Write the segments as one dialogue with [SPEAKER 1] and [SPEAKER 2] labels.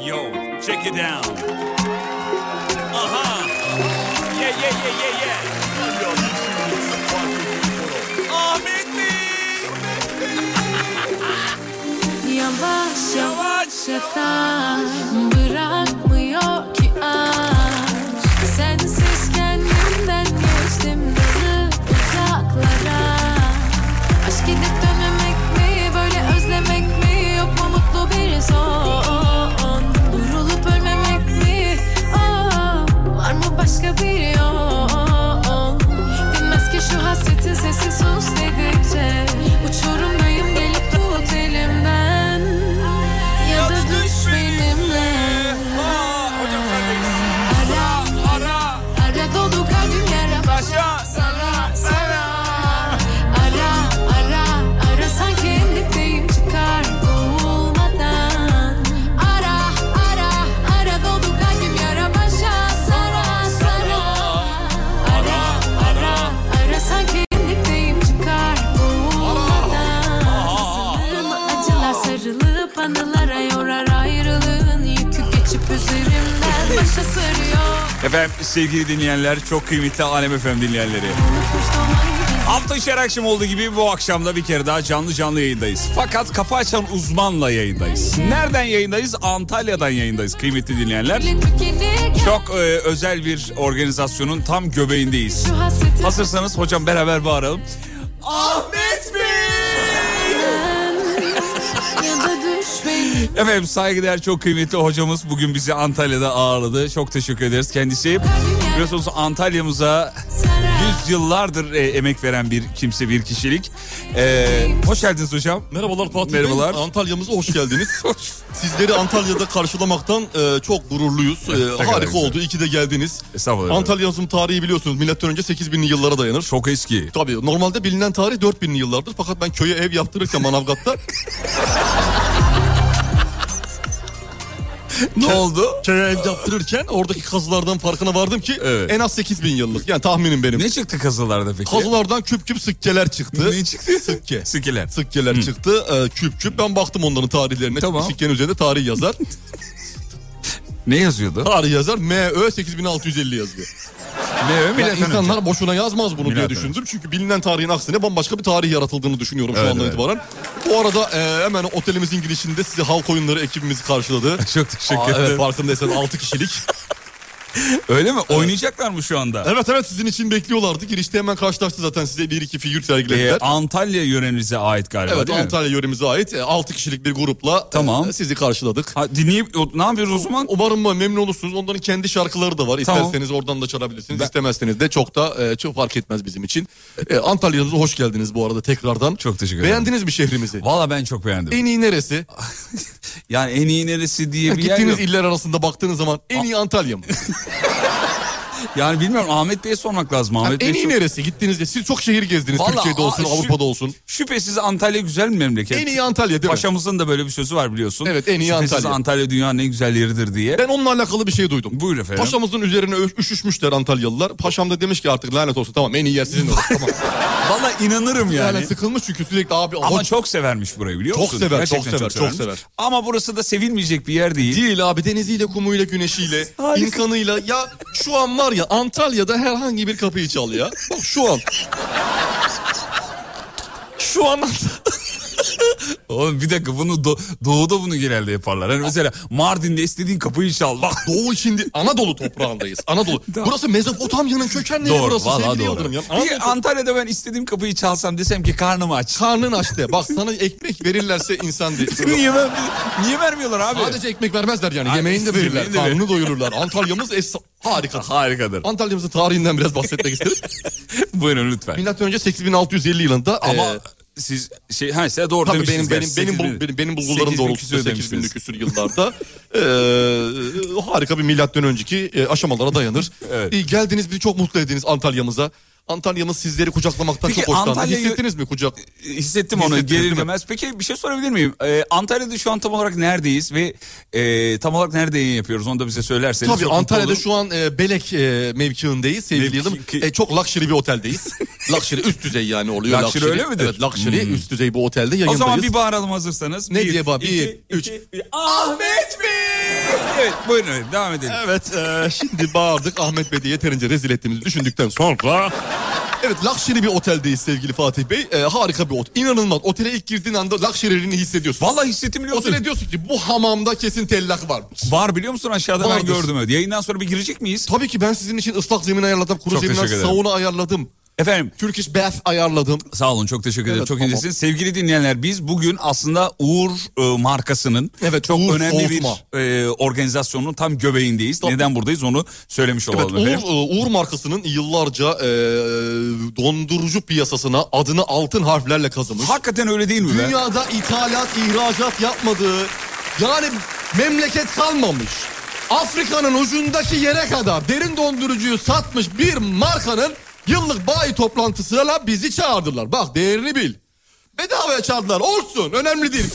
[SPEAKER 1] Yo, check it down. Aha. Yeah, yeah, yeah, yeah, yeah. Ahmet Bey. Yavaş,
[SPEAKER 2] Yavaş yavaş yatar Bırakmıyor ki aşk Sensiz kendimden geçtim dalı uzaklara Aşk gidip dönemek mi böyle özlemek mi Yok mu mutlu bir son Vurulup ölmemek mi oh, Var mı başka bir yol Dinmez ki şu hasretin sesi sus dedikçe Uçurumdayım gelip tut elimden Ya da düş benimle
[SPEAKER 1] Ha, hocam sendeyiz.
[SPEAKER 2] Ara,
[SPEAKER 1] Ara,
[SPEAKER 2] ara dolu kalbim yara
[SPEAKER 1] başa, sana, sana.
[SPEAKER 2] Ara ara ara sanki endipteyim çıkar boğulmadan Ara ara ara dolu kalbim yara başa sara sara Ara ara ara sanki endipteyim çıkar boğulmadan Sınırımı acılar sarılıp anılara yorar ayrılığın yükü geçip üzerimden başa sarıyor
[SPEAKER 1] Efendim sevgili dinleyenler, çok kıymetli Alem FM dinleyenleri.
[SPEAKER 2] Unutmuş da olan gibi
[SPEAKER 1] Hafta içi her akşam olduğu gibi bu akşam da bir kere daha canlı canlı yayındayız. Fakat kafa açan uzmanla yayındayız. Nereden yayındayız? Antalya'dan yayındayız kıymetli dinleyenler.
[SPEAKER 2] dilin tükenirken
[SPEAKER 1] Çok e, özel bir organizasyonun tam göbeğindeyiz.
[SPEAKER 2] şu hasretin
[SPEAKER 1] Hazırsanız hocam beraber bağıralım. Ahmet Bey!
[SPEAKER 2] ya da düş benim
[SPEAKER 1] Efendim saygıdeğer çok kıymetli hocamız bugün bizi Antalya'da ağırladı. Çok teşekkür ederiz kendisi. Biliyorsunuz Antalya'mıza
[SPEAKER 2] sana.
[SPEAKER 1] yüzyıllardır e, emek veren bir kimse, bir kişilik. E, hoş geldiniz hocam.
[SPEAKER 3] Merhabalar Fatih
[SPEAKER 1] Merhabalar.
[SPEAKER 3] Bey. Antalya'mıza hoş geldiniz.
[SPEAKER 1] Hoş
[SPEAKER 3] Sizleri Antalya'da karşılamaktan e, çok gururluyuz. E,
[SPEAKER 1] kadar
[SPEAKER 3] harika
[SPEAKER 1] güzel.
[SPEAKER 3] oldu. İyi ki de geldiniz.
[SPEAKER 1] Estağfurullah.
[SPEAKER 3] Antalya'mızın tarihi biliyorsunuz milattan önce 8000'li yıllara dayanır.
[SPEAKER 1] Çok eski.
[SPEAKER 3] Tabii normalde bilinen tarih 4000'li yıllardır fakat ben köye ev yaptırırken Manavgat'ta
[SPEAKER 1] Ne oldu?
[SPEAKER 3] köye ev yaptırırken oradaki kazılardan farkına vardım ki
[SPEAKER 1] Evet.
[SPEAKER 3] en az 8000 yıllık yani tahminim benim.
[SPEAKER 1] Ne çıktı kazılarda peki?
[SPEAKER 3] Kazılardan küp küp sikkeler çıktı.
[SPEAKER 1] Ne çıktı?
[SPEAKER 3] Sikke.
[SPEAKER 1] Sikiler.
[SPEAKER 3] Sikkeler çıktı e, küp küp ben baktım onların tarihlerine.
[SPEAKER 1] Tamam.
[SPEAKER 3] Sikkenin üzerinde tarih yazar.
[SPEAKER 1] Ne yazıyordu?
[SPEAKER 3] Tarih yazar MÖ 8650 yazıyor.
[SPEAKER 1] Ne
[SPEAKER 3] Ya insanlar boşuna yazmaz bunu
[SPEAKER 1] Milattan
[SPEAKER 3] diye
[SPEAKER 1] önce.
[SPEAKER 3] düşündüm. Çünkü bilinen tarihin aksine bambaşka bir tarih yaratıldığını düşünüyorum şu
[SPEAKER 1] Evet,
[SPEAKER 3] andan
[SPEAKER 1] evet.
[SPEAKER 3] itibaren. Bu arada e, hemen otelimizin girişinde sizi halk oyunları ekibimiz karşıladı.
[SPEAKER 1] Çok teşekkür
[SPEAKER 3] Aa,
[SPEAKER 1] ederim.
[SPEAKER 3] evet farkındaysan 6 kişilik.
[SPEAKER 1] Öyle mi? Oynayacaklar mı şu anda?
[SPEAKER 3] evet evet sizin için bekliyorlardı. Girişte hemen karşılaştı zaten size bir iki figür
[SPEAKER 1] Ee,
[SPEAKER 3] sergilediler.
[SPEAKER 1] Antalya yörenize ait galiba
[SPEAKER 3] evet
[SPEAKER 1] değil mi?
[SPEAKER 3] Antalya yöremize ait 6 kişilik bir grupla e,
[SPEAKER 1] Tamam.
[SPEAKER 3] sizi karşıladık.
[SPEAKER 1] Ha, dinleyip o- ne yapıyoruz o zaman?
[SPEAKER 3] Umarım memnun olursunuz. Onların kendi şarkıları da var.
[SPEAKER 1] Tamam.
[SPEAKER 3] İsterseniz oradan da çalabilirsiniz.
[SPEAKER 1] Ben-
[SPEAKER 3] İstemezseniz de çok da e, çok fark etmez bizim için. E, Antalya'mıza hoş geldiniz bu arada tekrardan.
[SPEAKER 1] Çok teşekkür ederim.
[SPEAKER 3] Beğendiniz mi şehrimizi?
[SPEAKER 1] Valla ben çok beğendim.
[SPEAKER 3] En iyi neresi?
[SPEAKER 1] Yani en iyi neresi diye bir yer
[SPEAKER 3] Gittiğiniz
[SPEAKER 1] yok.
[SPEAKER 3] iller arasında baktığınız zaman en iyi Antalya mı?
[SPEAKER 1] Yani bilmiyorum Ahmet Bey'e sormak lazım. Ahmet Bey
[SPEAKER 3] en iyi
[SPEAKER 1] çok-
[SPEAKER 3] neresi? Gittiğinizde siz çok şehir gezdiniz.
[SPEAKER 1] Vallahi,
[SPEAKER 3] Türkiye'de
[SPEAKER 1] aa,
[SPEAKER 3] olsun,
[SPEAKER 1] şu-
[SPEAKER 3] Avrupa'da olsun.
[SPEAKER 1] Şüphesiz Antalya güzel bir memleket.
[SPEAKER 3] En iyi Antalya değil mi?
[SPEAKER 1] Paşamızın da böyle bir sözü var biliyorsun.
[SPEAKER 3] Evet, en iyi
[SPEAKER 1] Şüphesiz
[SPEAKER 3] Antalya.
[SPEAKER 1] Antalya dünyanın en güzel yeridir diye.
[SPEAKER 3] Ben onunla alakalı bir şey duydum.
[SPEAKER 1] Buyur efendim.
[SPEAKER 3] Paşamızın üzerine ö- üşüşmüşler Antalyalılar. Paşam da demiş ki artık lanet olsun tamam en iyi yer sizin olsun tamam.
[SPEAKER 1] Valla inanırım yani.
[SPEAKER 3] Yani sıkılmış çünkü sürekli abi
[SPEAKER 1] Ama
[SPEAKER 3] hoş-
[SPEAKER 1] çok severmiş burayı biliyor
[SPEAKER 3] Çok
[SPEAKER 1] musun?
[SPEAKER 3] sever, çok
[SPEAKER 1] Gerçekten
[SPEAKER 3] sever, çok
[SPEAKER 1] severmiş.
[SPEAKER 3] sever.
[SPEAKER 1] Ama burası da sevilmeyecek bir yer değil.
[SPEAKER 3] Değil abi deniziyle, kumuyla, güneşiyle,
[SPEAKER 1] Harika.
[SPEAKER 3] insanıyla. Ya şu an var ya Antalya'da herhangi bir kapıyı çal ya. Bak şu an. Şu an
[SPEAKER 1] Oğlum bir dakika bunu do- doğuda bunu genelde yaparlar. Hani mesela Mardin'de istediğin kapıyı çal. Bak
[SPEAKER 3] Doğu şimdi Anadolu toprağındayız. Anadolu.
[SPEAKER 1] Tamam.
[SPEAKER 3] Burası Mezopotamya'nın köken yeri burası sevgili Yıldırım ya. Anadolu-
[SPEAKER 1] Bir Antalya'da ben istediğim kapıyı çalsam desem ki karnım aç.
[SPEAKER 3] Karnın açtı. Bak sana ekmek verirlerse insan değil.
[SPEAKER 1] niye, ver- niye vermiyorlar abi?
[SPEAKER 3] Sadece ekmek vermezler yani.
[SPEAKER 1] Ay,
[SPEAKER 3] Yemeğini de verirler.
[SPEAKER 1] yemeğini de ver-
[SPEAKER 3] Karnını doyururlar. Antalya'mız es harika.
[SPEAKER 1] Harikadır.
[SPEAKER 3] Antalya'mızın tarihinden biraz bahsetmek isterim.
[SPEAKER 1] Buyurun lütfen.
[SPEAKER 3] Milattan önce 8650 yılında
[SPEAKER 1] Ama
[SPEAKER 3] e,
[SPEAKER 1] siz şey ha size doğru
[SPEAKER 3] Tabii
[SPEAKER 1] demişsiniz.
[SPEAKER 3] benim benim
[SPEAKER 1] gerçi.
[SPEAKER 3] benim,
[SPEAKER 1] Sekiz
[SPEAKER 3] bul,
[SPEAKER 1] bin-
[SPEAKER 3] benim, benim
[SPEAKER 1] sekiz
[SPEAKER 3] bulgularım
[SPEAKER 1] bin
[SPEAKER 3] doğrusunda
[SPEAKER 1] küsür
[SPEAKER 3] 8 bin
[SPEAKER 1] demişsiniz.
[SPEAKER 3] küsür yıllarda eee, harika bir milattan önceki e, aşamalara dayanır.
[SPEAKER 1] Evet.
[SPEAKER 3] İyi, geldiniz bizi çok mutlu ediniz Antalya'mıza. Antalya'mız sizleri kucaklamaktan
[SPEAKER 1] Peki
[SPEAKER 3] çok hoşlandı.
[SPEAKER 1] Antalya'yı-
[SPEAKER 3] Hissettiniz mi kucak?
[SPEAKER 1] Hissettim onu
[SPEAKER 3] Hissettiniz,
[SPEAKER 1] gelir
[SPEAKER 3] değil mi?
[SPEAKER 1] gelmez. Peki bir şey sorabilir miyim? Ee, Antalya'da şu an tam olarak neredeyiz ve e, tam olarak nerede yayın yapıyoruz onu da bize söylerseniz.
[SPEAKER 3] Tabii
[SPEAKER 1] çok mutlu
[SPEAKER 3] Antalya'da
[SPEAKER 1] olurum.
[SPEAKER 3] şu an e, Belek e, mevkiindeyiz sevgili
[SPEAKER 1] Mevki-
[SPEAKER 3] yılım. E, çok luxury bir oteldeyiz. luxury üst düzey yani oluyor.
[SPEAKER 1] Luxury öyle midir? Hmm.
[SPEAKER 3] Evet luxury üst düzey bu otelde yayındayız.
[SPEAKER 1] O zaman bir bağıralım hazırsanız.
[SPEAKER 3] Ne diye bağır- bir,
[SPEAKER 1] iki,
[SPEAKER 3] üç.
[SPEAKER 1] iki, bir. Ahmet Bey! Evet buyurun evet, devam edelim.
[SPEAKER 3] Evet e, şimdi bağırdık Ahmet Bey'i de yeterince rezil ettiğimizi düşündükten sonra... Evet luxury bir oteldeyiz sevgili Fatih Bey. E, harika bir otel. İnanılmaz. Otele ilk girdiğin anda luxury'liğini hissediyorsun.
[SPEAKER 1] Vallahi hissettim biliyor musun?
[SPEAKER 3] Otele diyorsun ki bu hamamda kesin tellak var.
[SPEAKER 1] Var biliyor musun aşağıda ben
[SPEAKER 3] Vardır.
[SPEAKER 1] gördüm. evet. Yayından sonra bir girecek miyiz?
[SPEAKER 3] Tabii ki ben sizin için ıslak zemin ayarladım. Kuru
[SPEAKER 1] Çok
[SPEAKER 3] zemin
[SPEAKER 1] teşekkür ederim.
[SPEAKER 3] sauna ayarladım.
[SPEAKER 1] Efendim
[SPEAKER 3] Turkish bath ayarladım.
[SPEAKER 1] Sağ olun çok teşekkür ederim.
[SPEAKER 3] Evet,
[SPEAKER 1] çok
[SPEAKER 3] tamam.
[SPEAKER 1] incesiniz. Sevgili dinleyenler biz bugün aslında Uğur e, markasının
[SPEAKER 3] Evet,
[SPEAKER 1] çok
[SPEAKER 3] Uğur
[SPEAKER 1] önemli
[SPEAKER 3] Soğutma.
[SPEAKER 1] bir e, organizasyonunun tam göbeğindeyiz. Neden buradayız onu söylemiş
[SPEAKER 3] Evet,
[SPEAKER 1] olalım
[SPEAKER 3] Uğur, e,
[SPEAKER 1] efendim.
[SPEAKER 3] Uğur markasının yıllarca e, dondurucu piyasasına adını altın harflerle kazımış.
[SPEAKER 1] Hakikaten öyle değil mi be?
[SPEAKER 3] Dünyada ithalat, ihracat yapmadığı yani memleket kalmamış. Afrika'nın ucundaki yere kadar derin dondurucuyu satmış bir markanın yıllık bayi toplantısına bizi çağırdılar. Bak değerini bil. Bedavaya çağırdılar. Olsun önemli değil.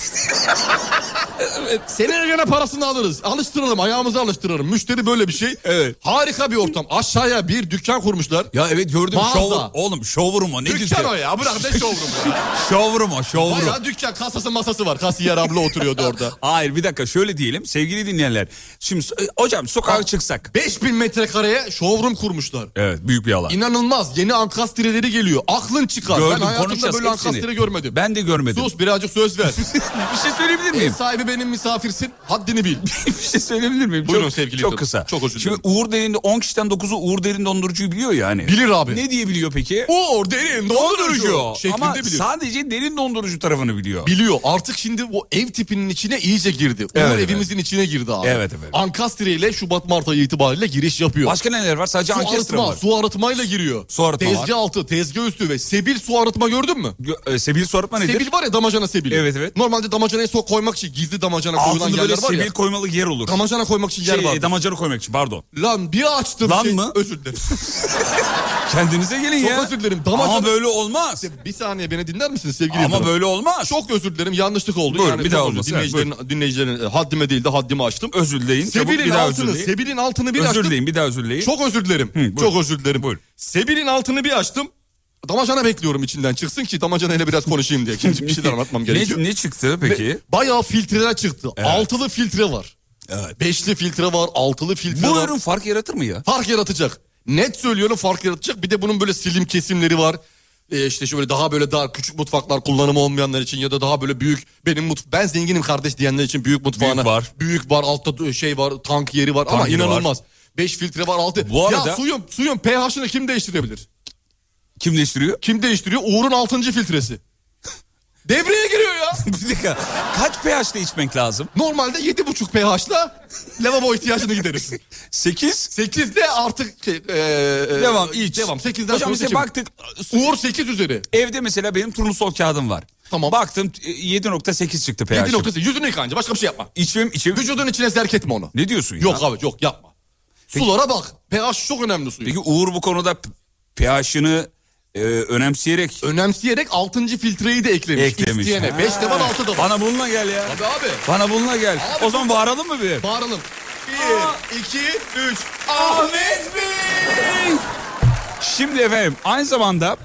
[SPEAKER 3] evet. Seneye göre parasını alırız. Alıştıralım ayağımızı alıştıralım. Müşteri böyle bir şey.
[SPEAKER 1] Evet.
[SPEAKER 3] Harika bir ortam. Aşağıya bir dükkan kurmuşlar.
[SPEAKER 1] Ya evet gördüm
[SPEAKER 3] Mağaza.
[SPEAKER 1] showroom. Oğlum showroom o ne
[SPEAKER 3] Dükkan o ya. Bırak ne showroom ya.
[SPEAKER 1] Showroom o showroom.
[SPEAKER 3] Bayağı dükkan kasası masası var. Kasiyer abla oturuyordu orada.
[SPEAKER 1] Hayır bir dakika şöyle diyelim sevgili dinleyenler. Şimdi e, hocam sokağa çıksak.
[SPEAKER 3] 5000 metrekareye showroom kurmuşlar.
[SPEAKER 1] Evet büyük bir alan.
[SPEAKER 3] İnanılmaz. Yeni ankastreleri geliyor. Aklın çıkar. ben
[SPEAKER 1] Gördüm
[SPEAKER 3] hayatımda
[SPEAKER 1] konuşacağız
[SPEAKER 3] böyle
[SPEAKER 1] hepsini.
[SPEAKER 3] ankastre görmedim.
[SPEAKER 1] Ben de görmedim.
[SPEAKER 3] Sus birazcık söz ver.
[SPEAKER 1] Bir şey söyleyebilir
[SPEAKER 3] Ev
[SPEAKER 1] miyim?
[SPEAKER 3] sahibi benim misafirsin. Haddini bil.
[SPEAKER 1] bir şey söyleyebilir miyim?
[SPEAKER 3] Buyurun
[SPEAKER 1] çok,
[SPEAKER 3] sevgili
[SPEAKER 1] Çok
[SPEAKER 3] Yıldırım.
[SPEAKER 1] kısa.
[SPEAKER 3] Çok özür
[SPEAKER 1] Şimdi Uğur Derin 10 kişiden 9'u Uğur Derin dondurucuyu biliyor yani.
[SPEAKER 3] Bilir abi.
[SPEAKER 1] Ne diye biliyor peki?
[SPEAKER 3] O derin dondurucu.
[SPEAKER 1] dondurucu.
[SPEAKER 3] Şeklinde
[SPEAKER 1] Ama
[SPEAKER 3] biliyor.
[SPEAKER 1] sadece derin dondurucu tarafını biliyor.
[SPEAKER 3] Biliyor. Artık şimdi o ev tipinin içine iyice girdi. Uğur
[SPEAKER 1] Evet,
[SPEAKER 3] evimizin içine girdi abi.
[SPEAKER 1] Evet, evet.
[SPEAKER 3] Ankastre ile Şubat Mart ayı itibariyle giriş yapıyor.
[SPEAKER 1] Başka neler var? Sadece
[SPEAKER 3] su
[SPEAKER 1] orkestra
[SPEAKER 3] arıtma,
[SPEAKER 1] var.
[SPEAKER 3] su arıtmayla giriyor.
[SPEAKER 1] Su arıtma var.
[SPEAKER 3] tezgah altı, tezgah üstü ve sebil su arıtma gördün mü?
[SPEAKER 1] Gö- e, Sebil Sorutma nedir?
[SPEAKER 3] Sebil var ya damacana sebili.
[SPEAKER 1] Evet, evet.
[SPEAKER 3] Normalde damacanaya su koymak için gizli damacana koyulan
[SPEAKER 1] Altında
[SPEAKER 3] yerler
[SPEAKER 1] böyle
[SPEAKER 3] var
[SPEAKER 1] sebil
[SPEAKER 3] ya.
[SPEAKER 1] koymalı yer olur.
[SPEAKER 3] Damacana koymak için yer
[SPEAKER 1] Şey,
[SPEAKER 3] var.
[SPEAKER 1] e, damacanı koymak için pardon.
[SPEAKER 3] Lan bir açtım.
[SPEAKER 1] Lan
[SPEAKER 3] şey-
[SPEAKER 1] mı?
[SPEAKER 3] Özür dilerim.
[SPEAKER 1] Kendinize gelin
[SPEAKER 3] Çok
[SPEAKER 1] ya.
[SPEAKER 3] özür dilerim. Damacana...
[SPEAKER 1] Ama böyle olmaz.
[SPEAKER 3] Bir saniye beni dinler misiniz sevgili
[SPEAKER 1] Ama
[SPEAKER 3] Yıldırım?
[SPEAKER 1] böyle olmaz.
[SPEAKER 3] Çok özür dilerim yanlışlık oldu.
[SPEAKER 1] Buyurun, bir
[SPEAKER 3] çok
[SPEAKER 1] daha
[SPEAKER 3] özür-
[SPEAKER 1] olmasın, evet,
[SPEAKER 3] Dinleyicilerin, dinleyicilerin e, haddime değil de haddimi açtım.
[SPEAKER 1] özür dileyin. Çabuk
[SPEAKER 3] Sebil'in
[SPEAKER 1] bir daha özür
[SPEAKER 3] altını,
[SPEAKER 1] dileyin.
[SPEAKER 3] Sebil'in altını bir
[SPEAKER 1] Özür
[SPEAKER 3] açtım.
[SPEAKER 1] dileyin bir daha özür dileyin.
[SPEAKER 3] Çok özür dilerim.
[SPEAKER 1] buyur.
[SPEAKER 3] Çok özür dilerim.
[SPEAKER 1] Buyur.
[SPEAKER 3] Sebil'in altını bir açtım. Damacana bekliyorum içinden çıksın ki damacana ile biraz konuşayım diye. Şimdi bir şeyler anlatmam gerekiyor.
[SPEAKER 1] ne, ne çıktı peki?
[SPEAKER 3] Bayağı filtreler çıktı.
[SPEAKER 1] Evet.
[SPEAKER 3] Altılı filtre var.
[SPEAKER 1] Evet.
[SPEAKER 3] Beşli filtre var, altılı filtre
[SPEAKER 1] Bu
[SPEAKER 3] var.
[SPEAKER 1] ürün fark yaratır mı ya?
[SPEAKER 3] Fark yaratacak. Net söylüyorum fark yaratacak. Bir de bunun böyle slim kesimleri var. Ee, işte şöyle daha böyle daha küçük mutfaklar kullanımı olmayanlar için ya da daha böyle büyük benim mutf ben zenginim kardeş diyenler için büyük mutfağına
[SPEAKER 1] Büyük var.
[SPEAKER 3] büyük var altta şey var tank yeri var ama
[SPEAKER 1] yeri var.
[SPEAKER 3] inanılmaz. 5 filtre var altı.
[SPEAKER 1] Bu arada-
[SPEAKER 3] Ya suyun suyun pH'ını kim değiştirebilir?
[SPEAKER 1] Kim değiştiriyor?
[SPEAKER 3] Kim değiştiriyor? Uğur'un 6. filtresi. Devreye giriyor ya.
[SPEAKER 1] bir dakika. Kaç pH'te içmek lazım?
[SPEAKER 3] Normalde 7,5 pH'la lavabo ihtiyacını giderirsin.
[SPEAKER 1] 8?
[SPEAKER 3] 8'de artık e, e,
[SPEAKER 1] Devam iç.
[SPEAKER 3] Devam 8'den
[SPEAKER 1] Hocam şey
[SPEAKER 3] sonra
[SPEAKER 1] bize
[SPEAKER 3] seçim.
[SPEAKER 1] baktık.
[SPEAKER 3] Uğur 8 üzeri.
[SPEAKER 1] Evde mesela benim turnusol kağıdım var.
[SPEAKER 3] Tamam.
[SPEAKER 1] Baktım e, 7.8 çıktı pH'im.
[SPEAKER 3] 7 noktası. Yüzünü yıka anca başka bir şey yapma.
[SPEAKER 1] İçim içim.
[SPEAKER 3] Vücudun içine zerk etme onu.
[SPEAKER 1] Ne diyorsun ya?
[SPEAKER 3] Yok abi yok yapma. Sulara bak. pH çok önemli suyun.
[SPEAKER 1] Peki Uğur bu konuda p- pH'ını e, önemseyerek
[SPEAKER 3] Önemseyerek 6. filtreyi de eklemiş.
[SPEAKER 1] eklemiş.
[SPEAKER 3] İsteyene. 5 de var 6 da var.
[SPEAKER 1] Bana bununla gel ya.
[SPEAKER 3] Abi abi.
[SPEAKER 1] Bana bununla gel.
[SPEAKER 3] Abi
[SPEAKER 1] o zaman bağıralım mı bir?
[SPEAKER 3] Bağıralım. 1, 2, 3.
[SPEAKER 1] Ahmet Bey! Şimdi efendim aynı zamanda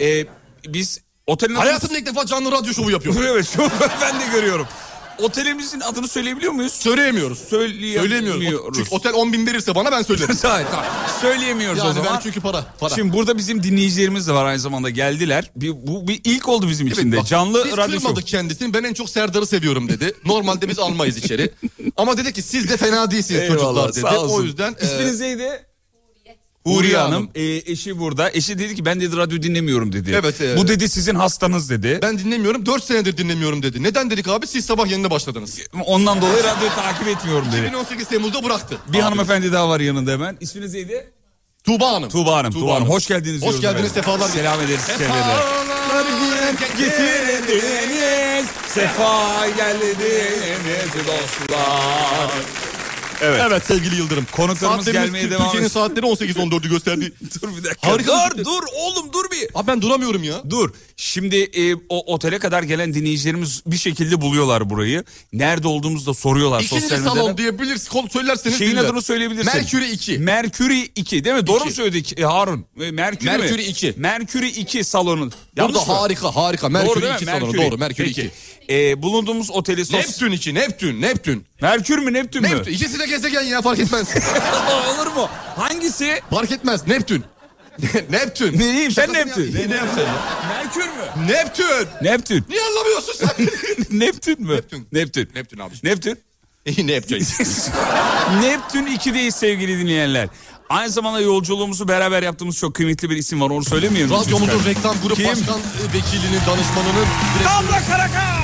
[SPEAKER 1] e, biz otelin adını-
[SPEAKER 3] Hayatımda ilk defa canlı radyo şovu yapıyorum.
[SPEAKER 1] Evet şu ben de görüyorum. Otelimizin adını söyleyebiliyor muyuz?
[SPEAKER 3] Söyleyemiyoruz. Söyleyemiyoruz. O-
[SPEAKER 1] Söyleyemiyoruz.
[SPEAKER 3] Çünkü otel 10 bin verirse bana ben söylerim.
[SPEAKER 1] Hayır, tamam. Söyleyemiyoruz o
[SPEAKER 3] yani
[SPEAKER 1] zaman.
[SPEAKER 3] ben çünkü para. para.
[SPEAKER 1] Şimdi burada bizim dinleyicilerimiz de var aynı zamanda geldiler. Bir, bu bir ilk oldu bizim
[SPEAKER 3] Evet,
[SPEAKER 1] için de.
[SPEAKER 3] bak,
[SPEAKER 1] Canlı
[SPEAKER 3] biz
[SPEAKER 1] radyo şovu.
[SPEAKER 3] kırmadık kendisini. Ben en çok Serdar'ı seviyorum dedi. Normalde biz almayız içeri. Ama dedi ki siz de fena değilsiniz çocuklar dedi. O yüzden e,
[SPEAKER 1] İsminiz neydi?
[SPEAKER 3] Huriye
[SPEAKER 1] Ee, Huriye Hanım,
[SPEAKER 3] Hanım.
[SPEAKER 1] e, eşi burada. Eşi dedi ki ben dedi radyo dinlemiyorum dedi.
[SPEAKER 3] Evet, e,
[SPEAKER 1] Bu dedi sizin hastanız dedi.
[SPEAKER 3] ben dinlemiyorum. 4 senedir dinlemiyorum dedi. Neden dedik abi? Siz sabah yenine başladınız.
[SPEAKER 1] Ondan dolayı radyoyu takip etmiyorum dedi.
[SPEAKER 3] 2018 Temmuz'da bıraktı.
[SPEAKER 1] Bir
[SPEAKER 3] Abi,
[SPEAKER 1] hanımefendi daha var yanında hemen. İsminiz neydi?
[SPEAKER 3] Tuğba Hanım.
[SPEAKER 1] Tuğba Hanım. Tuğba, Hanım. Hoş geldiniz.
[SPEAKER 3] Hoş
[SPEAKER 1] diyoruz
[SPEAKER 3] geldiniz.
[SPEAKER 1] efendim.
[SPEAKER 3] Sefalar getirdiniz.
[SPEAKER 1] Selam ederiz. Sefalar.
[SPEAKER 3] Sefalar
[SPEAKER 1] Getirdiniz. Sefa geldiniz dostlar. Evet.
[SPEAKER 3] Evet sevgili Yıldırım.
[SPEAKER 1] Konuklarımız
[SPEAKER 3] Saatlerimiz-
[SPEAKER 1] gelmeye
[SPEAKER 3] Tür-
[SPEAKER 1] devam
[SPEAKER 3] Türkiye'nin
[SPEAKER 1] etsin.
[SPEAKER 3] saatleri 18-14'ü gösterdi.
[SPEAKER 1] Dur bir dakika.
[SPEAKER 3] Harika
[SPEAKER 1] dur
[SPEAKER 3] bir-
[SPEAKER 1] dur oğlum dur bir.
[SPEAKER 3] Abi ben duramıyorum ya.
[SPEAKER 1] Dur. Şimdi e, o otele kadar gelen dinleyicilerimiz bir şekilde buluyorlar burayı. Nerede olduğumuzu da soruyorlar
[SPEAKER 3] İkinci
[SPEAKER 1] sosyal
[SPEAKER 3] salon
[SPEAKER 1] medyada.
[SPEAKER 3] diyebiliriz. Kol söylerseniz
[SPEAKER 1] Şeyin
[SPEAKER 3] bilirler.
[SPEAKER 1] adını söyleyebilirsin.
[SPEAKER 3] Merkür'ü iki.
[SPEAKER 1] Merkür'ü 2 değil mi? Doğru mu söyledik e, Harun? E, Merkür'ü mü?
[SPEAKER 3] Merkür'ü iki.
[SPEAKER 1] Merkür'ü 2 salonun.
[SPEAKER 3] Burada
[SPEAKER 1] Yanlış mı?
[SPEAKER 3] harika harika.
[SPEAKER 1] Doğru
[SPEAKER 3] Merkür
[SPEAKER 1] değil mi?
[SPEAKER 3] 2 salonu. Doğru Merkür
[SPEAKER 1] Peki.
[SPEAKER 3] 2.
[SPEAKER 1] E, bulunduğumuz oteli sos...
[SPEAKER 3] Neptün 2 Neptün Neptün.
[SPEAKER 1] Merkür mü Neptün mü?
[SPEAKER 3] Neptün. İkisi de gezegen ya fark etmez.
[SPEAKER 1] Olur mu? Hangisi?
[SPEAKER 3] fark etmez Neptün. Neptün.
[SPEAKER 1] Neyim sen
[SPEAKER 3] Şakasını yap-
[SPEAKER 1] Neptün.
[SPEAKER 3] Ne- Neptün.
[SPEAKER 1] Merkür mü?
[SPEAKER 3] Neptün.
[SPEAKER 1] Neptün.
[SPEAKER 3] Niye anlamıyorsun sen?
[SPEAKER 1] Neptün mü?
[SPEAKER 3] Neptün.
[SPEAKER 1] Neptün.
[SPEAKER 3] Neptün abiciğim.
[SPEAKER 1] Neptün.
[SPEAKER 3] Neptün.
[SPEAKER 1] Neptün 2'deyiz sevgili dinleyenler. Aynı zamanda yolculuğumuzu beraber yaptığımız çok kıymetli bir isim var onu söylemiyorum.
[SPEAKER 3] Radyomuzun reklam grup
[SPEAKER 1] Kim?
[SPEAKER 3] başkan e, vekilinin danışmanının direkt
[SPEAKER 1] Damla Karakaş.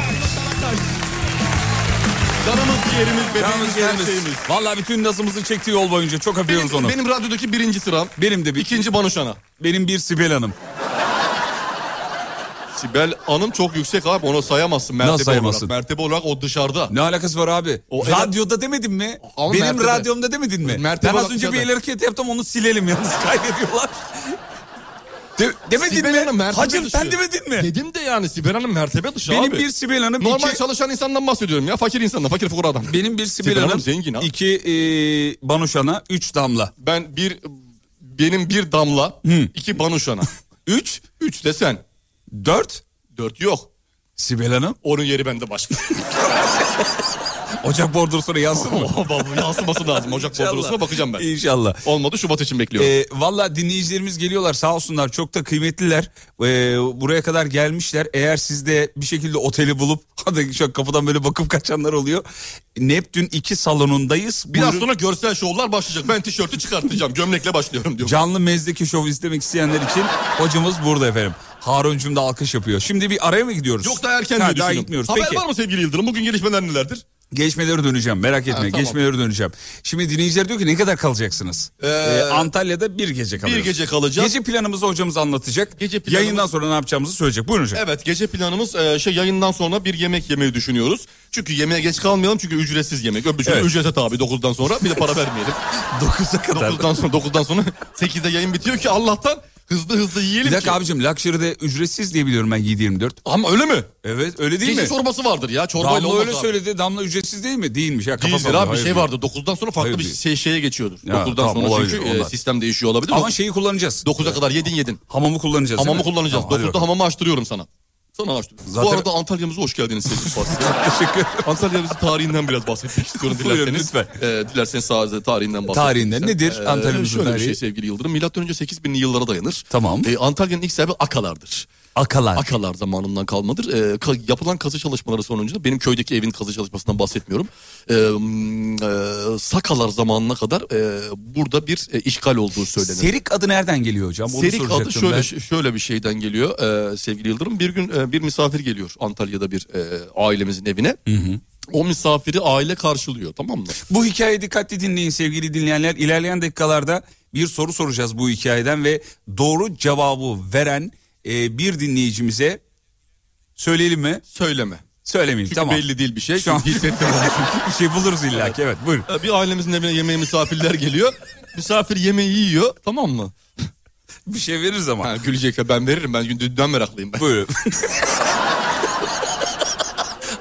[SPEAKER 3] canımız ciğerimiz bebeğimiz
[SPEAKER 1] Yalnız
[SPEAKER 3] her
[SPEAKER 1] yerimiz.
[SPEAKER 3] şeyimiz.
[SPEAKER 1] Valla bütün nazımızı çektiği yol boyunca çok öpüyoruz
[SPEAKER 3] Benim,
[SPEAKER 1] onu.
[SPEAKER 3] benim radyodaki birinci sıram.
[SPEAKER 1] Benim de bir,
[SPEAKER 3] İkinci Banuşan'a.
[SPEAKER 1] benim bir Sibel Hanım.
[SPEAKER 3] Sibel Hanım çok yüksek abi onu sayamazsın mertebe
[SPEAKER 1] Nasıl sayamazsın?
[SPEAKER 3] olarak. Mertebe olarak o dışarıda.
[SPEAKER 1] Ne alakası var abi?
[SPEAKER 3] O-
[SPEAKER 1] Radyoda demedin mi?
[SPEAKER 3] Ama
[SPEAKER 1] benim
[SPEAKER 3] mertebe.
[SPEAKER 1] radyomda demedin mi?
[SPEAKER 3] Mertebe
[SPEAKER 1] ben az
[SPEAKER 3] olarak
[SPEAKER 1] önce bir
[SPEAKER 3] zaten.
[SPEAKER 1] el hareketi yaptım onu silelim yalnız kaydediyorlar. De- demedin
[SPEAKER 3] Sibel
[SPEAKER 1] mi?
[SPEAKER 3] Hanım mertebe
[SPEAKER 1] Hacım sen
[SPEAKER 3] dışı.
[SPEAKER 1] demedin mi?
[SPEAKER 3] Dedim de yani Sibel Hanım mertebe dışı
[SPEAKER 1] Benim
[SPEAKER 3] abi.
[SPEAKER 1] bir Sibel Hanım,
[SPEAKER 3] Normal
[SPEAKER 1] iki-
[SPEAKER 3] çalışan insandan bahsediyorum ya. Fakir insandan, fakir fukaradan.
[SPEAKER 1] Benim bir Sibel,
[SPEAKER 3] Sibel
[SPEAKER 1] Hanım,
[SPEAKER 3] Hanım zengin ha.
[SPEAKER 1] iki e, Banuşan'a, üç Damla.
[SPEAKER 3] Ben bir... Benim bir damla, iki banuşana.
[SPEAKER 1] Üç,
[SPEAKER 3] Üç de sen.
[SPEAKER 1] dört
[SPEAKER 3] Dört yok.
[SPEAKER 1] Sibel Hanım.
[SPEAKER 3] Onun yeri bende başka.
[SPEAKER 1] Ocak bordrosuna yazsın mı?
[SPEAKER 3] Vallahi yansıması lazım. Ocak
[SPEAKER 1] İnşallah.
[SPEAKER 3] bordrosuna bakacağım ben.
[SPEAKER 1] İnşallah.
[SPEAKER 3] Olmadı Şubat için bekliyorum.
[SPEAKER 1] Ee, Valla dinleyicilerimiz geliyorlar sağ olsunlar çok da kıymetliler. Ee, buraya kadar gelmişler. Eğer siz de bir şekilde oteli bulup hadi şu an kapıdan böyle bakıp kaçanlar oluyor. Neptün 2 salonundayız.
[SPEAKER 3] Biraz
[SPEAKER 1] Buyurun.
[SPEAKER 3] sonra görsel şovlar başlayacak. Ben tişörtü çıkartacağım. Gömlekle başlıyorum diyor.
[SPEAKER 1] Canlı mezdeki şovu izlemek isteyenler için hocamız burada efendim. Haruncum da alkış yapıyor. Şimdi bir araya mı gidiyoruz?
[SPEAKER 3] Yok da
[SPEAKER 1] Ha,
[SPEAKER 3] erken diye
[SPEAKER 1] Daha
[SPEAKER 3] düşünüyorum.
[SPEAKER 1] gitmiyoruz.
[SPEAKER 3] Haber
[SPEAKER 1] Peki.
[SPEAKER 3] var mı sevgili Yıldırım? Bugün gelişmeler nelerdir?
[SPEAKER 1] Geçmeleri döneceğim merak etme.
[SPEAKER 3] tamam.
[SPEAKER 1] Geçmeleri döneceğim. Şimdi dinleyiciler diyor ki ne kadar kalacaksınız?
[SPEAKER 3] Ee,
[SPEAKER 1] Ee, Antalya'da bir gece kalıyoruz.
[SPEAKER 3] gece kalacağız.
[SPEAKER 1] Gece planımızı hocamız anlatacak.
[SPEAKER 3] Gece planımız-
[SPEAKER 1] Yayından sonra ne yapacağımızı söyleyecek. Buyurun hocam.
[SPEAKER 3] Evet gece planımız e, şey yayından sonra bir yemek yemeyi düşünüyoruz. Çünkü yemeğe geç kalmayalım çünkü ücretsiz yemek. Öbür şey
[SPEAKER 1] Evet.
[SPEAKER 3] ücrete tabi 9'dan sonra bir de para vermeyelim.
[SPEAKER 1] 9'a kadar.
[SPEAKER 3] 9'dan sonra 9'dan sonra 8'de yayın bitiyor ki Allah'tan hızlı hızlı yiyelim
[SPEAKER 1] Bir dakika
[SPEAKER 3] ki.
[SPEAKER 1] abicim Luxury'de ücretsiz diye biliyorum ben 7-24.
[SPEAKER 3] Ama öyle mi?
[SPEAKER 1] Evet öyle değil
[SPEAKER 3] Gece
[SPEAKER 1] mi?
[SPEAKER 3] çorbası vardır ya. Çorbayla
[SPEAKER 1] Damla
[SPEAKER 3] olmaz
[SPEAKER 1] öyle
[SPEAKER 3] abi.
[SPEAKER 1] söyledi. Damla ücretsiz değil mi? Değilmiş ya. kafa
[SPEAKER 3] Değildir
[SPEAKER 1] sallıyor.
[SPEAKER 3] abi bir
[SPEAKER 1] Hayır
[SPEAKER 3] şey
[SPEAKER 1] değil.
[SPEAKER 3] vardı. 9'dan sonra farklı
[SPEAKER 1] Hayır
[SPEAKER 3] bir
[SPEAKER 1] değil.
[SPEAKER 3] şey, şeye geçiyordur.
[SPEAKER 1] Ya,
[SPEAKER 3] 9'dan
[SPEAKER 1] tamam,
[SPEAKER 3] sonra
[SPEAKER 1] olabilir,
[SPEAKER 3] çünkü e,
[SPEAKER 1] ondan.
[SPEAKER 3] sistem değişiyor olabilir.
[SPEAKER 1] Ama şeyi kullanacağız.
[SPEAKER 3] 9'a kadar yedin yedin.
[SPEAKER 1] Hamamı kullanacağız.
[SPEAKER 3] Hamamı
[SPEAKER 1] değil mi?
[SPEAKER 3] kullanacağız.
[SPEAKER 1] Tamam, hadi
[SPEAKER 3] 9'da hamamı açtırıyorum sana. Sana açtırıyorum. Bu
[SPEAKER 1] Zaten-
[SPEAKER 3] arada Antalya'mıza hoş geldiniz sevgili Fatih.
[SPEAKER 1] bakalım. Teşekkür ederim.
[SPEAKER 3] Antalya'mızın tarihinden biraz bahsetmek istiyorum
[SPEAKER 1] Buyurun,
[SPEAKER 3] dilerseniz.
[SPEAKER 1] lütfen.
[SPEAKER 3] Ee, dilerseniz sadece tarihinden bahsedelim.
[SPEAKER 1] Tarihinden nedir Antalya'mızın
[SPEAKER 3] şöyle
[SPEAKER 1] tarihi?
[SPEAKER 3] bir şey sevgili Yıldırım. Milattan önce 8000'li yıllara dayanır.
[SPEAKER 1] Tamam.
[SPEAKER 3] Ee, Antalya'nın ilk sahibi Akalar'dır.
[SPEAKER 1] Akalar.
[SPEAKER 3] Akalar zamanından kalmadır. Ee, ka- yapılan kazı çalışmaları sonucunda benim köydeki evin kazı çalışmasından bahsetmiyorum. Ee, m, e, Sakalar zamanına kadar e, burada bir e, işgal olduğu söylenir.
[SPEAKER 1] Serik adı nereden geliyor hocam? Onu
[SPEAKER 3] Serik adı
[SPEAKER 1] soracaktım
[SPEAKER 3] şöyle şey-
[SPEAKER 1] ben.
[SPEAKER 3] şöyle bir şeyden geliyor e, sevgili Yıldırım. Bir gün e, bir misafir geliyor Antalya'da bir e, ailemizin evine. O misafiri aile karşılıyor tamam mı?
[SPEAKER 1] Bu hikayeyi dikkatli dinleyin sevgili dinleyenler. İlerleyen dakikalarda bir soru soracağız bu hikayeden ve doğru cevabı veren e, bir dinleyicimize söyleyelim mi?
[SPEAKER 3] Söyleme.
[SPEAKER 1] Söylemeyeyim
[SPEAKER 3] Çünkü
[SPEAKER 1] tamam.
[SPEAKER 3] belli değil bir şey.
[SPEAKER 1] Şu an-
[SPEAKER 3] Hissettim onu çünkü.
[SPEAKER 1] Bir şey buluruz illa ki evet buyurun.
[SPEAKER 3] E, Bir ailemizin evine yemeğe misafirler geliyor. Misafir yemeği yiyor tamam mı?
[SPEAKER 1] Bir şey veririz ama.
[SPEAKER 3] Ha, gülecek ya ben veririm ben dünden meraklıyım ben.
[SPEAKER 1] Buyurun.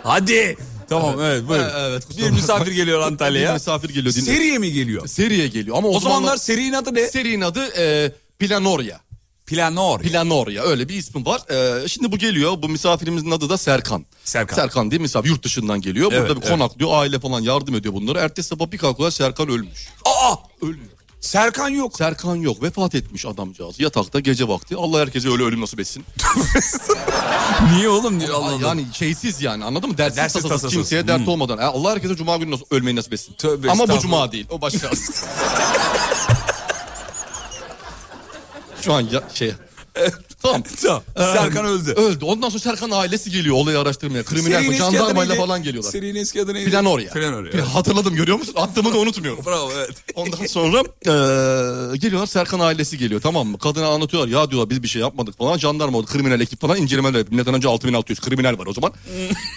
[SPEAKER 1] Hadi. Tamam evet buyurun.
[SPEAKER 3] Ha, evet, kusura
[SPEAKER 1] bir misafir geliyor
[SPEAKER 3] Bir
[SPEAKER 1] Antalya'ya.
[SPEAKER 3] misafir geliyor. dinle-
[SPEAKER 1] Seriye mi geliyor?
[SPEAKER 3] Seriye geliyor ama o,
[SPEAKER 1] O zamanlar serinin adı ne?
[SPEAKER 3] serinin adı e, Planoria.
[SPEAKER 1] Planor.
[SPEAKER 3] Planoria öyle bir ismi var. Ee, şimdi bu geliyor. Bu misafirimizin adı da Serkan.
[SPEAKER 1] Serkan.
[SPEAKER 3] Serkan diye misafir yurt dışından geliyor.
[SPEAKER 1] Evet,
[SPEAKER 3] Burada bir
[SPEAKER 1] evet.
[SPEAKER 3] konaklıyor. Aile falan yardım ediyor bunlara. Ertesi sabah bir kalkıyorlar Serkan ölmüş.
[SPEAKER 1] Aa
[SPEAKER 3] Ölüyor.
[SPEAKER 1] Serkan yok.
[SPEAKER 3] Serkan yok. Vefat etmiş adamcağız. Yatakta gece vakti. Allah herkese öyle ölüm nasip etsin.
[SPEAKER 1] Niye oğlum? Niye
[SPEAKER 3] Ay,
[SPEAKER 1] Allah'ım?
[SPEAKER 3] Yani şeysiz yani anladın mı? Dersiz,
[SPEAKER 1] Dersiz
[SPEAKER 3] tasasız,
[SPEAKER 1] tasasız. Hmm.
[SPEAKER 3] Kimseye dert olmadan. Ha, Allah herkese cuma günü nasıl, ölmeyi nasip etsin.
[SPEAKER 1] Tövbe
[SPEAKER 3] Ama bu
[SPEAKER 1] estağfurullah.
[SPEAKER 3] cuma değil. O başka. Şu an ya, şey... Tamam.
[SPEAKER 1] Tamam, Serkan
[SPEAKER 3] Ee,
[SPEAKER 1] öldü.
[SPEAKER 3] Öldü. Ondan sonra Serkan ailesi geliyor olayı araştırmaya. Kriminal
[SPEAKER 1] Serinin
[SPEAKER 3] bu
[SPEAKER 1] eski adı
[SPEAKER 3] jandarmayla
[SPEAKER 1] neydi?
[SPEAKER 3] falan geliyorlar.
[SPEAKER 1] Serinin eski adı neydi?
[SPEAKER 3] Planorya.
[SPEAKER 1] Planorya.
[SPEAKER 3] Pla- Hatırladım görüyor musun? Attığımı da unutmuyorum.
[SPEAKER 1] Bravo evet.
[SPEAKER 3] Ondan sonra eee, geliyorlar Serkan ailesi geliyor tamam mı? Kadına anlatıyorlar ya diyorlar biz bir şey yapmadık falan. Jandarma oldu kriminal ekip falan incelemeler yapıyor. Milattan önce 6600 kriminal var o zaman.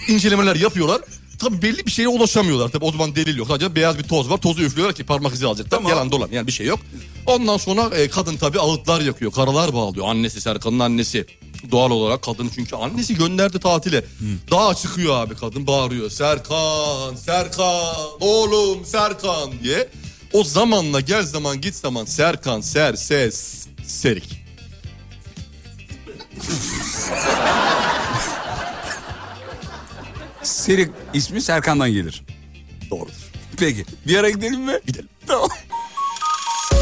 [SPEAKER 3] İncelemeler yapıyorlar. tabii belli bir şeye ulaşamıyorlar. Tabii o zaman delil yok. Sadece beyaz bir toz var. Tozu üflüyorlar ki parmak izi alacaklar.
[SPEAKER 1] Tamam.
[SPEAKER 3] Yalan dolan yani bir şey yok. Ondan sonra e, kadın tabii ağıtlar yakıyor. Karalar bağlıyor. Annesi Serkan'ın annesi. Doğal olarak kadın çünkü annesi gönderdi tatile. Dağa çıkıyor abi kadın bağırıyor. Serkan, Serkan, oğlum Serkan diye. O zamanla gel zaman git zaman Serkan, Ser, Ses, Serik.
[SPEAKER 1] Serik ismi Serkan'dan gelir.
[SPEAKER 3] Doğrudur.
[SPEAKER 1] Peki bir ara gidelim mi? Gidelim. Tamam.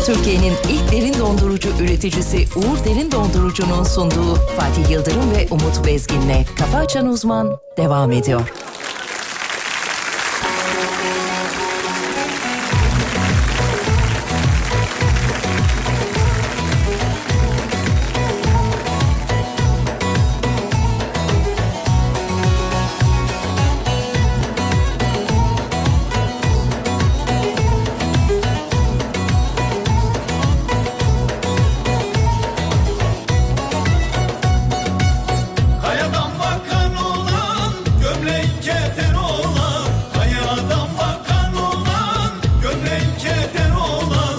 [SPEAKER 4] Türkiye'nin ilk derin dondurucu üreticisi Uğur Derin Dondurucu'nun sunduğu Fatih Yıldırım ve Umut Bezgin'le Kafa Açan Uzman devam ediyor.
[SPEAKER 5] Kayadan bakan olan gömlek keten olan Kayadan bakan olan gömlek keten olan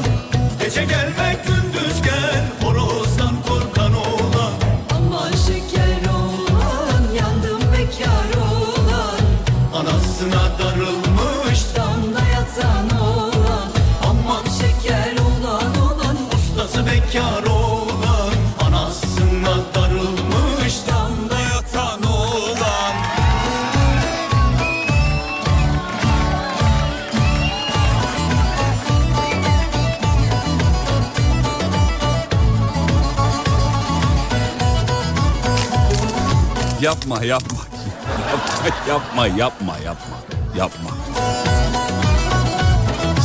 [SPEAKER 5] Gece gelmek gündüz gel horozdan korkan olan
[SPEAKER 6] Aman şeker olan, yandım bekar olan,
[SPEAKER 5] Anasına darılmış
[SPEAKER 6] damda yatan olan. Aman şeker olan olan,
[SPEAKER 5] ustası bekar olan Anasına darılmış damda yatan olan
[SPEAKER 1] Yapma yapma. Yapma yapma yapma yapma. Yapma.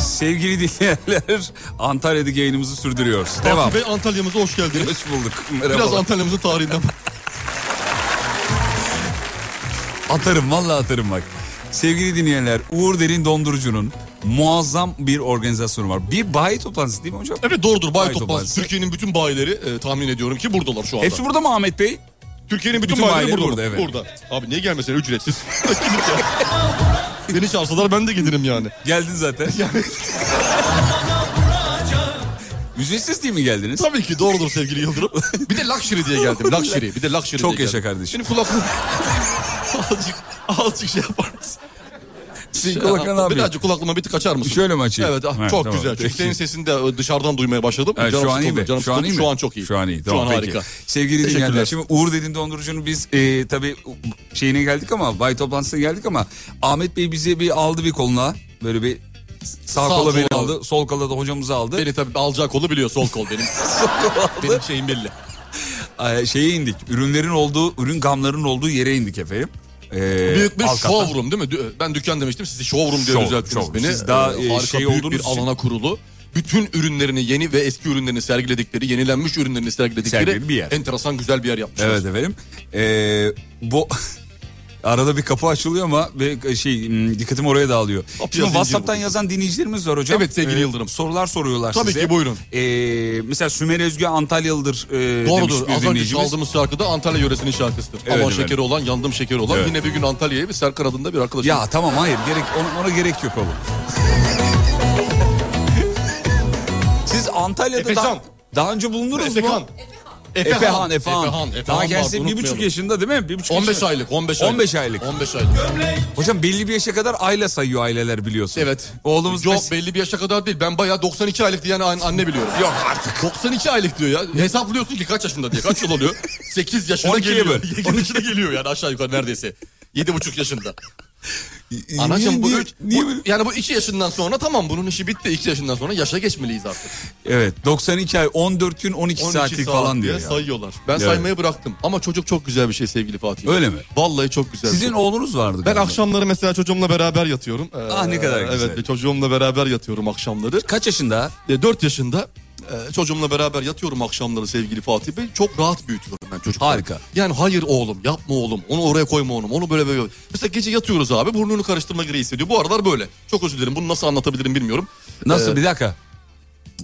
[SPEAKER 1] Sevgili dinleyenler Antalya'daki yayınımızı sürdürüyoruz. Devam.
[SPEAKER 3] Fatih Bey Antalya'mıza hoş geldiniz.
[SPEAKER 1] Hoş bulduk.
[SPEAKER 3] Biraz
[SPEAKER 1] Merhaba.
[SPEAKER 3] Antalya'mızın tarihinden.
[SPEAKER 1] Atarım vallahi atarım bak. Sevgili dinleyenler Uğur Derin Dondurucu'nun muazzam bir organizasyonu var. Bir bayi toplantısı değil mi hocam?
[SPEAKER 3] Evet doğrudur bay
[SPEAKER 1] Bay
[SPEAKER 3] toplantısı.
[SPEAKER 1] toplantısı.
[SPEAKER 3] Türkiye'nin bütün bayileri e, tahmin ediyorum ki buradalar şu anda.
[SPEAKER 1] Hepsi burada mı Ahmet Bey?
[SPEAKER 3] Türkiye'nin bütün,
[SPEAKER 1] Bütün
[SPEAKER 3] bayileri,
[SPEAKER 1] bayileri
[SPEAKER 3] burada.
[SPEAKER 1] burada, evet.
[SPEAKER 3] Burada. Abi niye gelmesene ücretsiz. Gidip ya. Beni çağırsalar ben de gelirim yani.
[SPEAKER 1] Geldin zaten. Ücretsiz değil mi geldiniz?
[SPEAKER 3] Tabii ki doğrudur sevgili Yıldırım. Bir de luxury diye geldim.
[SPEAKER 1] Şey,
[SPEAKER 3] Luxury. Bir de luxury
[SPEAKER 1] Çok
[SPEAKER 3] diye
[SPEAKER 1] yaşa
[SPEAKER 3] geldim.
[SPEAKER 1] kardeşim.
[SPEAKER 3] Şimdi kulaklığı... azıcık, azıcık şey yapar mısın?
[SPEAKER 1] Senin kulaklarına ne yapıyor?
[SPEAKER 3] Birazcık kulaklığıma bir tık açar mısın?
[SPEAKER 1] Şöyle mi açayım?
[SPEAKER 3] Evet ah,
[SPEAKER 1] Ha,
[SPEAKER 3] çok
[SPEAKER 1] tamam,
[SPEAKER 3] güzel. Çünkü
[SPEAKER 1] peki.
[SPEAKER 3] senin sesini de e, dışarıdan duymaya başladım.
[SPEAKER 1] Evet,
[SPEAKER 3] Canım
[SPEAKER 1] şu an iyi
[SPEAKER 3] sıkıldı,
[SPEAKER 1] mi?
[SPEAKER 3] canım
[SPEAKER 1] Şu an
[SPEAKER 3] sıkıldı.
[SPEAKER 1] iyi mi?
[SPEAKER 3] Şu an çok iyi.
[SPEAKER 1] Şu an iyi.
[SPEAKER 3] Şu an
[SPEAKER 1] Tamam, peki.
[SPEAKER 3] harika.
[SPEAKER 1] Sevgili
[SPEAKER 3] Teşekkürler.
[SPEAKER 1] dinleyenler şimdi Uğur Dedin Dondurucu'nun biz e, tabii şeyine geldik ama bay toplantısına geldik ama Ahmet Bey bizi bir aldı bir koluna böyle bir sağ,
[SPEAKER 3] Sağ
[SPEAKER 1] kola beni
[SPEAKER 3] kola.
[SPEAKER 1] aldı sol kola da hocamızı aldı.
[SPEAKER 3] Beni tabii alacak kolu biliyor sol kol benim. benim şeyim belli.
[SPEAKER 1] Ee, şeye indik ürünlerin olduğu ürün gamlarının olduğu yere indik efendim. Ee,
[SPEAKER 3] Büyük bir
[SPEAKER 1] alt kata.
[SPEAKER 3] showroom değil mi? Dü- e, Ben dükkan demiştim sizi showroom diye
[SPEAKER 1] Show-
[SPEAKER 3] düzelttiniz
[SPEAKER 1] show.
[SPEAKER 3] beni. Ee,
[SPEAKER 1] Siz daha, e,
[SPEAKER 3] harika
[SPEAKER 1] şey
[SPEAKER 3] büyük
[SPEAKER 1] olduğunuz
[SPEAKER 3] bir
[SPEAKER 1] için-
[SPEAKER 3] alana kurulu. Bütün ürünlerini yeni ve eski ürünlerini sergiledikleri, yenilenmiş ürünlerini sergiledikleri
[SPEAKER 1] Sergili bir yer.
[SPEAKER 3] enteresan güzel bir yer yapmışlar.
[SPEAKER 1] Evet efendim. Ee, bu arada bir kapı açılıyor ama ve şey hmm, dikkatim oraya dağılıyor. Şimdi
[SPEAKER 3] zincir
[SPEAKER 1] WhatsApp'tan
[SPEAKER 3] bu.
[SPEAKER 1] yazan dinleyicilerimiz var hocam. Ee,
[SPEAKER 3] Evet, sevgili Yıldırım.
[SPEAKER 1] Sorular soruyorlar
[SPEAKER 3] Tabii
[SPEAKER 1] size.
[SPEAKER 3] ki, buyurun.
[SPEAKER 1] Ee, mesela Sümer Özgü Antalyalıdır e, demiş
[SPEAKER 3] Doğrudur.
[SPEAKER 1] bir
[SPEAKER 3] Az önce
[SPEAKER 1] dinleyicimiz.
[SPEAKER 3] çaldığımız şarkıda Antalya yöresinin şarkısıdır.
[SPEAKER 1] Evet
[SPEAKER 3] Aman
[SPEAKER 1] efendim.
[SPEAKER 3] şekeri olan, yandım şekeri olan.
[SPEAKER 1] Evet.
[SPEAKER 3] Yine bir gün Antalya'ya bir Serkan adında bir arkadaşım.
[SPEAKER 1] Ya tamam hayır gerek ona, ona gerek yok oğlum. Siz Antalya'da
[SPEAKER 3] Efecan.
[SPEAKER 1] daha, daha önce bulundunuz mu?
[SPEAKER 3] Efekan. Efehan.
[SPEAKER 1] Efehan,
[SPEAKER 3] Efehan,
[SPEAKER 1] Efehan.
[SPEAKER 3] Efehan
[SPEAKER 1] Daha
[SPEAKER 3] vardı,
[SPEAKER 1] kendisi bir buçuk
[SPEAKER 3] unutmayalım.
[SPEAKER 1] yaşında değil mi? Bir buçuk
[SPEAKER 3] 15
[SPEAKER 1] yaşında.
[SPEAKER 3] aylık, 15 aylık.
[SPEAKER 1] 15 aylık.
[SPEAKER 3] 15 aylık.
[SPEAKER 1] Hocam belli bir yaşa kadar ayla sayıyor aileler biliyorsun.
[SPEAKER 3] Evet.
[SPEAKER 1] Oğlumuz
[SPEAKER 3] Yok
[SPEAKER 1] mes-
[SPEAKER 3] belli bir yaşa kadar değil. Ben bayağı 92 aylık diyen an- anne biliyorum.
[SPEAKER 1] Yok artık.
[SPEAKER 3] 92 aylık diyor ya. Hesaplıyorsun ki kaç yaşında diye. Kaç yıl oluyor? 8 yaşına
[SPEAKER 1] 12'ye
[SPEAKER 3] geliyor.
[SPEAKER 1] böl.
[SPEAKER 3] 12'de geliyor yani aşağı yukarı neredeyse. 7,5 yaşında. Anacığım bu,
[SPEAKER 1] Niye-
[SPEAKER 3] üç-
[SPEAKER 1] niye
[SPEAKER 3] bu-
[SPEAKER 1] böyle-
[SPEAKER 3] yani bu 2 yaşından sonra tamam bunun işi bitti. 2 yaşından sonra yaşa geçmeliyiz artık.
[SPEAKER 1] Evet 92 ay 14 gün 12,
[SPEAKER 3] 12
[SPEAKER 1] saatlik
[SPEAKER 3] saat
[SPEAKER 1] falan diyor
[SPEAKER 3] diye
[SPEAKER 1] ya.
[SPEAKER 3] sayıyorlar. Ben
[SPEAKER 1] Evet.
[SPEAKER 3] saymayı bıraktım ama çocuk çok güzel bir şey sevgili Fatih.
[SPEAKER 1] Öyle mi?
[SPEAKER 3] Vallahi çok güzel. bir
[SPEAKER 1] Sizin
[SPEAKER 3] şey.
[SPEAKER 1] oğlunuz vardı
[SPEAKER 3] ben
[SPEAKER 1] galiba.
[SPEAKER 3] akşamları mesela çocuğumla beraber yatıyorum. Ee,
[SPEAKER 1] Ah, ne kadar güzel.
[SPEAKER 3] Evet çocuğumla beraber yatıyorum akşamları.
[SPEAKER 1] Kaç yaşında?
[SPEAKER 3] E, 4 yaşında e, çocuğumla beraber yatıyorum akşamları sevgili Fatih Bey. Çok rahat büyütüyorum ben çocukları.
[SPEAKER 1] Harika.
[SPEAKER 3] Yani hayır oğlum yapma oğlum onu oraya koyma oğlum onu böyle böyle. Mesela gece yatıyoruz abi burnunu karıştırma gereği hissediyor. Bu aralar böyle. Çok özür dilerim bunu nasıl anlatabilirim bilmiyorum.
[SPEAKER 1] Nasıl
[SPEAKER 3] Ee,
[SPEAKER 1] bir dakika.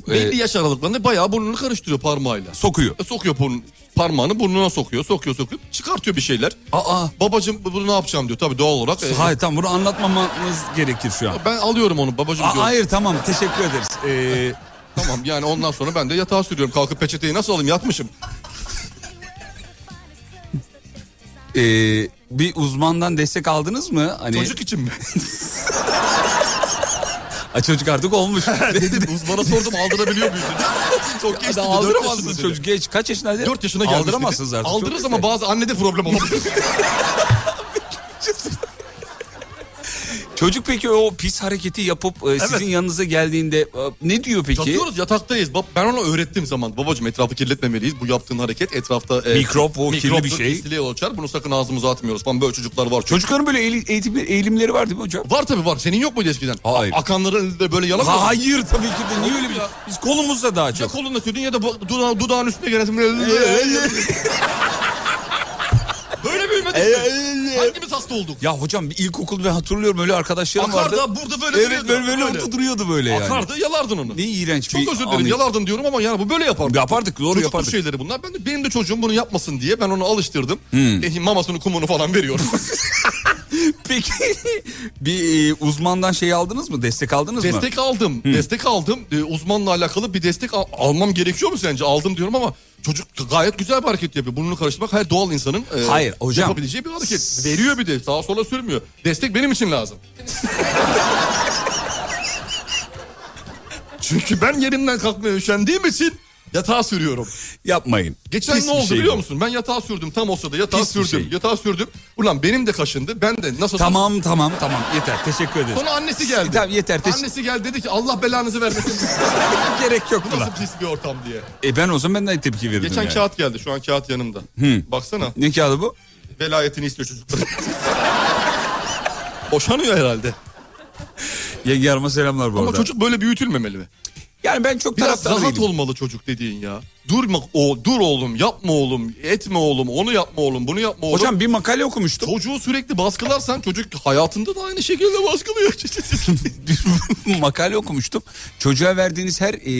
[SPEAKER 1] e,
[SPEAKER 3] Belli yaş aralıklarında bayağı burnunu karıştırıyor parmağıyla.
[SPEAKER 1] sokuyor.
[SPEAKER 3] E, Sokuyor burnu- parmağını burnuna sokuyor, sokuyor, sokuyor. Çıkartıyor bir şeyler.
[SPEAKER 1] Aa,
[SPEAKER 3] Babacım bunu ne yapacağım diyor. Tabii doğal olarak. e,
[SPEAKER 1] hayır tamam bunu anlatmamamız gerekir şu an.
[SPEAKER 3] Ben alıyorum onu babacım
[SPEAKER 1] Aa,
[SPEAKER 3] diyorum.
[SPEAKER 1] hayır tamam teşekkür ederiz. Ee,
[SPEAKER 3] Tamam yani ondan sonra ben de yatağa sürüyorum. Kalkıp peçeteyi nasıl alayım yatmışım.
[SPEAKER 1] e, bir uzmandan destek aldınız mı? Hani
[SPEAKER 3] Çocuk için mi?
[SPEAKER 1] Aa, çocuk artık olmuş.
[SPEAKER 3] Dedim uzmana sordum aldırabiliyor muyuz dedi. Çok geç dedi.
[SPEAKER 1] Aldıramazsınız çocuk geç kaç yaşındaydı?
[SPEAKER 3] 4 yaşına gelmiş. dedi.
[SPEAKER 1] Aldıramazsınız artık. çok
[SPEAKER 3] Aldırırız
[SPEAKER 1] geç.
[SPEAKER 3] ama bazı annede problem olabilir.
[SPEAKER 1] Çocuk peki o pis hareketi yapıp e, sizin yanınıza geldiğinde e, ne diyor peki?
[SPEAKER 3] Yatıyoruz yataktayız. Bab- Ben ona öğrettiğim zaman. Babacım etrafı kirletmemeliyiz. Bu yaptığın hareket etrafta... e,
[SPEAKER 1] Mikrop, o kirli
[SPEAKER 3] mikroptur,
[SPEAKER 1] bir şey.
[SPEAKER 3] pisliğe yol açar. Bunu sakın ağzımıza atmıyoruz falan. Böyle çocuklar var. Çocuk...
[SPEAKER 1] Çocukların böyle eğili- eğitim, eğilimleri var değil mi hocam?
[SPEAKER 3] Var tabii var. Senin yok muydu eskiden?
[SPEAKER 1] Hayır.
[SPEAKER 3] A- Akanların elinde böyle yalan mı?
[SPEAKER 1] Hayır tabii ki de niye öyle bir şey? Biz kolumuzda daha
[SPEAKER 3] Ya
[SPEAKER 1] çok.
[SPEAKER 3] kolunda sürdün ya da bu- duda- dudağın üstüne gelesin. böyle büyümedi. Hangimiz hasta olduk?
[SPEAKER 1] Ya hocam bir ilkokul ben hatırlıyorum öyle arkadaşlarım
[SPEAKER 3] Akar
[SPEAKER 1] vardı.
[SPEAKER 3] da burada böyle
[SPEAKER 1] Evet
[SPEAKER 3] duruyordu.
[SPEAKER 1] böyle böyle orada duruyordu böyle yani.
[SPEAKER 3] Akardı yalardın onu.
[SPEAKER 1] Ne iğrenç bir
[SPEAKER 3] Çok özür dilerim
[SPEAKER 1] anı.
[SPEAKER 3] yalardın diyorum ama yani bu böyle yapardı.
[SPEAKER 1] Yapardık, doğru
[SPEAKER 3] Çocukluk
[SPEAKER 1] yapardık.
[SPEAKER 3] şeyleri bunlar. Ben de, benim de çocuğum bunu yapmasın diye ben onu alıştırdım.
[SPEAKER 1] Hmm.
[SPEAKER 3] E, mamasını kumunu falan veriyorum.
[SPEAKER 1] Peki bir e, uzmandan şey aldınız mı? Destek aldınız mı?
[SPEAKER 3] destek aldım.
[SPEAKER 1] Hmm.
[SPEAKER 3] Destek aldım. E, uzmanla alakalı bir destek al- almam gerekiyor mu sence? Aldım diyorum ama çocuk gayet güzel bir hareket yapıyor. Burnunu karıştırmak her doğal insanın e,
[SPEAKER 1] Hayır, hocam.
[SPEAKER 3] yapabileceği bir hareket. Veriyor bir de sağa sola sürmüyor. Destek benim için lazım. Çünkü ben yerimden kalkmaya üşendiğim için yatağa sürüyorum.
[SPEAKER 1] Yapmayın.
[SPEAKER 3] Geçen
[SPEAKER 1] Pis
[SPEAKER 3] ne
[SPEAKER 1] bir
[SPEAKER 3] oldu
[SPEAKER 1] şey
[SPEAKER 3] biliyor
[SPEAKER 1] bu.
[SPEAKER 3] musun? Ben yatağa sürdüm tam o sırada yatağa
[SPEAKER 1] Pis bir
[SPEAKER 3] sürdüm.
[SPEAKER 1] şey.
[SPEAKER 3] Yatağa sürdüm. Ulan benim de kaşındı. Ben de nasıl...
[SPEAKER 1] Tamam tamam tamam yeter teşekkür ederim.
[SPEAKER 3] Sonra annesi geldi.
[SPEAKER 1] Tamam, yeter, teş-
[SPEAKER 3] Annesi geldi dedi ki Allah belanızı vermesin.
[SPEAKER 1] Gerek yok
[SPEAKER 3] Bu
[SPEAKER 1] buna.
[SPEAKER 3] nasıl pis bir ortam diye.
[SPEAKER 1] E ben o zaman ben de tepki verirdim
[SPEAKER 3] Geçen
[SPEAKER 1] yani.
[SPEAKER 3] kağıt geldi. Şu an kağıt yanımda. Baksana.
[SPEAKER 1] Ne kağıdı bu?
[SPEAKER 3] Velayetini istiyor çocuklar. Boşanıyor herhalde.
[SPEAKER 1] Yenge Hanım'a selamlar bu
[SPEAKER 3] Ama
[SPEAKER 1] arada.
[SPEAKER 3] çocuk böyle büyütülmemeli mi?
[SPEAKER 1] Yani ben çok
[SPEAKER 3] Biraz
[SPEAKER 1] taraftar
[SPEAKER 3] rahat
[SPEAKER 1] değilim.
[SPEAKER 3] olmalı çocuk dediğin ya. Durma o dur oğlum, yapma oğlum, etme oğlum, onu yapma oğlum, bunu yapma oğlum.
[SPEAKER 1] Hocam bir makale okumuştum.
[SPEAKER 3] Çocuğu sürekli baskılarsan çocuk hayatında da aynı şekilde baskılıyor.
[SPEAKER 1] bir makale okumuştum. Çocuğa verdiğiniz her e,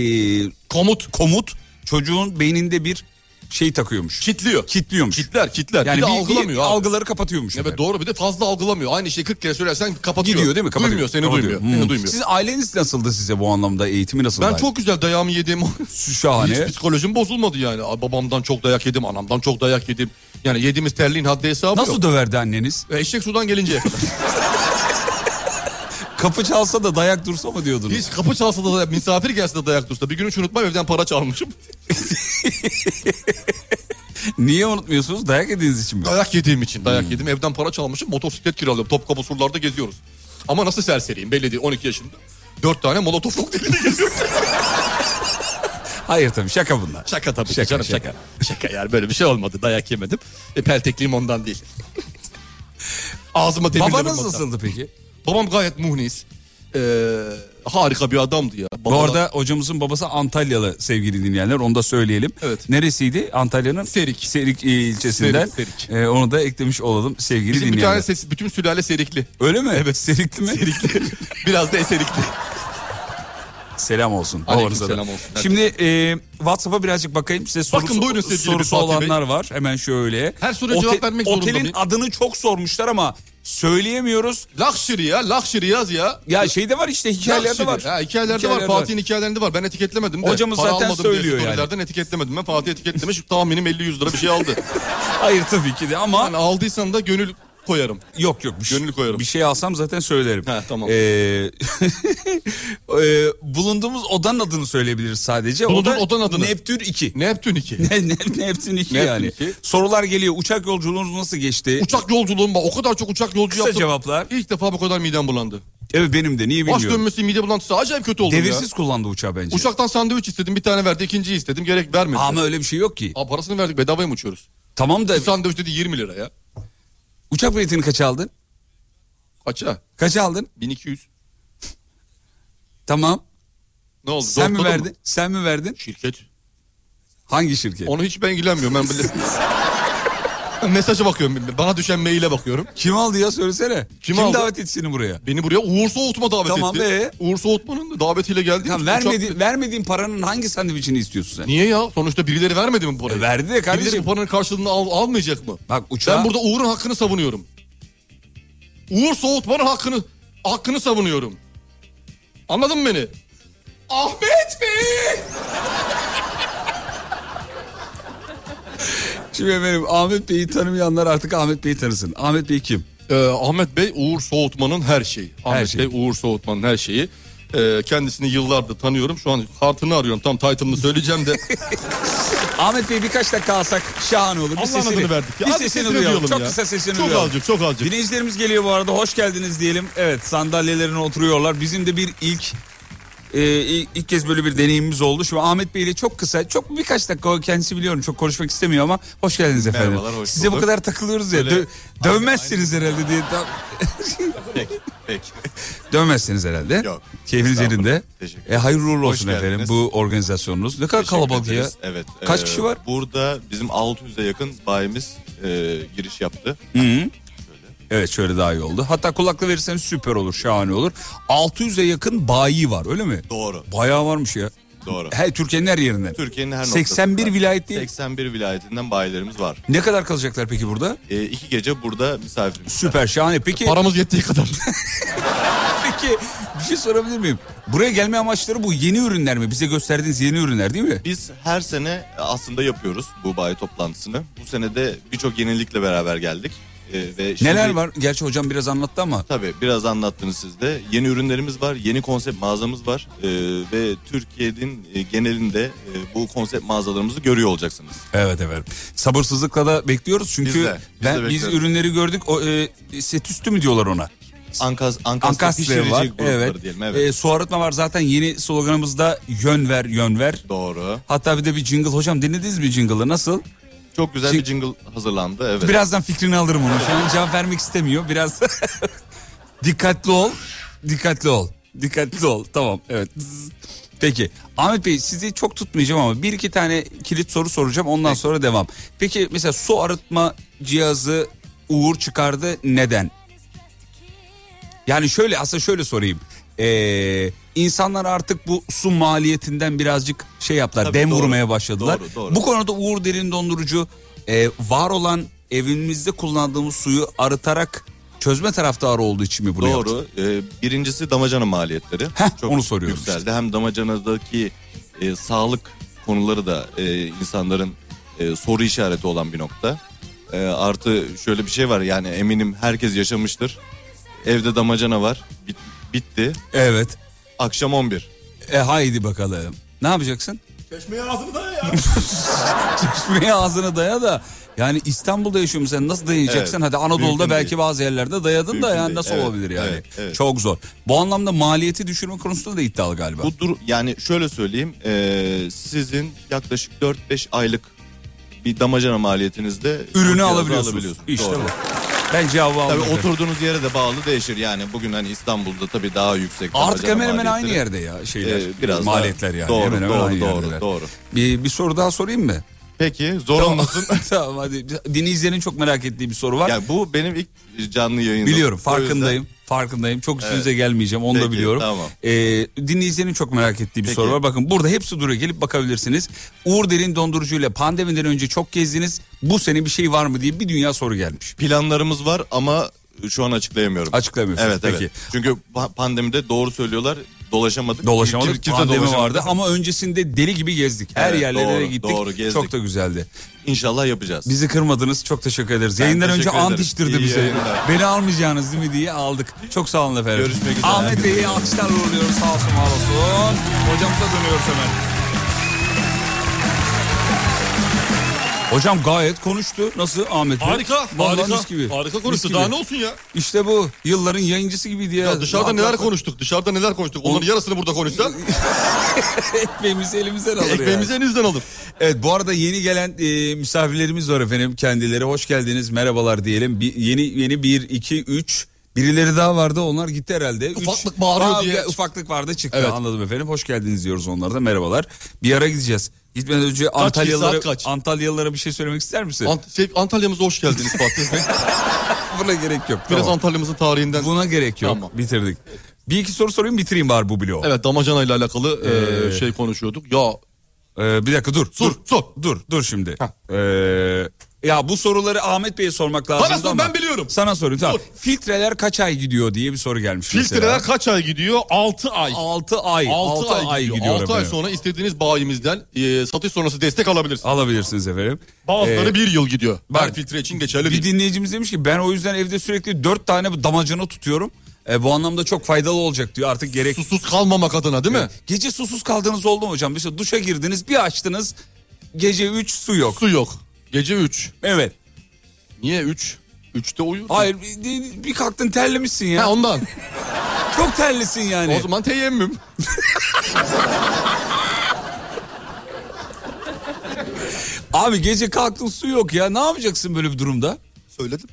[SPEAKER 1] komut komut çocuğun beyninde bir şey takıyormuş.
[SPEAKER 3] Kitliyor.
[SPEAKER 1] Kitliyormuş.
[SPEAKER 3] Kitler kitler.
[SPEAKER 1] Yani
[SPEAKER 3] bir de
[SPEAKER 1] bir- bir
[SPEAKER 3] algılamıyor abi.
[SPEAKER 1] algıları kapatıyormuş.
[SPEAKER 3] Evet
[SPEAKER 1] efendim.
[SPEAKER 3] doğru bir de fazla algılamıyor. Aynı şeyi 40 kere söylersen kapatıyor.
[SPEAKER 1] Gidiyor değil mi? Kapatıyor.
[SPEAKER 3] Duymuyor seni
[SPEAKER 1] Kapatıyor.
[SPEAKER 3] duymuyor.
[SPEAKER 1] Hmm.
[SPEAKER 3] Seni duymuyor.
[SPEAKER 1] Sizin aileniz nasıldı size bu anlamda? Eğitimi nasıldı?
[SPEAKER 3] Ben çok güzel dayağımı yedim.
[SPEAKER 1] şahane.
[SPEAKER 3] Hiç psikolojim bozulmadı yani. Ay, Babamdan çok dayak yedim, anamdan çok dayak yedim. Yani yediğimiz terliğin haddi hesabı
[SPEAKER 1] Nasıl
[SPEAKER 3] yok.
[SPEAKER 1] döverdi anneniz?
[SPEAKER 3] E, Eşek sudan gelinceye kadar.
[SPEAKER 1] Kapı çalsa da dayak dursa mı diyordunuz?
[SPEAKER 3] Hiç kapı çalsa da dayak, misafir gelse de dayak dursa. Bir gün hiç unutmam evden para çalmışım.
[SPEAKER 1] Niye unutmuyorsunuz? Dayak yediğiniz için Hmm. mi?
[SPEAKER 3] Dayak yediğim için. Dayak yedim, evden para çalmışım. Motosiklet kiraladım. Topkapı surlarda geziyoruz. Ama nasıl serseriyim belli değil 12 yaşında. Dört tane molotof kokteylinde geziyorum.
[SPEAKER 1] Hayır tabii şaka bunlar.
[SPEAKER 3] Şaka tabii ki
[SPEAKER 1] Şaka,
[SPEAKER 3] canım şaka.
[SPEAKER 1] şaka.
[SPEAKER 3] şaka. yani böyle bir şey olmadı. Dayak yemedim. E, peltekliğim ondan değil. Ağzıma demirle
[SPEAKER 1] Babanız
[SPEAKER 3] vurmadı.
[SPEAKER 1] nasıldı peki?
[SPEAKER 3] Babam gayet muhnis. Ee, harika bir adamdı ya.
[SPEAKER 1] Bu
[SPEAKER 3] Babalar-
[SPEAKER 1] arada hocamızın babası Antalyalı sevgili dinleyenler onu da söyleyelim.
[SPEAKER 3] Evet.
[SPEAKER 1] Neresiydi? Antalya'nın
[SPEAKER 3] Serik.
[SPEAKER 1] Serik e, ilçesinden.
[SPEAKER 3] Serik, Serik.
[SPEAKER 1] E, onu da eklemiş olalım sevgili
[SPEAKER 3] bizim bir
[SPEAKER 1] dinleyenler.
[SPEAKER 3] tane ses, bütün sülale serikli.
[SPEAKER 1] Öyle mi? Evet. Serikli mi?
[SPEAKER 3] Serikli. Biraz da eserikli.
[SPEAKER 1] Selam olsun.
[SPEAKER 3] Aleyküm
[SPEAKER 1] babanıza da.
[SPEAKER 3] selam olsun. Hadi.
[SPEAKER 1] Şimdi e, WhatsApp'a birazcık bakayım size sorusu,
[SPEAKER 3] Bakın buyurun sevgili
[SPEAKER 1] sorusu
[SPEAKER 3] Fatih
[SPEAKER 1] olanlar var. Hemen şöyle.
[SPEAKER 3] Her soruya cevap vermek zorunda
[SPEAKER 1] Otelin
[SPEAKER 3] mıyım?
[SPEAKER 1] adını çok sormuşlar ama söyleyemiyoruz.
[SPEAKER 3] Lakşiri ya, lakşiri yaz ya.
[SPEAKER 1] Ya şeyde var işte hikayelerde
[SPEAKER 3] Lakşiri.
[SPEAKER 1] var.
[SPEAKER 3] Ha, hikayelerde, var. Fatih'in hikayelerinde var. Ben etiketlemedim de.
[SPEAKER 1] Hocamız
[SPEAKER 3] Para
[SPEAKER 1] zaten
[SPEAKER 3] almadım diye
[SPEAKER 1] söylüyor yani.
[SPEAKER 3] storylerden etiketlemedim. Ben Fatih etiketlemiş. tahminim 50-100 lira bir şey aldı.
[SPEAKER 1] Hayır tabii ki de ama
[SPEAKER 3] Yani aldıysan da gönül koyarım.
[SPEAKER 1] Yok yok. Bir şey,
[SPEAKER 3] Gönül koyarım.
[SPEAKER 1] Bir şey alsam zaten söylerim.
[SPEAKER 3] He, tamam.
[SPEAKER 1] Ee, ee, bulunduğumuz odanın adını söyleyebiliriz sadece. O
[SPEAKER 3] Bulunduğun
[SPEAKER 1] da
[SPEAKER 3] odanın adını.
[SPEAKER 1] Neptün 2.
[SPEAKER 3] Neptün 2.
[SPEAKER 1] Ne, ne- Neptün 2
[SPEAKER 3] Neptün
[SPEAKER 1] yani.
[SPEAKER 3] iki.
[SPEAKER 1] Sorular geliyor. Uçak yolculuğunuz nasıl geçti?
[SPEAKER 3] Uçak yolculuğum var. O kadar çok uçak yolcu
[SPEAKER 1] Kısa
[SPEAKER 3] yaptım.
[SPEAKER 1] cevaplar.
[SPEAKER 3] İlk defa bu kadar midem bulandı.
[SPEAKER 1] Evet benim de niye
[SPEAKER 3] Baş
[SPEAKER 1] bilmiyorum.
[SPEAKER 3] dönmesi, mide bulantısı acayip kötü oldu ya.
[SPEAKER 1] Devirsiz şey. kullandı uçağı bence.
[SPEAKER 3] Uçaktan sandviç istedim bir tane verdi ikinciyi istedim gerek vermedi.
[SPEAKER 1] Ama öyle bir şey yok ki.
[SPEAKER 3] Aa, parasını verdik bedavaya mı uçuyoruz?
[SPEAKER 1] Tamam da
[SPEAKER 3] Bir sandviç dedi 20 lira ya.
[SPEAKER 1] uçak biletini kaç aldın?
[SPEAKER 3] Kaça?
[SPEAKER 1] Kaç aldın?
[SPEAKER 3] 1200.
[SPEAKER 1] Tamam.
[SPEAKER 3] Ne oldu?
[SPEAKER 1] Sen mi
[SPEAKER 3] Zortladın
[SPEAKER 1] verdin?
[SPEAKER 3] mı?
[SPEAKER 1] Sen mi verdin?
[SPEAKER 3] Şirket.
[SPEAKER 1] Hangi şirket?
[SPEAKER 3] Onu hiç ben ilgilenmiyorum. Ben böyle... Mesaja bakıyorum. Bana düşen maile bakıyorum.
[SPEAKER 1] Kim aldı ya söylesene. Kim,
[SPEAKER 3] aldı?
[SPEAKER 1] davet etti seni buraya?
[SPEAKER 3] Beni buraya Uğur Soğutma davet
[SPEAKER 1] Tamam
[SPEAKER 3] etti.
[SPEAKER 1] be.
[SPEAKER 3] Uğur Soğutma'nın davetiyle geldi.
[SPEAKER 1] Ya vermedi, vermediğin paranın hangi sandviçini istiyorsun sen?
[SPEAKER 3] Niye ya? Sonuçta birileri vermedi mi parayı?
[SPEAKER 1] E, verdi de kardeşim.
[SPEAKER 3] Birileri bu paranın karşılığını al- almayacak mı?
[SPEAKER 1] Bak uçağa-
[SPEAKER 3] Ben burada Uğur'un hakkını savunuyorum. Uğur Soğutman'ın hakkını hakkını savunuyorum. Anladın mı beni? Ahmet Bey!
[SPEAKER 1] Şimdi efendim Ahmet Bey'i tanımayanlar artık Ahmet Bey'i tanısın. Ahmet Bey kim?
[SPEAKER 3] Ee, Ahmet Bey Uğur Soğutman'ın her şeyi. Ahmet
[SPEAKER 1] şeyi.
[SPEAKER 3] Bey Uğur Soğutman'ın her şeyi. Ee, kendisini yıllardır tanıyorum. Şu an kartını arıyorum. Tam title'ını söyleyeceğim de.
[SPEAKER 1] Ahmet Bey birkaç dakika alsak şahane olur. Bir
[SPEAKER 3] Allah'ın
[SPEAKER 1] sesini,
[SPEAKER 3] adını verdik ya.
[SPEAKER 1] Bir
[SPEAKER 3] Hadi
[SPEAKER 1] sesini,
[SPEAKER 3] sesini
[SPEAKER 1] duyalım.
[SPEAKER 3] duyalım
[SPEAKER 1] Çok
[SPEAKER 3] ya.
[SPEAKER 1] kısa sesini
[SPEAKER 3] Çok
[SPEAKER 1] duyalım.
[SPEAKER 3] azıcık, çok azıcık.
[SPEAKER 1] Dinleyicilerimiz geliyor bu arada. Hoş geldiniz diyelim. Evet sandalyelerine oturuyorlar. Bizim de bir ilk e, ilk ilk kez böyle bir deneyimimiz oldu. Şimdi Ahmet Bey ile çok kısa, çok birkaç dakika o kendisi biliyorum çok konuşmak istemiyor ama hoş geldiniz efendim.
[SPEAKER 3] Merhabalar, hoş
[SPEAKER 1] Size bu
[SPEAKER 3] bulduk.
[SPEAKER 1] kadar takılıyoruz ya.
[SPEAKER 3] Böyle-
[SPEAKER 1] dö- dövmezsiniz herhalde diye. tam-
[SPEAKER 3] Peki.
[SPEAKER 1] Dövmezsiniz herhalde.
[SPEAKER 7] Yok.
[SPEAKER 1] Keyfiniz
[SPEAKER 7] Estağfurullah.
[SPEAKER 1] yerinde.
[SPEAKER 7] Teşekkür
[SPEAKER 1] E, hayırlı uğurlu
[SPEAKER 7] Hoş
[SPEAKER 1] olsun
[SPEAKER 7] geldiniz.
[SPEAKER 1] efendim bu organizasyonunuz. Ne kadar
[SPEAKER 7] Teşekkür
[SPEAKER 1] kalabalık ya.
[SPEAKER 7] ederiz. Evet.
[SPEAKER 1] Kaç
[SPEAKER 7] e,
[SPEAKER 1] kişi var?
[SPEAKER 7] Burada bizim 600'e yakın bayimiz e, giriş yaptı.
[SPEAKER 1] Evet şöyle daha iyi oldu. Hatta kulaklığı verirseniz süper olur, şahane olur. 600'e yakın bayi var öyle mi?
[SPEAKER 7] Doğru.
[SPEAKER 1] Bayağı varmış ya.
[SPEAKER 7] Doğru.
[SPEAKER 1] Her Türkiye'nin her yerinden.
[SPEAKER 7] Türkiye'nin her
[SPEAKER 1] 81
[SPEAKER 7] noktasında
[SPEAKER 1] vilayet değil.
[SPEAKER 7] 81 vilayetinden bayilerimiz var.
[SPEAKER 1] Ne kadar kalacaklar peki burada?
[SPEAKER 7] E, iki gece burada misafirimiz.
[SPEAKER 1] Süper şahane. Peki
[SPEAKER 3] Paramız yettiği kadar.
[SPEAKER 1] peki bir şey sorabilir miyim? Buraya gelme amaçları bu yeni ürünler mi? Bize gösterdiğiniz yeni ürünler değil mi?
[SPEAKER 7] Biz her sene aslında yapıyoruz bu bayi toplantısını. Bu sene de birçok yenilikle beraber geldik. E, ve şimdi-
[SPEAKER 1] Neler var? Gerçi hocam biraz anlattı ama.
[SPEAKER 7] Tabii biraz anlattınız siz de. Yeni ürünlerimiz var, yeni konsept mağazamız var E, ve Türkiye'nin e, genelinde e, bu konsept mağazalarımızı görüyor olacaksınız.
[SPEAKER 1] Evet evet. Sabırsızlıkla da bekliyoruz çünkü
[SPEAKER 7] Biz de, biz de
[SPEAKER 1] ben biz
[SPEAKER 7] bekliyoruz.
[SPEAKER 1] ürünleri gördük. O e, set üstü mü diyorlar ona?
[SPEAKER 7] Ankas, Ankas'ta
[SPEAKER 1] Ankastre
[SPEAKER 7] pişirici
[SPEAKER 1] var.
[SPEAKER 7] grupları
[SPEAKER 1] Evet.
[SPEAKER 7] diyelim. Evet.
[SPEAKER 1] E, su arıtma var zaten yeni sloganımızda yön ver yön ver.
[SPEAKER 7] Doğru.
[SPEAKER 1] Hatta bir de bir jingle hocam dinlediniz mi jingle'ı nasıl?
[SPEAKER 7] Çok güzel
[SPEAKER 1] Şi-
[SPEAKER 7] bir jingle hazırlandı. Evet.
[SPEAKER 1] Birazdan fikrini alırım onu. Şu an cevap vermek istemiyor. Biraz dikkatli ol. Dikkatli ol. Dikkatli ol. Tamam evet. Zzz. Peki Ahmet Bey sizi çok tutmayacağım ama bir iki tane kilit soru soracağım ondan sonra devam. Peki mesela su arıtma cihazı Uğur çıkardı neden? Yani şöyle aslında şöyle sorayım. Ee, insanlar artık bu su maliyetinden birazcık şey yaptılar.
[SPEAKER 7] Tabii,
[SPEAKER 1] dem
[SPEAKER 7] doğru.
[SPEAKER 1] vurmaya başladılar.
[SPEAKER 7] Doğru, doğru.
[SPEAKER 1] Bu konuda Uğur Derin Dondurucu e, var olan evimizde kullandığımız suyu arıtarak çözme taraftarı olduğu için mi bunu yaptı?
[SPEAKER 7] Doğru. Ee, birincisi damacana maliyetleri.
[SPEAKER 1] Heh, onu soruyorum
[SPEAKER 7] Yükseldi. Hem damacanadaki e, sağlık konuları da e, insanların e, soru işareti olan bir nokta. E, artı şöyle bir şey var yani eminim herkes yaşamıştır. Evde damacana var. Bit- bitti.
[SPEAKER 1] Evet.
[SPEAKER 7] Akşam 11.
[SPEAKER 1] E haydi bakalım. Ne yapacaksın? Çeşmeye ağzını daya da yani İstanbul'da yaşıyorum sen nasıl dayayacaksın?
[SPEAKER 7] Evet,
[SPEAKER 1] Hadi Anadolu'da
[SPEAKER 7] mümkün
[SPEAKER 1] belki
[SPEAKER 7] değil.
[SPEAKER 1] bazı yerlerde dayadın da
[SPEAKER 7] Mümkün
[SPEAKER 1] yani
[SPEAKER 7] değil,
[SPEAKER 1] nasıl
[SPEAKER 7] evet,
[SPEAKER 1] olabilir yani?
[SPEAKER 7] evet, evet.
[SPEAKER 1] Çok zor. Bu anlamda maliyeti düşürme konusunda da iddialı galiba.
[SPEAKER 7] Bu dur yani şöyle söyleyeyim. e, sizin yaklaşık 4-5 aylık bir damacana maliyetinizde
[SPEAKER 1] Ürünü
[SPEAKER 7] cihazı
[SPEAKER 1] alabiliyorsunuz.
[SPEAKER 7] alabiliyorsunuz.
[SPEAKER 1] İşte
[SPEAKER 7] Doğru.
[SPEAKER 1] bu. Ben cevabı
[SPEAKER 7] Tabii
[SPEAKER 1] aldım. efendim.
[SPEAKER 7] oturduğunuz yere de bağlı değişir yani. Bugün hani İstanbul'da tabii daha yüksek.
[SPEAKER 1] Artık
[SPEAKER 7] damacana
[SPEAKER 1] hemen hemen aynı
[SPEAKER 7] maliyetleri.
[SPEAKER 1] yerde ya şeyler.
[SPEAKER 7] Ee, biraz daha-
[SPEAKER 1] maliyetler yani.
[SPEAKER 7] Doğru,
[SPEAKER 1] hemen hemen
[SPEAKER 7] doğru,
[SPEAKER 1] aynı
[SPEAKER 7] doğru,
[SPEAKER 1] yerdeler.
[SPEAKER 7] doğru.
[SPEAKER 1] Bir, bir soru daha sorayım mı?
[SPEAKER 7] Peki zor olmasın.
[SPEAKER 1] tamam hadi. Dinleyicilerin çok merak ettiği bir soru var.
[SPEAKER 7] yani bu benim ilk canlı yayınım.
[SPEAKER 1] Biliyorum
[SPEAKER 7] O yüzden-
[SPEAKER 1] farkındayım. Farkındayım. Çok üstünüze gelmeyeceğim. Onu da
[SPEAKER 7] Peki,
[SPEAKER 1] biliyorum.
[SPEAKER 7] tamam.
[SPEAKER 1] Ee, dinleyicilerin çok merak ettiği bir
[SPEAKER 7] Peki.
[SPEAKER 1] soru var. Bakın burada hepsi duruyor. Gelip bakabilirsiniz. Uğur Derin Dondurucu ile pandemiden önce çok gezdiniz. Bu sene bir şey var mı diye bir dünya soru gelmiş.
[SPEAKER 7] Planlarımız var ama şu an açıklayamıyorum.
[SPEAKER 1] Açıklayamıyorsunuz,
[SPEAKER 7] Evet
[SPEAKER 1] peki.
[SPEAKER 7] evet. Çünkü pa- pandemide doğru söylüyorlar. Dolaşamadık.
[SPEAKER 1] Dolaşamadık.
[SPEAKER 7] Kim- kimse
[SPEAKER 1] pandemi
[SPEAKER 7] dolaşamadı.
[SPEAKER 1] vardı ama öncesinde deli gibi gezdik. Her
[SPEAKER 7] Evet,
[SPEAKER 1] yerlere
[SPEAKER 7] doğru,
[SPEAKER 1] gittik.
[SPEAKER 7] doğru, gezdik.
[SPEAKER 1] Çok da güzeldi.
[SPEAKER 7] İnşallah yapacağız.
[SPEAKER 1] Bizi kırmadınız. Çok teşekkür ederiz.
[SPEAKER 7] Ben
[SPEAKER 1] Yayından önce
[SPEAKER 7] teşekkür
[SPEAKER 1] ant
[SPEAKER 7] ederim.
[SPEAKER 1] içtirdi
[SPEAKER 7] İyi
[SPEAKER 1] bize.
[SPEAKER 7] yayınlar.
[SPEAKER 1] Beni almayacağınız değil mi diye aldık. Çok sağ olun efendim.
[SPEAKER 7] Görüşmek üzere.
[SPEAKER 1] Ahmet Bey'i alkışlarla uğurluyoruz. Sağ olsun, var olsun. Hocamıza dönüyoruz hemen. Hocam gayet konuştu. Nasıl Ahmet Bey?
[SPEAKER 3] Harika.
[SPEAKER 1] Vallahi
[SPEAKER 3] Harika.
[SPEAKER 1] mis gibi.
[SPEAKER 3] Harika
[SPEAKER 1] Mis
[SPEAKER 3] konuştu.
[SPEAKER 1] gibi.
[SPEAKER 3] Daha ne olsun ya?
[SPEAKER 1] İşte bu. Yılların yayıncısı gibi diye.
[SPEAKER 3] Ya dışarıda
[SPEAKER 1] Hakikaten
[SPEAKER 3] neler konuştuk? Dışarıda neler konuştuk? Onların yarısını burada konuşsa
[SPEAKER 1] Ekmeğimizi elimizden alır yani.
[SPEAKER 3] ekmeğimizi elinizden alır.
[SPEAKER 1] Evet bu arada yeni gelen e, misafirlerimiz var efendim kendileri hoş geldiniz merhabalar diyelim Bir- yeni yeni 1 2 3 birileri daha vardı onlar gitti herhalde. Üç-
[SPEAKER 3] Ufaklık bağırıyor
[SPEAKER 1] Aa,
[SPEAKER 3] diye.
[SPEAKER 1] Ufaklık vardı çıktı
[SPEAKER 3] Evet.
[SPEAKER 1] anladım efendim hoş geldiniz diyoruz onlara da merhabalar bir ara gideceğiz Gitmeden önce Antalyalılara,
[SPEAKER 3] saat kaç?
[SPEAKER 1] Antalyalılara bir şey söylemek ister misin?
[SPEAKER 3] Ant- şey, Antalya'mıza hoş geldiniz Fatih Bey.
[SPEAKER 1] Buna gerek yok.
[SPEAKER 3] Biraz
[SPEAKER 1] tamam.
[SPEAKER 3] Antalya'mızın tarihinden.
[SPEAKER 1] Buna gerek yok.
[SPEAKER 3] Tamam.
[SPEAKER 1] Bitirdik. Bir iki soru sorayım bitireyim bari bu bloğu.
[SPEAKER 3] Evet damacana ile alakalı e, şey konuşuyorduk. Ya
[SPEAKER 1] Ee, bir dakika dur.
[SPEAKER 3] Sor,
[SPEAKER 1] dur,
[SPEAKER 3] sor.
[SPEAKER 1] Dur, dur şimdi. Ee, ya bu soruları Ahmet Bey'e sormak lazım.
[SPEAKER 3] sor, ben biliyorum.
[SPEAKER 1] Sana sorayım tamam.
[SPEAKER 3] Sor.
[SPEAKER 1] Filtreler kaç ay gidiyor diye bir soru gelmiş
[SPEAKER 3] filtreler kaç ay gidiyor? 6 ay.
[SPEAKER 1] 6 ay.
[SPEAKER 3] 6,
[SPEAKER 1] 6 ay, gidiyor.
[SPEAKER 3] Altı ay
[SPEAKER 1] efendim.
[SPEAKER 3] sonra istediğiniz bayimizden e, satış sonrası destek alabilirsiniz.
[SPEAKER 1] Alabilirsiniz efendim.
[SPEAKER 3] Bazıları
[SPEAKER 1] Ee,
[SPEAKER 3] bir yıl gidiyor.
[SPEAKER 1] bak,
[SPEAKER 3] Her filtre için geçerli
[SPEAKER 1] bir
[SPEAKER 3] değil.
[SPEAKER 1] dinleyicimiz demiş ki ben o yüzden evde sürekli 4 tane bu damacana tutuyorum. Ee, bu anlamda çok faydalı olacak diyor artık gerek.
[SPEAKER 3] Susuz kalmamak adına değil mi?
[SPEAKER 1] Gece susuz kaldığınız oldu mu hocam? Mesela duşa girdiniz bir açtınız gece 3 su yok.
[SPEAKER 3] Su yok. Gece 3.
[SPEAKER 1] Evet.
[SPEAKER 3] Niye 3? 3'te uyur.
[SPEAKER 1] Hayır bir, bir kalktın terlemişsin ya.
[SPEAKER 3] Ha ondan.
[SPEAKER 1] Çok terlisin yani.
[SPEAKER 3] O zaman teyemmüm.
[SPEAKER 1] Abi gece kalktın su yok ya. Ne yapacaksın böyle bir durumda?
[SPEAKER 3] Söyledim.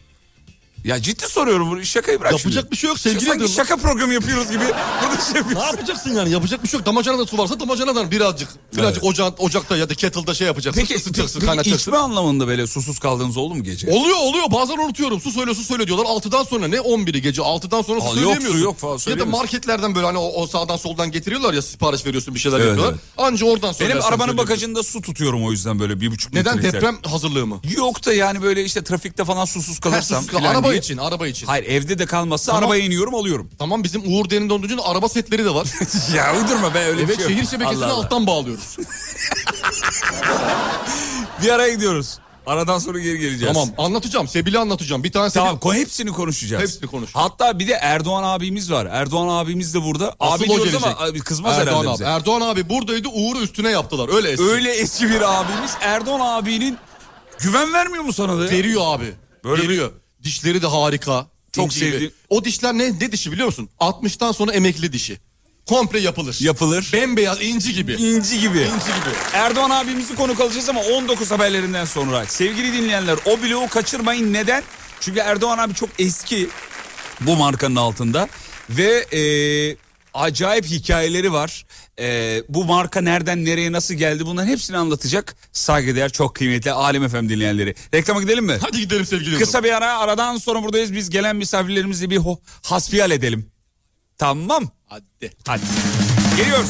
[SPEAKER 1] Ya ciddi soruyorum. bunu, Şakayı bırak
[SPEAKER 3] Yapacak
[SPEAKER 1] şimdi.
[SPEAKER 3] bir şey yok sevgili
[SPEAKER 1] Sanki
[SPEAKER 3] Yıldırım.
[SPEAKER 1] şaka programı yapıyoruz gibi. Burada şey
[SPEAKER 3] Ne
[SPEAKER 1] yapıyorsun.
[SPEAKER 3] yapacaksın yani? Yapacak bir şey yok. Damacanadan su varsa damacanadan birazcık. Birazcık ocağın, ocakta ya da kettle'da şey yapacaksın.
[SPEAKER 1] Peki,
[SPEAKER 3] ısıtacaksın,
[SPEAKER 1] peki
[SPEAKER 3] kaynatacaksın.
[SPEAKER 1] içme anlamında böyle susuz kaldığınız oldu mu gece?
[SPEAKER 3] Oluyor oluyor bazen unutuyorum su söyle su söyle diyorlar 6'dan sonra ne 11'i gece 6'dan sonra su
[SPEAKER 1] Aa, yok,
[SPEAKER 3] söyleyemiyorsun.
[SPEAKER 1] su yok falan
[SPEAKER 3] Ya da
[SPEAKER 1] söyleyemiyorsun.
[SPEAKER 3] marketlerden böyle hani o, o sağdan soldan getiriyorlar ya sipariş veriyorsun bir şeyler
[SPEAKER 1] Evet,
[SPEAKER 3] yapıyorlar. Anca oradan
[SPEAKER 1] Benim
[SPEAKER 3] söylersen
[SPEAKER 1] arabanın
[SPEAKER 3] söyleyemiyorsun.
[SPEAKER 1] bagajında su tutuyorum o yüzden böyle bir buçuk
[SPEAKER 3] Neden
[SPEAKER 1] litre.
[SPEAKER 3] deprem hazırlığı mı?
[SPEAKER 1] Yok da yani böyle işte trafikte falan susuz kalırsam.
[SPEAKER 3] Karsız-
[SPEAKER 1] filan
[SPEAKER 3] araba
[SPEAKER 1] diye.
[SPEAKER 3] için araba için.
[SPEAKER 1] Hayır evde de kalmazsa
[SPEAKER 3] Tamam.
[SPEAKER 1] arabaya iniyorum alıyorum.
[SPEAKER 3] Tamam bizim Uğur Derin Dondurucu'nun araba setleri de var.
[SPEAKER 1] ya uydurma be öyle bir
[SPEAKER 3] evet
[SPEAKER 1] şey yok.
[SPEAKER 3] şehir şebekesini
[SPEAKER 1] Allah Allah.
[SPEAKER 3] alttan bağlıyoruz.
[SPEAKER 1] Bir araya gidiyoruz. Aradan sonra geri geleceğiz.
[SPEAKER 3] tamam anlatacağım Sebil'i anlatacağım. Bir tane Sebil.
[SPEAKER 1] Tamam ko- hepsini konuşacağız.
[SPEAKER 3] Hepsini konuşacağız.
[SPEAKER 1] Hatta bir de Erdoğan abimiz var. Erdoğan abimiz de burada.
[SPEAKER 3] Asıl
[SPEAKER 1] abi
[SPEAKER 3] o
[SPEAKER 1] diyoruz ama
[SPEAKER 3] gelecek.
[SPEAKER 1] abi kızmaz
[SPEAKER 3] Erdoğan
[SPEAKER 1] herhalde
[SPEAKER 3] abi.
[SPEAKER 1] bize.
[SPEAKER 3] Erdoğan abi buradaydı Uğur'u üstüne yaptılar öyle eski.
[SPEAKER 1] Öyle eski bir abimiz. Erdoğan abinin güven vermiyor mu sana da? ya?
[SPEAKER 3] Veriyor abi.
[SPEAKER 1] Böyle bir-
[SPEAKER 3] Veriyor. Dişleri de harika.
[SPEAKER 1] Çok
[SPEAKER 3] İnci gibi.
[SPEAKER 1] sevdiğim-
[SPEAKER 3] O dişler ne, ne dişi biliyor musun? 60'tan sonra emekli dişi. Komple yapılır.
[SPEAKER 1] Yapılır.
[SPEAKER 3] Bembeyaz inci gibi. İnci
[SPEAKER 1] İnci gibi.
[SPEAKER 3] gibi.
[SPEAKER 1] Erdoğan abimizi konuk alacağız ama 19 haberlerinden sonra. Sevgili dinleyenler o bloğu kaçırmayın. Neden? Çünkü Erdoğan abi çok eski bu markanın altında. Ve e, acayip hikayeleri var. E, bu marka nereden nereye nasıl geldi bunların hepsini anlatacak. Saygıdeğer çok kıymetli Alem Efem dinleyenleri. Reklama gidelim mi?
[SPEAKER 3] Hadi gidelim sevgili Yıldırım.
[SPEAKER 1] Kısa bir ara aradan sonra buradayız. Biz gelen misafirlerimizle bir ho- hasbihal edelim. Tamam.
[SPEAKER 3] Hadi.
[SPEAKER 1] Hadi. Geliyoruz.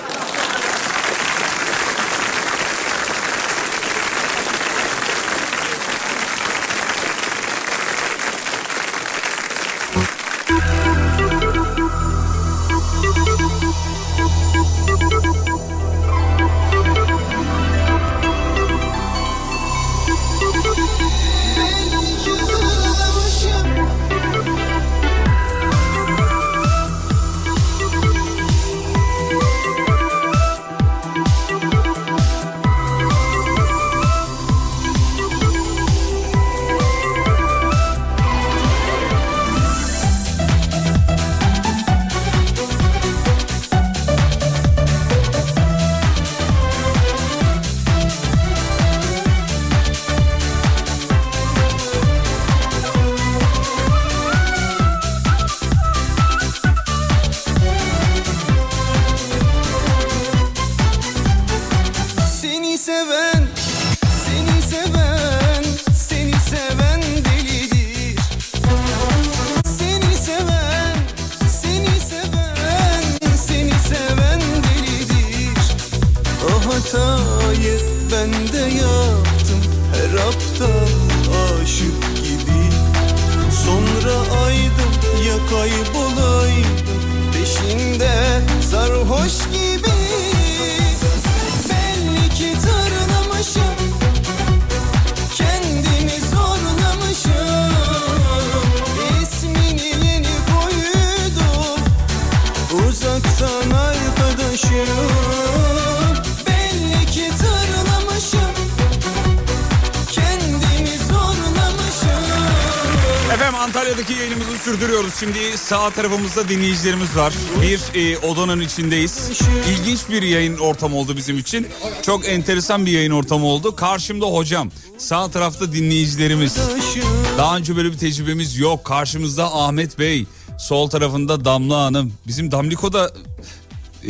[SPEAKER 8] Seni seven, seni seven, seni seven delidir. Seni seven, seni seven, seni seven delidir. O hatayı ben de yaptım her aptal aşık gibi. Sonra aydım ya kaybolaydım peşinde sarhoş gibi. Belli ki tarlamışım, kendimi zorlamışım. İsmini yeni koydum, uzaktan arkadaşım. Belli ki tarlamışım, kendimi zorlamışım.
[SPEAKER 1] Efendim Antalya'daki yayınımızı sürdürüyoruz. Şimdi sağ tarafımızda dinleyicilerimiz var. Bir e, odanın içindeyiz. İlginç bir yayın ortamı oldu bizim için. Çok enteresan bir yayın ortamı oldu. Karşımda hocam. Sağ tarafta dinleyicilerimiz. Daha önce böyle bir tecrübemiz yok. Karşımızda Ahmet Bey. Sol tarafında Damla Hanım. Bizim Damliko'da e,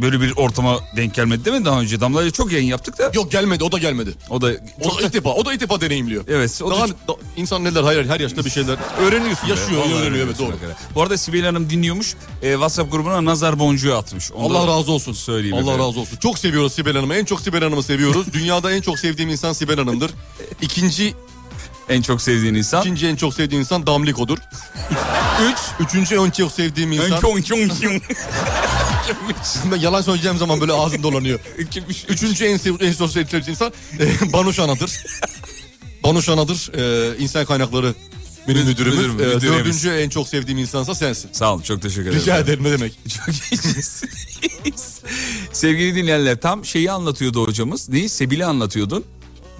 [SPEAKER 1] böyle bir ortama denk gelmedi değil mi daha önce? Damla'yla çok yayın yaptık da.
[SPEAKER 3] Yok gelmedi o da gelmedi.
[SPEAKER 1] O da
[SPEAKER 3] O da ilk defa, o da ilk defa deneyimliyor.
[SPEAKER 1] Evet, o da-
[SPEAKER 3] Daha, da- insan neler hayal her yaşta bir şeyler
[SPEAKER 1] Öğreniyorsun. be.
[SPEAKER 3] yaşıyor,
[SPEAKER 1] Vallahi
[SPEAKER 3] öğreniyor evet
[SPEAKER 1] öğreniyorsun
[SPEAKER 3] doğru.
[SPEAKER 1] bak hele. Bu arada Sibel Hanım dinliyormuş. Ee, WhatsApp grubuna nazar boncuğu atmış. Onu da
[SPEAKER 3] Allah razı olsun.
[SPEAKER 1] Söyleyeyim
[SPEAKER 3] Allah
[SPEAKER 1] efendim.
[SPEAKER 3] razı olsun. Çok seviyoruz Sibel Hanım'ı. En çok Sibel Hanım'ı seviyoruz. Dünyada en çok sevdiğim insan Sibel Hanım'dır. İkinci,
[SPEAKER 1] En çok sevdiğin insan.
[SPEAKER 3] ikinci en çok sevdiğim insan Damliko'dur.
[SPEAKER 1] Üç.
[SPEAKER 3] Üçüncü en çok sevdiğim insan...
[SPEAKER 1] Önki onki onki onki. Kimmiş?
[SPEAKER 3] Ben yalan söyleyeceğim zaman böyle ağzım dolanıyor.
[SPEAKER 1] Kimmiş? Üç.
[SPEAKER 3] Üçüncü en, sev- en çok sevdiğim insan e, Banuş Ana'dır. Banuş Ana'dır. E, insan kaynakları benim
[SPEAKER 1] Müdür-
[SPEAKER 3] müdürümüz.
[SPEAKER 1] müdürüm,
[SPEAKER 3] E,
[SPEAKER 1] müdürümüz.
[SPEAKER 3] dördüncü en çok sevdiğim insansa sensin.
[SPEAKER 1] Sağ olun çok teşekkür ederim.
[SPEAKER 3] Rica ederim ne demek.
[SPEAKER 1] Çok iyisiniz. Sevgili dinleyenler tam şeyi anlatıyordu hocamız. Neyi? Sebil'i anlatıyordun.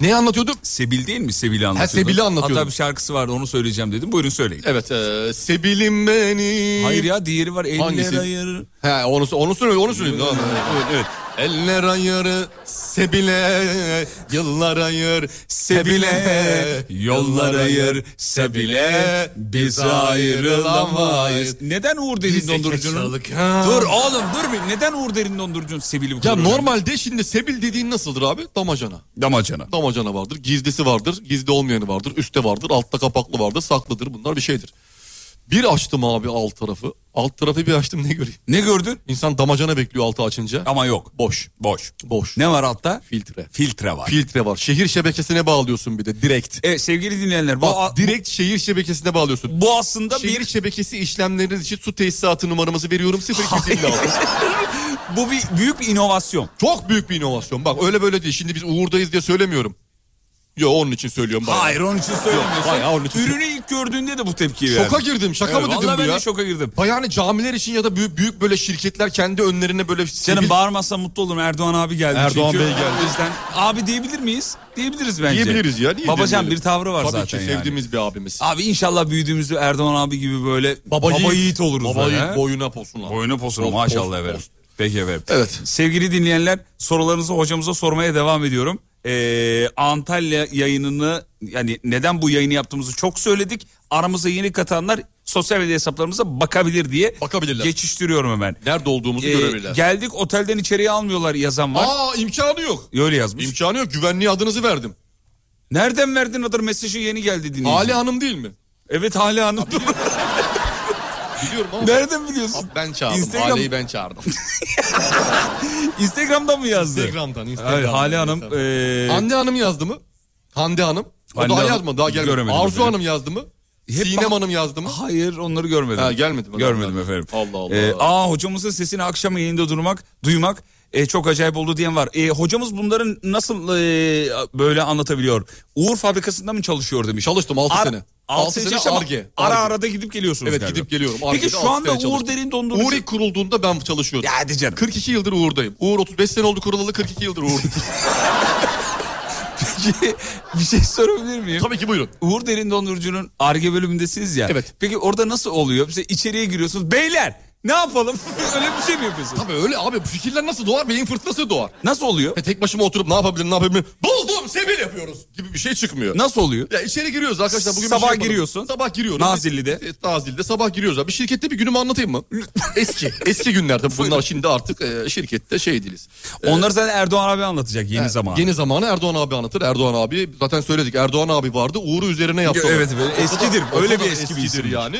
[SPEAKER 3] Neyi anlatıyorduk?
[SPEAKER 1] Sebil değil mi? Sebil'i anlatıyordun.
[SPEAKER 3] Sebil'i anlatıyordum.
[SPEAKER 1] Hatta bir şarkısı vardı onu söyleyeceğim dedim. Buyurun söyleyin.
[SPEAKER 3] Evet. E, Sebilim beni.
[SPEAKER 1] Hayır ya diğeri var. Eller
[SPEAKER 3] Ee, Hangisi?
[SPEAKER 1] ayır.
[SPEAKER 3] He, onu, onu söyle, onu söyleyeyim. Tamam.
[SPEAKER 1] Evet evet.
[SPEAKER 3] Eller ayır Sebile, yıllar ayır Sebile,
[SPEAKER 1] Yollar ayır sebile biz ayrılamayız. Neden Uğur Derin Dondurucu'nun? Dur oğlum dur bir. Neden Uğur Derin Dondurucu'nun sebili bu
[SPEAKER 3] Ya
[SPEAKER 1] kadar önemli?
[SPEAKER 3] normalde şimdi sebil dediğin nasıldır abi? Damacana.
[SPEAKER 1] Damacana.
[SPEAKER 3] Damacana vardır, gizdisi vardır, gizli olmayanı vardır, üstte vardır, altta kapaklı vardır, saklıdır. Bunlar bir şeydir. Bir açtım abi alt tarafı. Alt tarafı bir açtım ne göreyim?
[SPEAKER 1] Ne gördün?
[SPEAKER 3] İnsan damacana bekliyor altı açınca.
[SPEAKER 1] Ama yok.
[SPEAKER 3] Boş.
[SPEAKER 1] Boş.
[SPEAKER 3] Boş.
[SPEAKER 1] Ne var altta?
[SPEAKER 3] Filtre.
[SPEAKER 1] Filtre var.
[SPEAKER 3] Filtre var. Şehir şebekesine bağlıyorsun bir de direkt.
[SPEAKER 1] Evet sevgili dinleyenler bu,
[SPEAKER 3] Bak direkt Şey- şehir şebekesine bağlıyorsun.
[SPEAKER 1] bu aslında
[SPEAKER 3] Şehir
[SPEAKER 1] bir
[SPEAKER 3] şebekesi işlemleriniz için su tesisatı numaramızı veriyorum 0256.
[SPEAKER 1] bu bir büyük bir inovasyon.
[SPEAKER 3] Çok büyük bir inovasyon. Bak öyle böyle değil. Şimdi biz Uğur'dayız diye söylemiyorum. Yo onun için söylüyorum. bayağı.
[SPEAKER 1] Hayır onun için
[SPEAKER 3] Yok,
[SPEAKER 1] söylemiyorsun.
[SPEAKER 3] bayağı onun için
[SPEAKER 1] Ürünü ilk gördüğünde de bu tepkiyi verdin.
[SPEAKER 3] Şoka girdim. Şaka
[SPEAKER 1] Evet,
[SPEAKER 3] mı dedim
[SPEAKER 1] vallahi
[SPEAKER 3] bu
[SPEAKER 1] ben
[SPEAKER 3] ya?
[SPEAKER 1] de şoka girdim.
[SPEAKER 3] Bak yani camiler için ya da büyük, büyük böyle şirketler kendi önlerine böyle...
[SPEAKER 1] Canım
[SPEAKER 3] sivil-
[SPEAKER 1] bağırmazsan mutlu olurum. Erdoğan abi geldi.
[SPEAKER 3] Erdoğan
[SPEAKER 1] çünkü.
[SPEAKER 3] Bey geldi.
[SPEAKER 1] O yüzden abi diyebilir miyiz? Diyebiliriz bence.
[SPEAKER 3] Diyebiliriz ya. Niye
[SPEAKER 1] Babacan
[SPEAKER 3] demeyelim?
[SPEAKER 1] bir tavrı var
[SPEAKER 3] Tabii
[SPEAKER 1] zaten
[SPEAKER 3] ki
[SPEAKER 1] yani.
[SPEAKER 3] sevdiğimiz bir abimiz.
[SPEAKER 1] Abi inşallah büyüdüğümüzde Erdoğan abi gibi böyle baba, yiğit, oluruz.
[SPEAKER 3] Baba
[SPEAKER 1] böyle,
[SPEAKER 3] yiğit
[SPEAKER 1] he?
[SPEAKER 3] boyuna posuna.
[SPEAKER 1] Boyuna posuna
[SPEAKER 3] Pos-
[SPEAKER 1] maşallah
[SPEAKER 3] pos-
[SPEAKER 1] efendim.
[SPEAKER 3] pos.
[SPEAKER 1] Peki efendim.
[SPEAKER 3] Evet.
[SPEAKER 1] Sevgili dinleyenler sorularınızı hocamıza sormaya devam ediyorum. Ee, Antalya yayınını yani neden bu yayını yaptığımızı çok söyledik. Aramıza yeni katanlar sosyal medya hesaplarımıza bakabilir diye
[SPEAKER 3] Bakabilirler.
[SPEAKER 1] geçiştiriyorum hemen.
[SPEAKER 3] Nerede olduğumuzu
[SPEAKER 1] Ee,
[SPEAKER 3] görebilirler.
[SPEAKER 1] geldik otelden içeriye almıyorlar yazan var.
[SPEAKER 3] Aa imkanı yok.
[SPEAKER 1] Öyle yazmış.
[SPEAKER 3] İmkanı yok. Güvenliğe adınızı verdim.
[SPEAKER 1] Nereden verdin adır mesajı yeni geldi dinleyici.
[SPEAKER 3] Ali Hanım değil mi?
[SPEAKER 1] Evet Hale Hanım.
[SPEAKER 3] Biliyorum ama.
[SPEAKER 1] Nereden biliyorsun?
[SPEAKER 3] Ben çağırdım.
[SPEAKER 1] Instagram-
[SPEAKER 3] Ali'yi ben çağırdım.
[SPEAKER 1] Instagram'dan mı yazdı?
[SPEAKER 3] Instagram'dan. Instagram'dan.
[SPEAKER 1] Evet, Hale Hanım.
[SPEAKER 3] Instagram.
[SPEAKER 1] ee,
[SPEAKER 3] Hande Hanım yazdı mı? Hande Hanım. O
[SPEAKER 1] Hande
[SPEAKER 3] daha
[SPEAKER 1] Hanım.
[SPEAKER 3] yazmadı daha gelmedi.
[SPEAKER 1] Göremedim
[SPEAKER 3] Arzu
[SPEAKER 1] efendim.
[SPEAKER 3] Hanım yazdı mı?
[SPEAKER 1] Hep
[SPEAKER 3] Sinem
[SPEAKER 1] bak-
[SPEAKER 3] Hanım yazdı mı?
[SPEAKER 1] Hayır onları görmedim.
[SPEAKER 3] Ha, gelmedi mi?
[SPEAKER 1] Görmedim
[SPEAKER 3] Allah Allah.
[SPEAKER 1] efendim.
[SPEAKER 3] Allah Allah.
[SPEAKER 1] Ee, aa hocamızın sesini akşam yayında durmak, duymak e, çok acayip oldu diyen var. E, hocamız bunların nasıl e, böyle anlatabiliyor? Uğur fabrikasında mı çalışıyor demiş.
[SPEAKER 3] Çalıştım altı
[SPEAKER 1] Ar-
[SPEAKER 3] sene.
[SPEAKER 1] Altı
[SPEAKER 3] Altı
[SPEAKER 1] sene,
[SPEAKER 3] sene şey
[SPEAKER 1] çalıştım.
[SPEAKER 3] Ar-Ge.
[SPEAKER 1] Ara
[SPEAKER 3] Ar-Ge.
[SPEAKER 1] arada gidip geliyorsunuz
[SPEAKER 3] Evet
[SPEAKER 1] galiba.
[SPEAKER 3] gidip geliyorum. Arkada
[SPEAKER 1] Peki şu
[SPEAKER 3] altı
[SPEAKER 1] anda
[SPEAKER 3] sene
[SPEAKER 1] Uğur
[SPEAKER 3] çalıştım.
[SPEAKER 1] Derin Dondurucu...
[SPEAKER 3] Uğur ilk kurulduğunda ben çalışıyordum.
[SPEAKER 1] Ya hadi canım.
[SPEAKER 3] 42 yıldır Uğur'dayım. Uğur 35 sene oldu kurulalı 42 yıldır Uğur'dayım.
[SPEAKER 1] Peki bir şey sorabilir miyim?
[SPEAKER 3] Tabii ki buyurun.
[SPEAKER 1] Uğur Derin Dondurucu'nun ARGE bölümündesiniz ya.
[SPEAKER 3] Evet.
[SPEAKER 1] Peki orada nasıl oluyor? Mesela içeriye giriyorsunuz. Beyler ne yapalım? Öyle bir şey mi yapıyorsunuz?
[SPEAKER 3] Tabii öyle abi bu fikirler nasıl doğar? Beyin fırtınası doğar.
[SPEAKER 1] Nasıl oluyor?
[SPEAKER 3] E, tek başıma oturup ne yapabilirim ne yapabilirim? Buldum sebil yapıyoruz gibi bir şey çıkmıyor.
[SPEAKER 1] Nasıl oluyor?
[SPEAKER 3] Ya içeri giriyoruz arkadaşlar. Bugün bir
[SPEAKER 1] Sabah
[SPEAKER 3] şey yapalım.
[SPEAKER 1] giriyorsun.
[SPEAKER 3] Sabah giriyorum.
[SPEAKER 1] Nazilli'de.
[SPEAKER 3] Evet, Nazilli'de sabah giriyoruz abi. Bir şirkette bir günümü anlatayım mı? eski. Eski günlerde. Bunlar şimdi artık e, şirkette şey değiliz.
[SPEAKER 1] Onları zaten Erdoğan abi anlatacak yeni
[SPEAKER 3] E,
[SPEAKER 1] zaman.
[SPEAKER 3] Yeni zamanı Erdoğan abi anlatır. Erdoğan abi zaten söyledik. Erdoğan abi vardı. Uğur'u üzerine yaptı.
[SPEAKER 1] Evet,
[SPEAKER 3] O
[SPEAKER 1] böyle
[SPEAKER 3] kadar-
[SPEAKER 1] eskidir.
[SPEAKER 3] o
[SPEAKER 1] Öyle
[SPEAKER 3] kadar
[SPEAKER 1] bir eski bir isimdir.
[SPEAKER 3] yani.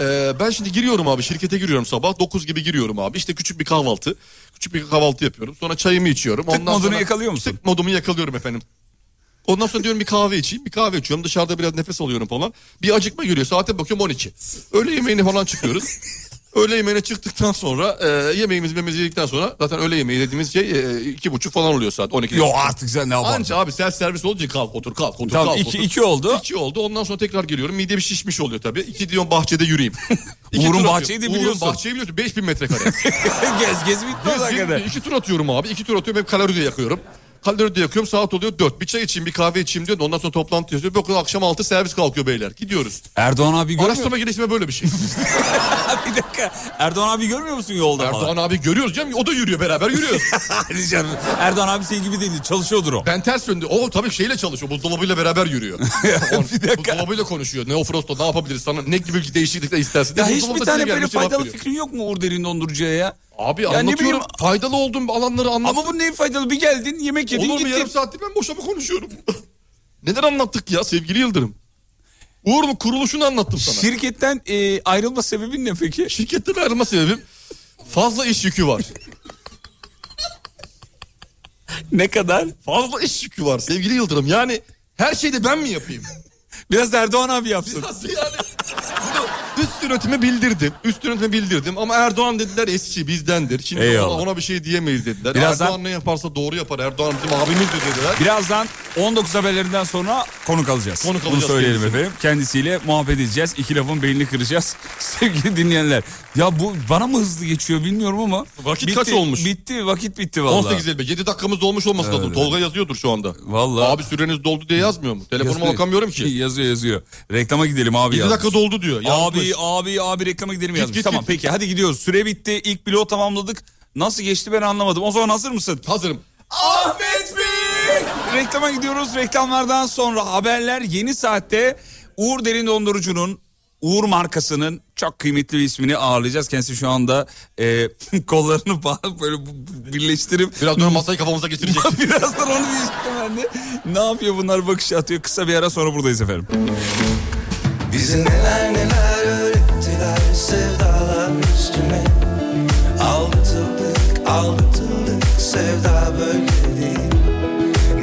[SPEAKER 3] E, ben şimdi giriyorum abi şirkete giriyorum sabah 9 gibi giriyorum abi işte küçük bir kahvaltı küçük bir kahvaltı yapıyorum sonra çayımı içiyorum
[SPEAKER 1] Tık modunu yakalıyor musun?
[SPEAKER 3] Tık modumu yakalıyorum efendim Ondan sonra diyorum bir kahve içeyim. Bir kahve içiyorum. Dışarıda biraz nefes alıyorum falan. Bir acıkma geliyor. Saate bakıyorum 12. Öğle yemeğine falan çıkıyoruz. öğle yemeğine çıktıktan sonra e, yemeğimizi mememizi yedikten sonra zaten öğle yemeği dediğimiz şey e, iki buçuk falan oluyor saat 12.
[SPEAKER 1] Yok artık sen ne yaparsın?
[SPEAKER 3] Anca abi self servis olunca kalk otur kalk otur
[SPEAKER 1] Tamam,
[SPEAKER 3] kalk
[SPEAKER 1] iki-
[SPEAKER 3] otur.
[SPEAKER 1] iki oldu.
[SPEAKER 3] İki oldu ondan sonra tekrar geliyorum mide bir şişmiş oluyor tabii. İki diyorum bahçede yürüyeyim. İki
[SPEAKER 1] Uğur'un
[SPEAKER 3] tur
[SPEAKER 1] bahçeyi de
[SPEAKER 3] atıyorum.
[SPEAKER 1] biliyorsun.
[SPEAKER 3] Uğur'un bahçeyi biliyorsun 5000 metrekare.
[SPEAKER 1] gez gez bitmez
[SPEAKER 3] Biz
[SPEAKER 1] hakikaten.
[SPEAKER 3] bir- iki tur atıyorum abi. iki tur atıyorum hep kalori de yakıyorum. Kalori de yakıyorum saat oluyor 4. Bir çay içeyim bir kahve içeyim diyor. Ondan sonra toplantı yazıyor. Bakın akşam 6 servis kalkıyor beyler. Gidiyoruz.
[SPEAKER 1] Erdoğan abi görmüyor musun?
[SPEAKER 3] Araştırma gelişme böyle bir şey.
[SPEAKER 1] bir dakika. Erdoğan abi görmüyor musun yolda
[SPEAKER 3] Erdoğan
[SPEAKER 1] falan?
[SPEAKER 3] abi görüyoruz canım. O da yürüyor beraber yürüyoruz.
[SPEAKER 1] Hadi canım. Erdoğan abi senin gibi değil. Çalışıyordur o.
[SPEAKER 3] Ben ters yönde. O tabii şeyle çalışıyor. Buzdolabıyla beraber yürüyor.
[SPEAKER 1] Bir dakika.
[SPEAKER 3] Buzdolabıyla konuşuyor. Ne o Frost'ta ne yapabiliriz sana? Ne gibi değişiklikler istersin?
[SPEAKER 1] Ya
[SPEAKER 3] diye
[SPEAKER 1] hiçbir
[SPEAKER 3] buzdolabında
[SPEAKER 1] tane
[SPEAKER 3] size
[SPEAKER 1] böyle
[SPEAKER 3] gelmiş cevap
[SPEAKER 1] faydalı
[SPEAKER 3] veriyor.
[SPEAKER 1] fikrin yok mu Uğur Derin Dondurucu'ya ya?
[SPEAKER 3] Abi
[SPEAKER 1] Ya ne
[SPEAKER 3] anlatıyorum.
[SPEAKER 1] bileyim-
[SPEAKER 3] Faydalı olduğum alanları anlat.
[SPEAKER 1] Ama bu neyin faydalı? Bir geldin yemek yedin
[SPEAKER 3] Olur mu
[SPEAKER 1] gittin.
[SPEAKER 3] yarım saattir ben boşa mı konuşuyorum? Neler anlattık ya sevgili Yıldırım? Uğurlu kuruluşunu anlattım sana.
[SPEAKER 1] Şirketten e, ayrılma sebebin ne peki?
[SPEAKER 3] Şirketten ayrılma sebebim fazla iş yükü var.
[SPEAKER 1] Ne kadar?
[SPEAKER 3] fazla iş yükü var sevgili Yıldırım. Yani her şeyi de ben mi yapayım?
[SPEAKER 1] Biraz da Erdoğan abi yapsın.
[SPEAKER 3] Nasıl yani? Bunu üst yönetime bildirdim. Üst yönetime bildirdim ama Erdoğan dediler eski bizdendir. Şimdi
[SPEAKER 1] Eyvallah.
[SPEAKER 3] ona, ona bir şey diyemeyiz dediler.
[SPEAKER 1] Birazdan-
[SPEAKER 3] Erdoğan ne yaparsa doğru yapar. Erdoğan bizim abimizdir dediler.
[SPEAKER 1] Birazdan 19 haberlerinden sonra konuk alacağız.
[SPEAKER 3] Konuk
[SPEAKER 1] Bunu
[SPEAKER 3] alacağız
[SPEAKER 1] söyleyelim
[SPEAKER 3] kendisini.
[SPEAKER 1] efendim. Kendisiyle muhabbet edeceğiz. İki lafın belini kıracağız. Sevgili dinleyenler. Ya bu bana mı hızlı geçiyor bilmiyorum ama.
[SPEAKER 3] Vakit kaç olmuş?
[SPEAKER 1] Bitti vakit bitti vallahi.
[SPEAKER 3] 18 elbe. 7 dakikamız dolmuş olması lazım.
[SPEAKER 1] Evet.
[SPEAKER 3] Tolga yazıyordur şu anda.
[SPEAKER 1] Vallahi.
[SPEAKER 3] Abi süreniz doldu diye yazmıyor mu? Telefonuma
[SPEAKER 1] Yazıyor. Şey
[SPEAKER 3] bakamıyorum ki.
[SPEAKER 1] Yazıyor yazıyor. Reklama gidelim abi
[SPEAKER 3] 7
[SPEAKER 1] yazmış.
[SPEAKER 3] dakika doldu diyor. Yazmış.
[SPEAKER 1] Abi abi abi reklama gidelim yazmış.
[SPEAKER 3] git,
[SPEAKER 1] tamam
[SPEAKER 3] git.
[SPEAKER 1] peki hadi gidiyoruz. Süre bitti. İlk bloğu tamamladık. Nasıl geçti ben anlamadım. O zaman hazır mısın?
[SPEAKER 3] Hazırım.
[SPEAKER 1] Ahmet Bey! Reklama gidiyoruz. Reklamlardan sonra haberler yeni saatte Uğur Derin Dondurucu'nun Uğur markasının çok kıymetli bir ismini ağırlayacağız. Kendisi şu anda e, kollarını bağlayıp böyle bu- bu- birleştirip
[SPEAKER 3] Biraz sonra masayı kafamıza getirecek.
[SPEAKER 1] birazdan onu diyecektim ben de. Ne yapıyor bunlar bakış atıyor. Kısa bir ara sonra buradayız efendim.
[SPEAKER 8] Bize neler neler öğrettiler sevdalar üstüne Aldatıldık aldatıldık sevda böyle değil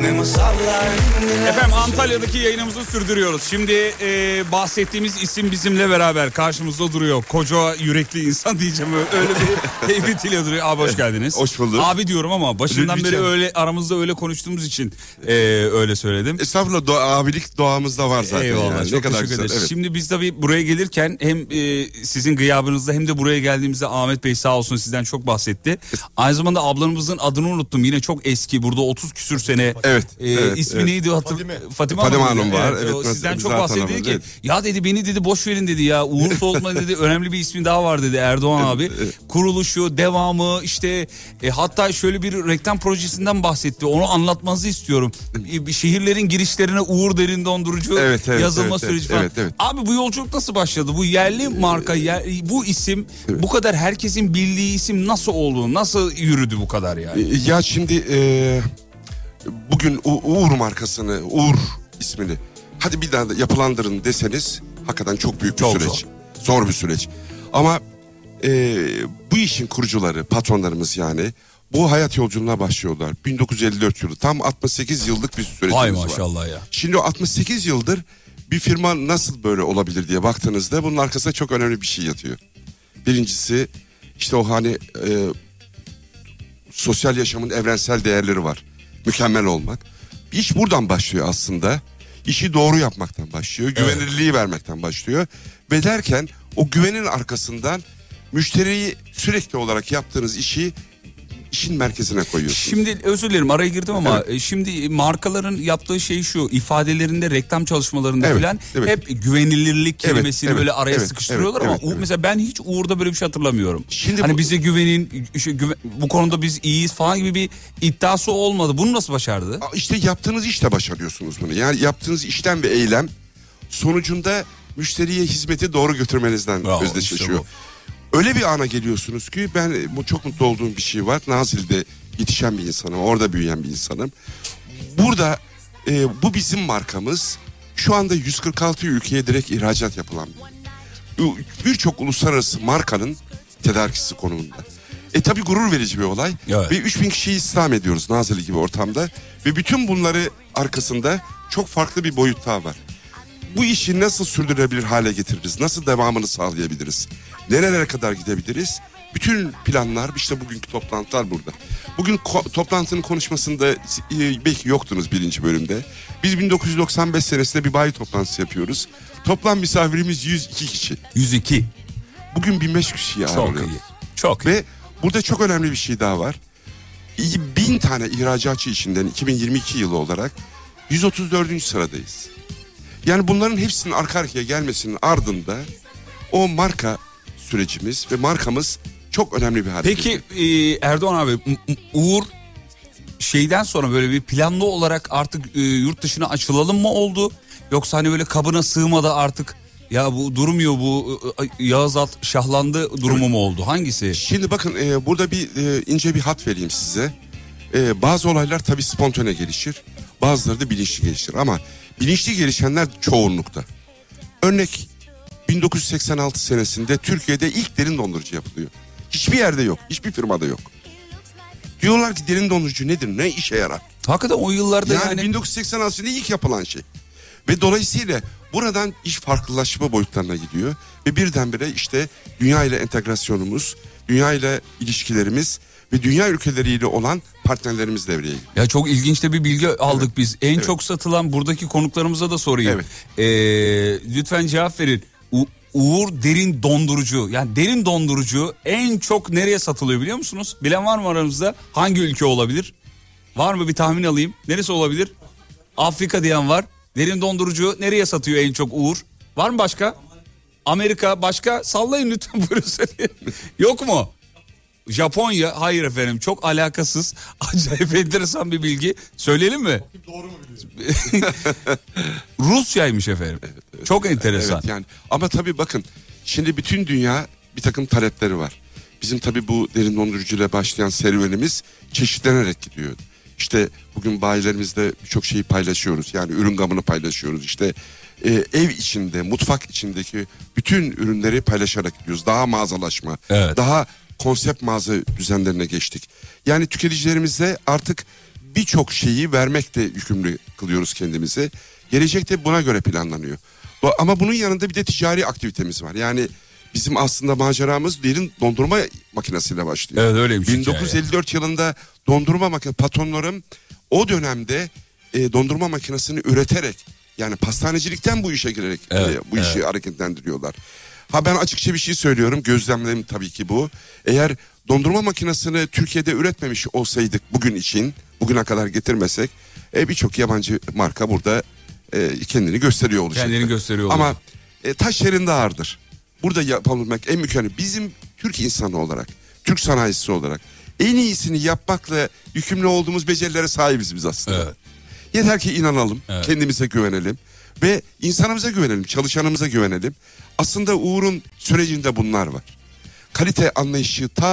[SPEAKER 8] Ne masallar neler
[SPEAKER 1] Efendim Antalya'daki yayınımızı sürdürüyoruz. Şimdi e, bahsettiğimiz isim bizimle beraber karşımızda duruyor. Koca yürekli insan diyeceğim öyle bir heybetiyle duruyor. Abi hoş geldiniz.
[SPEAKER 9] Hoş bulduk.
[SPEAKER 1] Abi diyorum ama başından beri
[SPEAKER 9] Rica-
[SPEAKER 1] öyle aramızda öyle konuştuğumuz için e, öyle söyledim.
[SPEAKER 9] Estağfurullah doğa- abilik doğamızda var zaten.
[SPEAKER 1] Eyvallah
[SPEAKER 9] yani.
[SPEAKER 1] çok
[SPEAKER 9] ne kadar
[SPEAKER 1] teşekkür
[SPEAKER 9] güzel.
[SPEAKER 1] ederiz.
[SPEAKER 9] Evet.
[SPEAKER 1] Şimdi biz tabii buraya gelirken hem e, sizin gıyabınızda hem de buraya geldiğimizde Ahmet Bey sağ olsun sizden çok bahsetti. Aynı zamanda ablamızın adını unuttum yine çok eski burada 30 küsür sene.
[SPEAKER 9] Evet,
[SPEAKER 1] E,
[SPEAKER 9] evet,
[SPEAKER 1] ismi
[SPEAKER 9] evet.
[SPEAKER 1] neydi hatır
[SPEAKER 3] Fatime.
[SPEAKER 1] Fatime,
[SPEAKER 9] Fatime
[SPEAKER 1] mıydı?
[SPEAKER 9] Hanım var, evet,
[SPEAKER 1] o
[SPEAKER 9] ben-
[SPEAKER 1] sizden
[SPEAKER 9] biz
[SPEAKER 1] çok
[SPEAKER 9] zaten
[SPEAKER 1] bahsetti dedi
[SPEAKER 9] hanımız,
[SPEAKER 1] ki
[SPEAKER 9] evet.
[SPEAKER 1] ya dedi beni dedi boş verin dedi ya Uğur Soltman dedi önemli bir ismi daha var dedi Erdoğan abi. Kuruluşu devamı işte e, hatta şöyle bir reklam projesinden bahsetti onu anlatmanızı istiyorum. E, şehirlerin girişlerine Uğur Derin Dondurucu
[SPEAKER 9] Evet, evet,
[SPEAKER 1] yazılma
[SPEAKER 9] evet,
[SPEAKER 1] süreci
[SPEAKER 9] evet,
[SPEAKER 1] falan.
[SPEAKER 9] evet, evet. Ee,
[SPEAKER 1] Abi bu yolculuk nasıl başladı? Bu yerli marka, yer- bu isim, bu kadar herkesin bildiği isim nasıl oldu? Nasıl yürüdü bu kadar yani?
[SPEAKER 9] Ya şimdi e, bugün U- Uğur markasını, Uğur ismini hadi bir daha da yapılandırın deseniz hakikaten çok büyük bir
[SPEAKER 1] Çok
[SPEAKER 9] süreç. Zor. bir süreç. Ama e, bu işin kurucuları, patronlarımız yani bu hayat yolculuğuna başlıyorlar. 1954 yılı tam 68 yıllık bir süreç
[SPEAKER 1] Hay
[SPEAKER 9] var.
[SPEAKER 1] maşallah ya.
[SPEAKER 9] Şimdi o 68 yıldır bir firma nasıl böyle olabilir diye baktığınızda bunun arkasında çok önemli bir şey yatıyor. Birincisi işte o hani e, sosyal yaşamın evrensel değerleri var. Mükemmel olmak. İş buradan başlıyor aslında. İşi doğru yapmaktan başlıyor. Güvenilirliği vermekten başlıyor. Ve derken o güvenin arkasından müşteriyi sürekli olarak yaptığınız işi işin merkezine koyuyorsunuz.
[SPEAKER 1] Şimdi özür dilerim araya girdim ama e, şimdi markaların yaptığı şey şu ifadelerinde reklam çalışmalarında
[SPEAKER 9] Evet,
[SPEAKER 1] falan
[SPEAKER 9] evet.
[SPEAKER 1] hep güvenilirlik
[SPEAKER 9] Evet,
[SPEAKER 1] kelimesini
[SPEAKER 9] evet,
[SPEAKER 1] böyle araya
[SPEAKER 9] evet,
[SPEAKER 1] sıkıştırıyorlar
[SPEAKER 9] evet,
[SPEAKER 1] ama
[SPEAKER 9] evet,
[SPEAKER 1] Uğur-
[SPEAKER 9] evet.
[SPEAKER 1] mesela ben hiç Uğur'da böyle bir şey hatırlamıyorum.
[SPEAKER 9] Şimdi
[SPEAKER 1] hani
[SPEAKER 9] bu-
[SPEAKER 1] bize güvenin şu güven- bu konuda biz iyiyiz falan gibi bir iddiası olmadı. Bunu nasıl başardı?
[SPEAKER 9] Aa, İşte yaptığınız işle başarıyorsunuz bunu. Yani yaptığınız işlem ve eylem sonucunda müşteriye hizmeti doğru götürmenizden
[SPEAKER 1] Bravo,
[SPEAKER 9] özdeşleşiyor.
[SPEAKER 1] işte
[SPEAKER 9] Öyle bir ana geliyorsunuz ki ben e, bu çok mutlu olduğum bir şey var. Nazil'de yetişen bir insanım, orada büyüyen bir insanım. Burada e, bu bizim markamız. Şu anda 146 ülkeye direkt ihracat yapılan bir birçok uluslararası markanın tedarikçisi konumunda. E tabi gurur verici bir olay.
[SPEAKER 1] Evet.
[SPEAKER 9] Ve 3000 kişiyi istihdam ediyoruz Nazilli gibi ortamda. Ve bütün bunları arkasında çok farklı bir boyut daha var. Bu işi nasıl sürdürülebilir hale getiririz? Nasıl devamını sağlayabiliriz? Nerelere kadar gidebiliriz? Bütün planlar işte bugünkü toplantılar burada. Bugün ko- toplantının konuşmasında e, belki yoktunuz birinci bölümde. Biz 1995 senesinde bir bayi toplantısı yapıyoruz. Toplam misafirimiz 102 kişi.
[SPEAKER 1] 102.
[SPEAKER 9] Bugün 1500 kişiyi
[SPEAKER 1] Çok
[SPEAKER 9] ağırlıyoruz.
[SPEAKER 1] iyi. Çok iyi.
[SPEAKER 9] Ve burada çok önemli bir şey daha var. İyi, bin tane ihracatçı içinden 2022 yılı olarak 134. sıradayız. Yani bunların hepsinin arka arkaya gelmesinin ardında o marka sürecimiz ve markamız çok önemli bir hareket.
[SPEAKER 1] Peki e, Erdoğan abi M- M- Uğur şeyden sonra böyle bir planlı olarak artık e, yurt dışına açılalım mı oldu? Yoksa hani böyle kabına sığmadı artık ya bu durmuyor bu e, Yağız At şahlandı durumu mu oldu? Hangisi?
[SPEAKER 9] Şimdi bakın e, burada bir e, ince bir hat vereyim size. E, bazı olaylar tabii spontane gelişir. Bazıları da bilinçli gelişir ama bilinçli gelişenler çoğunlukta. Örnek 1986 senesinde Türkiye'de ilk derin dondurucu yapılıyor. Hiçbir yerde yok, hiçbir firmada yok. Diyorlar ki derin dondurucu nedir, ne işe yarar?
[SPEAKER 1] Hakikaten o yıllarda
[SPEAKER 9] yani,
[SPEAKER 1] yani,
[SPEAKER 9] 1986'da ilk yapılan şey. Ve dolayısıyla buradan iş farklılaşma boyutlarına gidiyor. Ve birdenbire işte dünya ile entegrasyonumuz, dünya ile ilişkilerimiz ve dünya ülkeleriyle olan partnerlerimiz devreye giriyor.
[SPEAKER 1] ya çok ilginç de bir bilgi aldık biz. En çok satılan buradaki konuklarımıza da sorayım. E, lütfen cevap verin. U- Uğur derin dondurucu. Yani derin dondurucu en çok nereye satılıyor biliyor musunuz? Bilen var mı aramızda? Hangi ülke olabilir? Var mı bir tahmin alayım? Neresi olabilir? Afrika diyen var. Derin dondurucu nereye satıyor en çok Uğur? Var mı başka? Amerika başka? Sallayın lütfen buyurun söyleyin. Yok mu? Japonya hayır efendim çok alakasız acayip enteresan bir bilgi söyleyelim mi? Doğru mu Rusya'ymış efendim. Çok enteresan.
[SPEAKER 9] Evet yani ama tabii bakın şimdi bütün dünya bir takım talepleri var. Bizim tabii bu derin dondurucuyla başlayan serüvenimiz çeşitlenerek gidiyor. İşte bugün bayilerimizde birçok şeyi paylaşıyoruz. Yani ürün gamını paylaşıyoruz. İşte e, ev içinde, mutfak içindeki bütün ürünleri paylaşarak gidiyoruz. Daha mağazalaşma,
[SPEAKER 1] Evet.
[SPEAKER 9] daha konsept mağaza düzenlerine geçtik. Yani tüketicilerimize artık birçok şeyi vermekle yükümlü kılıyoruz kendimizi. Gelecekte buna göre planlanıyor. Bu- Ama bunun yanında bir de ticari aktivitemiz var. Yani bizim aslında maceramız derin dondurma makinesiyle başlıyor.
[SPEAKER 1] Evet, şey. öyleymiş hikaye.
[SPEAKER 9] 1954 yılında dondurma makinesi patronlarım o dönemde e, dondurma makinesini üreterek yani pastanecilikten bu işe girerek e,
[SPEAKER 1] Evet,
[SPEAKER 9] bu işi hareketlendiriyorlar. Ha ben açıkça bir şey söylüyorum. Gözlemlerim tabii ki bu. Eğer dondurma makinesini Türkiye'de üretmemiş olsaydık bugün için, bugüne kadar getirmesek e, birçok yabancı marka burada e, kendini gösteriyor olacak.
[SPEAKER 1] Kendini gösteriyor
[SPEAKER 9] Ama
[SPEAKER 1] olacak.
[SPEAKER 9] e, taş yerinde ağırdır. Burada yapabilmek en mükemmel. Bizim Türk insanı olarak, Türk sanayisi olarak en iyisini yapmakla yükümlü olduğumuz becerilere sahibiz biz aslında.
[SPEAKER 1] Evet.
[SPEAKER 9] Yeter ki inanalım,
[SPEAKER 1] Evet.
[SPEAKER 9] kendimize güvenelim ve insanımıza güvenelim, çalışanımıza güvenelim. Aslında Uğur'un sürecinde bunlar var. Kalite anlayışı ta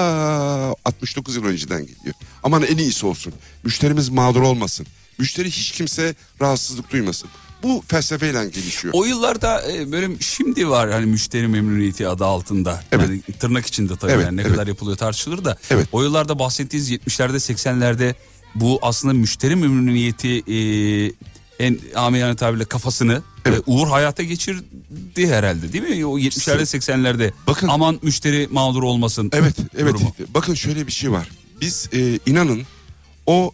[SPEAKER 9] 69 yıl önceden geliyor. Aman en iyisi olsun. Müşterimiz mağdur olmasın. Müşteri hiç kimse rahatsızlık duymasın. Bu felsefeyle gelişiyor.
[SPEAKER 1] O yıllarda e, böyle şimdi var hani müşteri memnuniyeti adı altında.
[SPEAKER 9] Evet.
[SPEAKER 1] Yani tırnak içinde tabii
[SPEAKER 9] Evet,
[SPEAKER 1] yani ne
[SPEAKER 9] evet.
[SPEAKER 1] kadar yapılıyor tartışılır da.
[SPEAKER 9] Evet.
[SPEAKER 1] O yıllarda bahsettiğiniz 70'lerde 80'lerde bu aslında müşteri memnuniyeti e, en amiyane tabirle kafasını
[SPEAKER 9] Evet.
[SPEAKER 1] e, Uğur hayata geçirdi herhalde değil mi? O 70'lerde 80'lerde
[SPEAKER 9] Bakın-
[SPEAKER 1] aman müşteri mağdur olmasın.
[SPEAKER 9] Evet, evet.
[SPEAKER 1] durumu.
[SPEAKER 9] Bakın şöyle bir şey var. Biz e, inanın o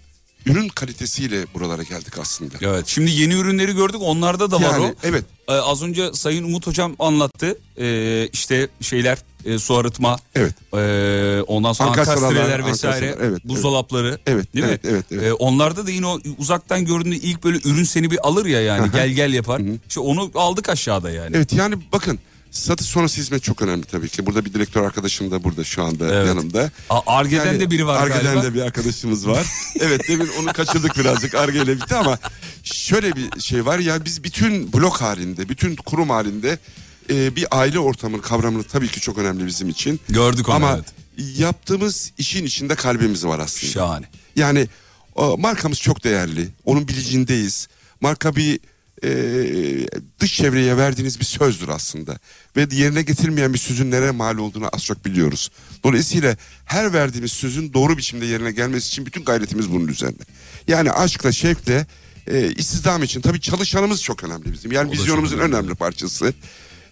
[SPEAKER 9] ürün kalitesiyle buralara geldik aslında.
[SPEAKER 1] Evet. Şimdi yeni ürünleri gördük. Onlarda da var
[SPEAKER 9] Yani,
[SPEAKER 1] o.
[SPEAKER 9] evet.
[SPEAKER 1] Ee, az önce Sayın Umut Hocam anlattı. Ee, işte şeyler e, su arıtma.
[SPEAKER 9] Evet.
[SPEAKER 1] Ee, ondan sonra
[SPEAKER 9] Ankastreler,
[SPEAKER 1] ankastreler vesaire.
[SPEAKER 9] ankastreler, evet, evet.
[SPEAKER 1] buzdolapları.
[SPEAKER 9] Evet,
[SPEAKER 1] Değil
[SPEAKER 9] evet,
[SPEAKER 1] mi?
[SPEAKER 9] evet, evet.
[SPEAKER 1] Ee, onlarda da yine o uzaktan göründüğü ilk böyle ürün seni bir alır ya yani. gel gel yapar. İşte onu aldık aşağıda yani.
[SPEAKER 9] Evet yani bakın satış sonrası hizmet çok önemli tabii ki. Burada bir direktör arkadaşım da burada şu anda
[SPEAKER 1] Evet.
[SPEAKER 9] yanımda.
[SPEAKER 1] A- Arge'den de biri var
[SPEAKER 9] Arge'den
[SPEAKER 1] galiba.
[SPEAKER 9] de bir arkadaşımız var. evet demin onu kaçırdık birazcık Arge ile bitti ama şöyle bir şey var ya biz bütün blok halinde, bütün kurum halinde e, bir aile ortamının kavramını tabii ki çok önemli bizim için.
[SPEAKER 1] Gördük onu,
[SPEAKER 9] Ama yaptığımız işin içinde kalbimiz var aslında.
[SPEAKER 1] Şahane.
[SPEAKER 9] Yani o, markamız çok değerli. Onun bilicindeyiz. Marka bir e, dış çevreye verdiğiniz bir sözdür aslında. Ve yerine getirmeyen bir sözün nereye mal olduğunu az çok biliyoruz. Dolayısıyla her verdiğimiz sözün doğru biçimde yerine gelmesi için bütün gayretimiz bunun üzerine. Yani aşkla, şevkle, e, istihdam için tabii çalışanımız çok önemli bizim. Yani
[SPEAKER 1] da
[SPEAKER 9] vizyonumuzun
[SPEAKER 1] çok önemli.
[SPEAKER 9] önemli parçası.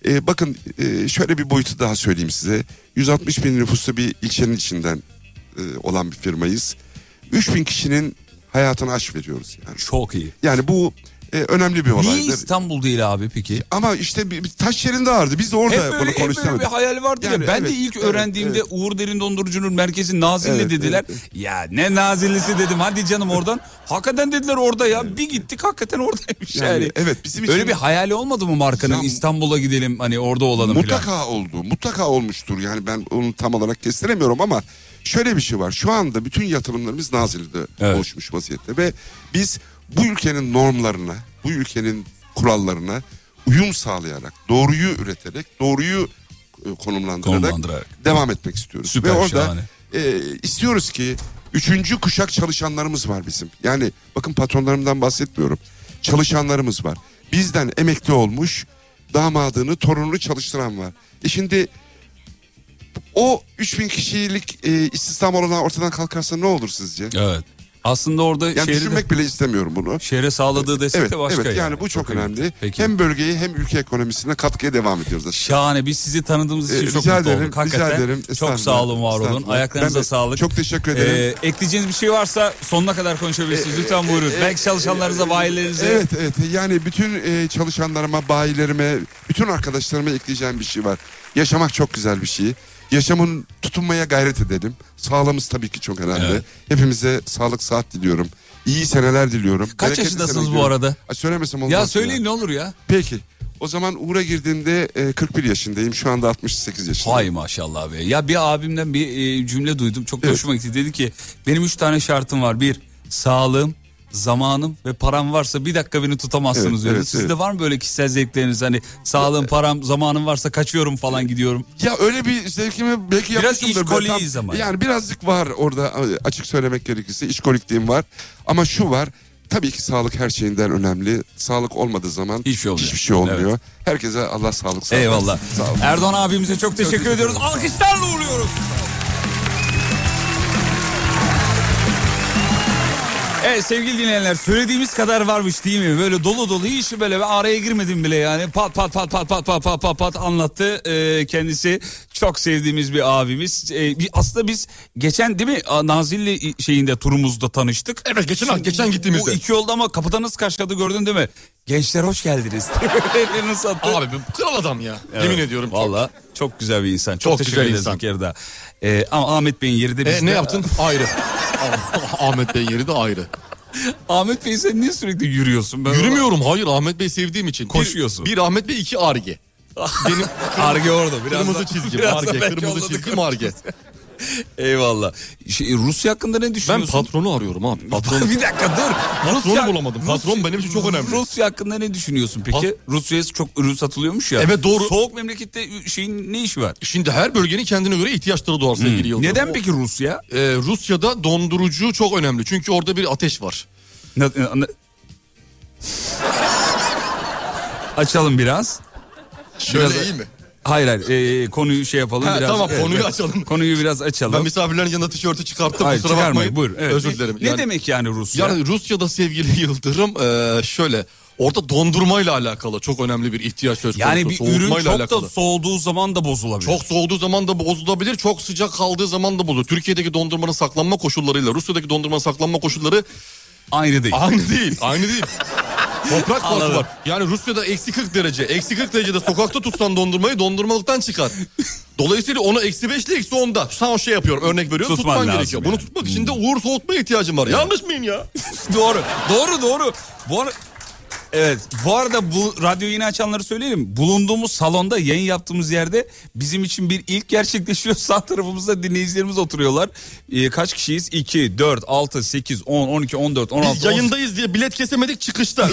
[SPEAKER 9] E, bakın e, şöyle bir boyutu daha söyleyeyim size. 160 bin nüfuslu bir ilçenin içinden e, olan bir firmayız. 3000 kişinin hayatına aş veriyoruz yani.
[SPEAKER 1] Çok iyi.
[SPEAKER 9] Yani bu e, önemli bir olaydır.
[SPEAKER 1] Niye İstanbul değil abi peki?
[SPEAKER 9] Ama işte bir, bir taş yerinde ağırdı. Biz de orada
[SPEAKER 1] hep böyle,
[SPEAKER 9] bunu
[SPEAKER 1] hep böyle
[SPEAKER 9] konuşamadık.
[SPEAKER 1] bir hayal vardı
[SPEAKER 9] Yani
[SPEAKER 1] ya. Ben
[SPEAKER 9] evet,
[SPEAKER 1] de ilk
[SPEAKER 9] evet,
[SPEAKER 1] öğrendiğimde
[SPEAKER 9] evet.
[SPEAKER 1] Uğur Derin Dondurucu'nun merkezi Nazilli
[SPEAKER 9] Evet,
[SPEAKER 1] dediler. Ya ne Nazillisi dedim hadi canım oradan. Hakikaten dediler orada ya. Bir gittik hakikaten oradaymış yani.
[SPEAKER 9] Yani evet, bizim için-
[SPEAKER 1] Öyle bir hayali olmadı mı markanın
[SPEAKER 9] Ya-
[SPEAKER 1] İstanbul'a gidelim hani orada olalım
[SPEAKER 9] mutlaka
[SPEAKER 1] falan.
[SPEAKER 9] oldu. Mutlaka olmuştur. Yani ben onu tam olarak kestiremiyorum ama şöyle bir şey var. Şu anda bütün yatırımlarımız Nazilli'de oluşmuş vaziyette ve biz bu ülkenin normlarına, bu ülkenin kurallarına uyum sağlayarak, doğruyu üreterek, doğruyu e, konumlandırarak,
[SPEAKER 1] Konumlandırarak.
[SPEAKER 9] devam etmek istiyoruz.
[SPEAKER 1] Süper,
[SPEAKER 9] ve orada
[SPEAKER 1] şahane.
[SPEAKER 9] e, istiyoruz ki üçüncü kuşak çalışanlarımız var bizim. Yani bakın patronlarımdan bahsetmiyorum. Çalışanlarımız var. Bizden emekli olmuş damadını, torununu çalıştıran var. E şimdi o 3000 kişilik e, istihdam oranı ortadan kalkarsa ne olur sizce?
[SPEAKER 1] Evet. Aslında orada
[SPEAKER 9] Yani
[SPEAKER 1] şehri de-
[SPEAKER 9] düşünmek bile istemiyorum bunu.
[SPEAKER 1] şehre sağladığı destek
[SPEAKER 9] Evet,
[SPEAKER 1] de başka
[SPEAKER 9] evet yani, bu çok, önemli.
[SPEAKER 1] Peki.
[SPEAKER 9] Hem bölgeye hem ülke ekonomisine katkıya devam ediyoruz. aslında.
[SPEAKER 1] Şahane biz sizi tanıdığımız için
[SPEAKER 9] Ee,
[SPEAKER 1] çok
[SPEAKER 9] rica
[SPEAKER 1] mutlu
[SPEAKER 9] ederim,
[SPEAKER 1] olduk.
[SPEAKER 9] rica
[SPEAKER 1] Hakikaten
[SPEAKER 9] ederim.
[SPEAKER 1] çok
[SPEAKER 9] Estağfurullah,
[SPEAKER 1] sağ olun var olun.
[SPEAKER 9] estağfurullah.
[SPEAKER 1] Ayaklarınıza
[SPEAKER 9] Ben de
[SPEAKER 1] sağlık.
[SPEAKER 9] çok teşekkür ederim. Ee, e,
[SPEAKER 1] Ee, ekleyeceğiniz bir şey varsa sonuna kadar konuşabilirsiniz. Lütfen buyurun. Belki çalışanlarınıza, bayilerinize.
[SPEAKER 9] Evet evet yani bütün e, çalışanlarıma, bayilerime, bütün arkadaşlarıma ekleyeceğim bir şey var. Yaşamak çok güzel bir şey. Yaşamın tutunmaya gayret edelim. Sağlığımız tabii ki çok önemli. Hepimize sağlık saat diliyorum. İyi seneler diliyorum.
[SPEAKER 1] Kaç
[SPEAKER 9] Bereketli
[SPEAKER 1] yaşındasınız
[SPEAKER 9] sene
[SPEAKER 1] bu
[SPEAKER 9] diliyorum.
[SPEAKER 1] arada?
[SPEAKER 9] Ay, söylemesem olmaz.
[SPEAKER 1] Ya
[SPEAKER 9] mı
[SPEAKER 1] söyleyin ne olur ya.
[SPEAKER 9] Peki. O zaman Uğur'a girdiğimde e, 41 yaşındayım. Şu anda 68 yaşındayım.
[SPEAKER 1] Hay maşallah abi. Ya bir abimden bir e, cümle duydum. Çok da hoşuma gitti. Dedi ki benim üç tane şartım var. Bir, sağlığım, zamanım ve param varsa bir dakika beni tutamazsınız
[SPEAKER 9] Evet,
[SPEAKER 1] diyordu.
[SPEAKER 9] evet,
[SPEAKER 1] Sizde
[SPEAKER 9] evet.
[SPEAKER 1] var mı böyle kişisel zevkleriniz? Hani sağlığım, param, zamanım varsa kaçıyorum falan gidiyorum.
[SPEAKER 9] Ya öyle bir zevkimi belki
[SPEAKER 1] Biraz
[SPEAKER 9] yapmışımdır. Ben tam-
[SPEAKER 1] işkoliyiz ama.
[SPEAKER 9] Yani birazcık var orada e, açık söylemek gerekirse işkolikliğim var. Ama şu var tabii ki sağlık her şeyinden önemli. Sağlık olmadığı zaman
[SPEAKER 1] Hiçbir şey olmuyor.
[SPEAKER 9] hiçbir şey olmuyor. Herkese Allah sağlık sağlık.
[SPEAKER 1] Eyvallah.
[SPEAKER 9] Sağ olun.
[SPEAKER 1] Erdoğan abimize çok teşekkür, ediyoruz. Alkışlarla uğurluyoruz. Evet sevgili dinleyenler söylediğimiz kadar varmış değil mi? Böyle dolu dolu hiç böyle bir araya girmedim bile yani. Pat pat pat pat pat pat pat pat pat anlattı. Ee, kendisi çok sevdiğimiz bir abimiz. Ee, bir, aslında biz geçen değil mi A- Nazilli şeyinde turumuzda tanıştık.
[SPEAKER 3] Evet, geçen hafta, geçen gittiğimizde.
[SPEAKER 1] Bu iki oldu ama kapıda nasıl karşıladı gördün değil mi? Gençler hoş geldiniz. Ellerini sattı.
[SPEAKER 3] Abi bu kral adam ya.
[SPEAKER 1] Evet,
[SPEAKER 3] Yemin ediyorum.
[SPEAKER 1] Valla çok güzel bir insan. Çok,
[SPEAKER 3] Çok
[SPEAKER 1] teşekkür
[SPEAKER 3] güzel
[SPEAKER 1] ederiz
[SPEAKER 3] insan.
[SPEAKER 1] bir kere daha. Ee, ama Ahmet Bey'in yeri de bizde.
[SPEAKER 3] E, ne yaptın? ayrı. Ahmet Bey'in yeri de ayrı.
[SPEAKER 1] Ahmet Bey sen niye sürekli yürüyorsun? Ben
[SPEAKER 3] Yürümüyorum hayır Ahmet Bey sevdiğim için. Bir-
[SPEAKER 1] Koşuyorsun.
[SPEAKER 3] Bir, Ahmet Bey iki arge. Benim
[SPEAKER 1] Arge orada. Biraz
[SPEAKER 3] kırmızı
[SPEAKER 1] da-
[SPEAKER 3] çizgim
[SPEAKER 1] biraz da
[SPEAKER 3] arge.
[SPEAKER 1] belki
[SPEAKER 3] Kırmızı
[SPEAKER 1] onunla da
[SPEAKER 3] çizgim arge.
[SPEAKER 1] Eyvallah. Şey, Rusya hakkında ne
[SPEAKER 3] Ben
[SPEAKER 1] düşünüyorsun?
[SPEAKER 3] patronu arıyorum abi. Patronu.
[SPEAKER 1] bir dakika dur.
[SPEAKER 3] Patronu bulamadım. Patron benim için çok önemli.
[SPEAKER 1] Rusya hakkında ne düşünüyorsun peki?
[SPEAKER 3] Pat-
[SPEAKER 1] Rusya'ya çok ürün satılıyormuş ya.
[SPEAKER 3] Evet, doğru.
[SPEAKER 1] Soğuk memlekette şeyin ne işi var?
[SPEAKER 3] Şimdi her bölgenin kendine göre ihtiyaçları doğar sevgili Yıldırım.
[SPEAKER 1] Neden
[SPEAKER 3] O-
[SPEAKER 1] peki Rusya?
[SPEAKER 3] e, Rusya'da dondurucu çok önemli. Çünkü orada bir ateş var.
[SPEAKER 1] Ne- ne- ne- Açalım biraz.
[SPEAKER 3] Şöyle
[SPEAKER 1] Biraz-
[SPEAKER 3] iyi mi?
[SPEAKER 1] Hayır hayır Ee, konuyu şey yapalım
[SPEAKER 3] Ha,
[SPEAKER 1] biraz.
[SPEAKER 3] tamam,
[SPEAKER 1] Evet,
[SPEAKER 3] konuyu
[SPEAKER 1] evet.
[SPEAKER 3] açalım.
[SPEAKER 1] Konuyu biraz açalım.
[SPEAKER 3] Ben misafirlerin yanında tişörtü çıkarttım
[SPEAKER 1] Hayır
[SPEAKER 3] kusura
[SPEAKER 1] çıkarmayın
[SPEAKER 3] bakmayın.
[SPEAKER 1] buyur. Evet.
[SPEAKER 3] Özür dilerim.
[SPEAKER 1] Ne,
[SPEAKER 3] Yani-
[SPEAKER 1] demek yani Rusya?
[SPEAKER 3] Yani Rusya'da sevgili Yıldırım e, şöyle orada dondurmayla alakalı çok önemli bir ihtiyaç söz konusu.
[SPEAKER 1] Yani bir ürün çok
[SPEAKER 3] Soğutmayla alakalı.
[SPEAKER 1] da soğuduğu zaman da bozulabilir.
[SPEAKER 3] çok soğuduğu zaman da bozulabilir, çok sıcak kaldığı zaman da bozulur. Türkiye'deki dondurmanın saklanma koşullarıyla Rusya'daki dondurmanın saklanma koşulları
[SPEAKER 1] aynı değil.
[SPEAKER 3] aynı değil, aynı değil. Toprak farkı
[SPEAKER 1] Anladım.
[SPEAKER 3] var. Yani Rusya'da eksi 40 derece, eksi 40 derecede sokakta tutsan dondurmayı dondurmalıktan çıkar. Dolayısıyla onu eksi 5 ile eksi 10'da sana şey yapıyorum örnek veriyorum
[SPEAKER 1] Tutman
[SPEAKER 3] tutman,
[SPEAKER 1] lazım
[SPEAKER 3] gerekiyor.
[SPEAKER 1] yani. Hmm.
[SPEAKER 3] Bunu tutmak için de uğur soğutma ihtiyacım var. Yanlış mıyım ya?
[SPEAKER 1] doğru. Doğru doğru. Bu ara- Evet bu arada bu radyo yine açanları söyleyelim. Bulunduğumuz salonda yayın yaptığımız yerde bizim için bir ilk gerçekleşiyor. Sağ tarafımızda dinleyicilerimiz oturuyorlar. Ee, kaç kişiyiz? 2, 4, 6, 8, 10, 12, 14, 16,
[SPEAKER 3] Biz yayındayız diye bilet kesemedik çıkışta.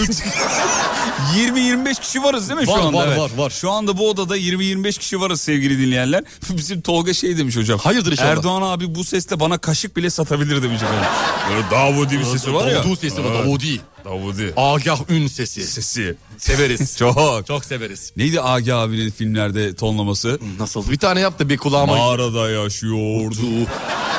[SPEAKER 1] 20-25 kişi varız değil mi
[SPEAKER 3] Var,
[SPEAKER 1] şu anda?
[SPEAKER 3] var,
[SPEAKER 1] Evet.
[SPEAKER 3] var, var.
[SPEAKER 1] Şu anda bu odada 20-25 kişi varız sevgili dinleyenler. Bizim Tolga şey demiş hocam.
[SPEAKER 3] Hayırdır inşallah.
[SPEAKER 1] Erdoğan abi bu sesle bana kaşık bile satabilir demiş efendim. Böyle Davudi bir sesi var ya.
[SPEAKER 3] Davudi sesi var.
[SPEAKER 1] Evet,
[SPEAKER 3] Davudi.
[SPEAKER 1] Davudi.
[SPEAKER 3] Agah ün sesi.
[SPEAKER 1] Sesi.
[SPEAKER 3] Severiz.
[SPEAKER 1] Çok.
[SPEAKER 3] Çok severiz.
[SPEAKER 1] Neydi Agi abinin filmlerde tonlaması?
[SPEAKER 3] Nasıl? Bir tane yap da bir kulağıma...
[SPEAKER 1] Mağarada yaşıyordu.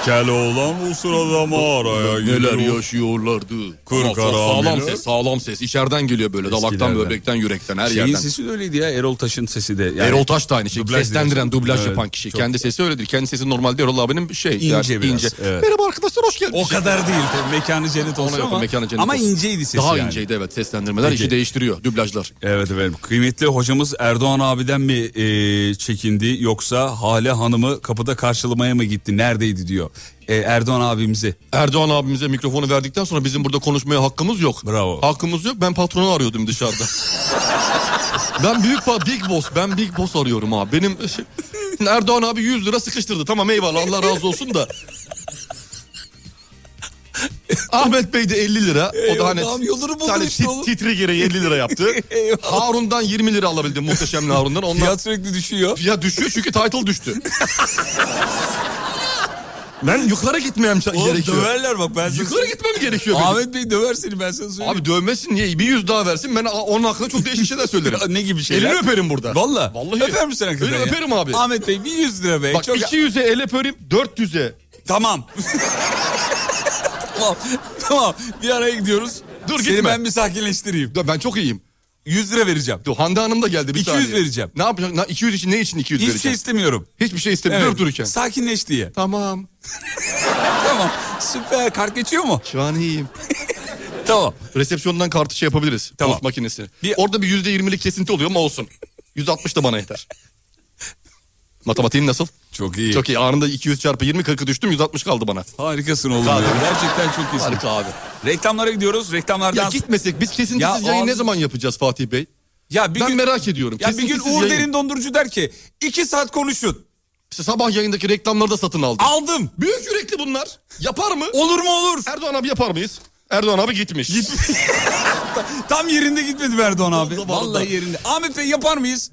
[SPEAKER 1] Keloğlan o sırada mağaraya
[SPEAKER 3] Neler
[SPEAKER 1] girer.
[SPEAKER 3] yaşıyorlardı.
[SPEAKER 1] Kırk
[SPEAKER 3] Ama sa- Sağlam
[SPEAKER 1] haramiler.
[SPEAKER 3] ses, sağlam ses. İçeriden geliyor böyle dalaktan,
[SPEAKER 1] Eskilerden.
[SPEAKER 3] böbrekten, yürekten, her
[SPEAKER 1] Şeyin
[SPEAKER 3] yerden.
[SPEAKER 1] sesi de öyleydi ya Erol Taş'ın sesi de. Yani
[SPEAKER 3] Erol Taş da aynı şey.
[SPEAKER 1] dublaj
[SPEAKER 3] Seslendiren,
[SPEAKER 1] diyorsun.
[SPEAKER 3] dublaj
[SPEAKER 1] Evet,
[SPEAKER 3] yapan kişi.
[SPEAKER 1] çok-
[SPEAKER 3] Kendi sesi öyledir. Kendi sesi normalde Erol abinin şey.
[SPEAKER 1] İnce
[SPEAKER 3] yani,
[SPEAKER 1] biraz, evet.
[SPEAKER 3] Merhaba arkadaşlar hoş geldiniz.
[SPEAKER 1] O kadar değil tabii mekanı cennet olsun
[SPEAKER 3] Ona yakın
[SPEAKER 1] ama,
[SPEAKER 3] mekanı cennet
[SPEAKER 1] ama
[SPEAKER 3] olsun.
[SPEAKER 1] inceydi sesi
[SPEAKER 3] Daha
[SPEAKER 1] yani.
[SPEAKER 3] inceydi evet seslendirmeler
[SPEAKER 1] Peki.
[SPEAKER 3] işi değiştiriyor dublajlar.
[SPEAKER 1] Evet efendim. Kıymetli hocamız Erdoğan abiden mi e, çekindi yoksa Hale Hanım'ı kapıda karşılamaya mı gitti? Neredeydi diyor. E, Erdoğan abimizi.
[SPEAKER 3] Erdoğan abimize mikrofonu verdikten sonra bizim burada konuşmaya hakkımız yok.
[SPEAKER 1] Bravo.
[SPEAKER 3] Hakkımız yok ben patronu arıyordum dışarıda. ben büyük pa Big Boss ben Big Boss arıyorum abi. Benim Erdoğan abi 100 lira sıkıştırdı tamam eyvallah Allah razı olsun da. Ahmet Bey de 50 lira. o da hani
[SPEAKER 1] Eyvallah, yolunu buldun
[SPEAKER 3] hani
[SPEAKER 1] işte
[SPEAKER 3] tit-
[SPEAKER 1] oğlum.
[SPEAKER 3] titri gereği 50 lira yaptı. Harun'dan 20 lira alabildim muhteşem Harun'dan. Ondan
[SPEAKER 1] Fiyat sürekli düşüyor.
[SPEAKER 3] ya düşüyor çünkü title düştü. ben yukarı gitmem sa-
[SPEAKER 1] Oğlum
[SPEAKER 3] gerekiyor.
[SPEAKER 1] döverler bak ben sana
[SPEAKER 3] Yukarı gitmem gerekiyor benim.
[SPEAKER 1] Ahmet Bey döver seni ben sana söyleyeyim.
[SPEAKER 3] Abi dövmesin niye? Bir yüz daha versin ben a- onun hakkında çok değişik şeyler söylerim.
[SPEAKER 1] ne gibi şeyler?
[SPEAKER 3] Elini öperim burada.
[SPEAKER 1] Valla.
[SPEAKER 3] Vallahi.
[SPEAKER 1] Öper misin hakikaten
[SPEAKER 3] Öyle
[SPEAKER 1] ya?
[SPEAKER 3] öperim abi.
[SPEAKER 1] Ahmet Bey bir 100 lira be.
[SPEAKER 3] Bak
[SPEAKER 1] Çok...
[SPEAKER 3] 200'e el öperim 400'e.
[SPEAKER 1] Tamam. tamam. Tamam. Bir araya gidiyoruz.
[SPEAKER 3] Dur,
[SPEAKER 1] Seni
[SPEAKER 3] gitme.
[SPEAKER 1] ben bir sakinleştireyim.
[SPEAKER 3] Ya Ben çok iyiyim.
[SPEAKER 1] 100 lira vereceğim.
[SPEAKER 3] Dur Hande Hanım da geldi bir
[SPEAKER 1] 200
[SPEAKER 3] saniye.
[SPEAKER 1] vereceğim.
[SPEAKER 3] Ne yapacak? Na- 200 için ne için 200
[SPEAKER 1] Hiçbir şey
[SPEAKER 3] vereceğim?
[SPEAKER 1] istemiyorum.
[SPEAKER 3] Hiçbir şey istemiyorum.
[SPEAKER 1] Evet.
[SPEAKER 3] Durup dururken.
[SPEAKER 1] Sakinleş diye.
[SPEAKER 3] Tamam.
[SPEAKER 1] Tamam. Süper. Kart geçiyor mu?
[SPEAKER 3] Şu an iyiyim.
[SPEAKER 1] Tamam.
[SPEAKER 3] Resepsiyondan kartı şey yapabiliriz.
[SPEAKER 1] Tamam.
[SPEAKER 3] Post makinesi.
[SPEAKER 1] Bir-
[SPEAKER 3] Orada bir yüzde yirmilik kesinti oluyor ama olsun. 160 da bana yeter. Matematiğin nasıl?
[SPEAKER 1] Çok iyi.
[SPEAKER 3] Çok iyi. Anında 200 çarpı 20 40'ı düştüm 160 kaldı bana.
[SPEAKER 1] Harikasın oğlum.
[SPEAKER 3] Harika.
[SPEAKER 1] ya. Gerçekten çok iyisin.
[SPEAKER 3] Harika abi.
[SPEAKER 1] Reklamlara gidiyoruz. Reklamlardan...
[SPEAKER 3] Ya
[SPEAKER 1] Ya,
[SPEAKER 3] gitmesek biz kesintisiz
[SPEAKER 1] Ya
[SPEAKER 3] yayın
[SPEAKER 1] abi-
[SPEAKER 3] ne zaman yapacağız Fatih Bey?
[SPEAKER 1] bir
[SPEAKER 3] ben
[SPEAKER 1] gün...
[SPEAKER 3] merak ediyorum.
[SPEAKER 1] Ya bir gün
[SPEAKER 3] Kesintisiz
[SPEAKER 1] Uğur
[SPEAKER 3] yayın.
[SPEAKER 1] Derin Dondurucu der ki iki saat konuşun.
[SPEAKER 3] İşte sabah yayındaki reklamları da satın aldım.
[SPEAKER 1] Aldım.
[SPEAKER 3] Büyük yürekli bunlar. Yapar mı?
[SPEAKER 1] Olur mu olur.
[SPEAKER 3] Erdoğan abi yapar mıyız? Erdoğan abi gitmiş.
[SPEAKER 1] Tam yerinde gitmedi Erdoğan abi.
[SPEAKER 3] Zamanında.
[SPEAKER 1] Vallahi yerinde. Ahmet Bey yapar mıyız?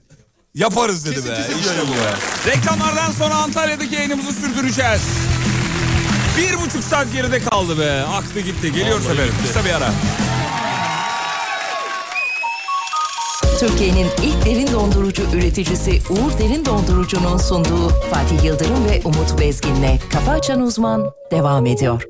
[SPEAKER 1] Yaparız dedi be.
[SPEAKER 3] Kesintisiz
[SPEAKER 1] İşte
[SPEAKER 3] yayın
[SPEAKER 1] bu be. Reklamlardan sonra Antalya'daki yayınımızı sürdüreceğiz. Bir buçuk saat geride kaldı be. Aktı gitti. Geliyoruz efendim. Kısa bir ara.
[SPEAKER 2] Türkiye'nin ilk derin dondurucu üreticisi Uğur Derin Dondurucu'nun sunduğu Fatih Yıldırım ve Umut Bezgin'le Kafa Açan Uzman devam ediyor.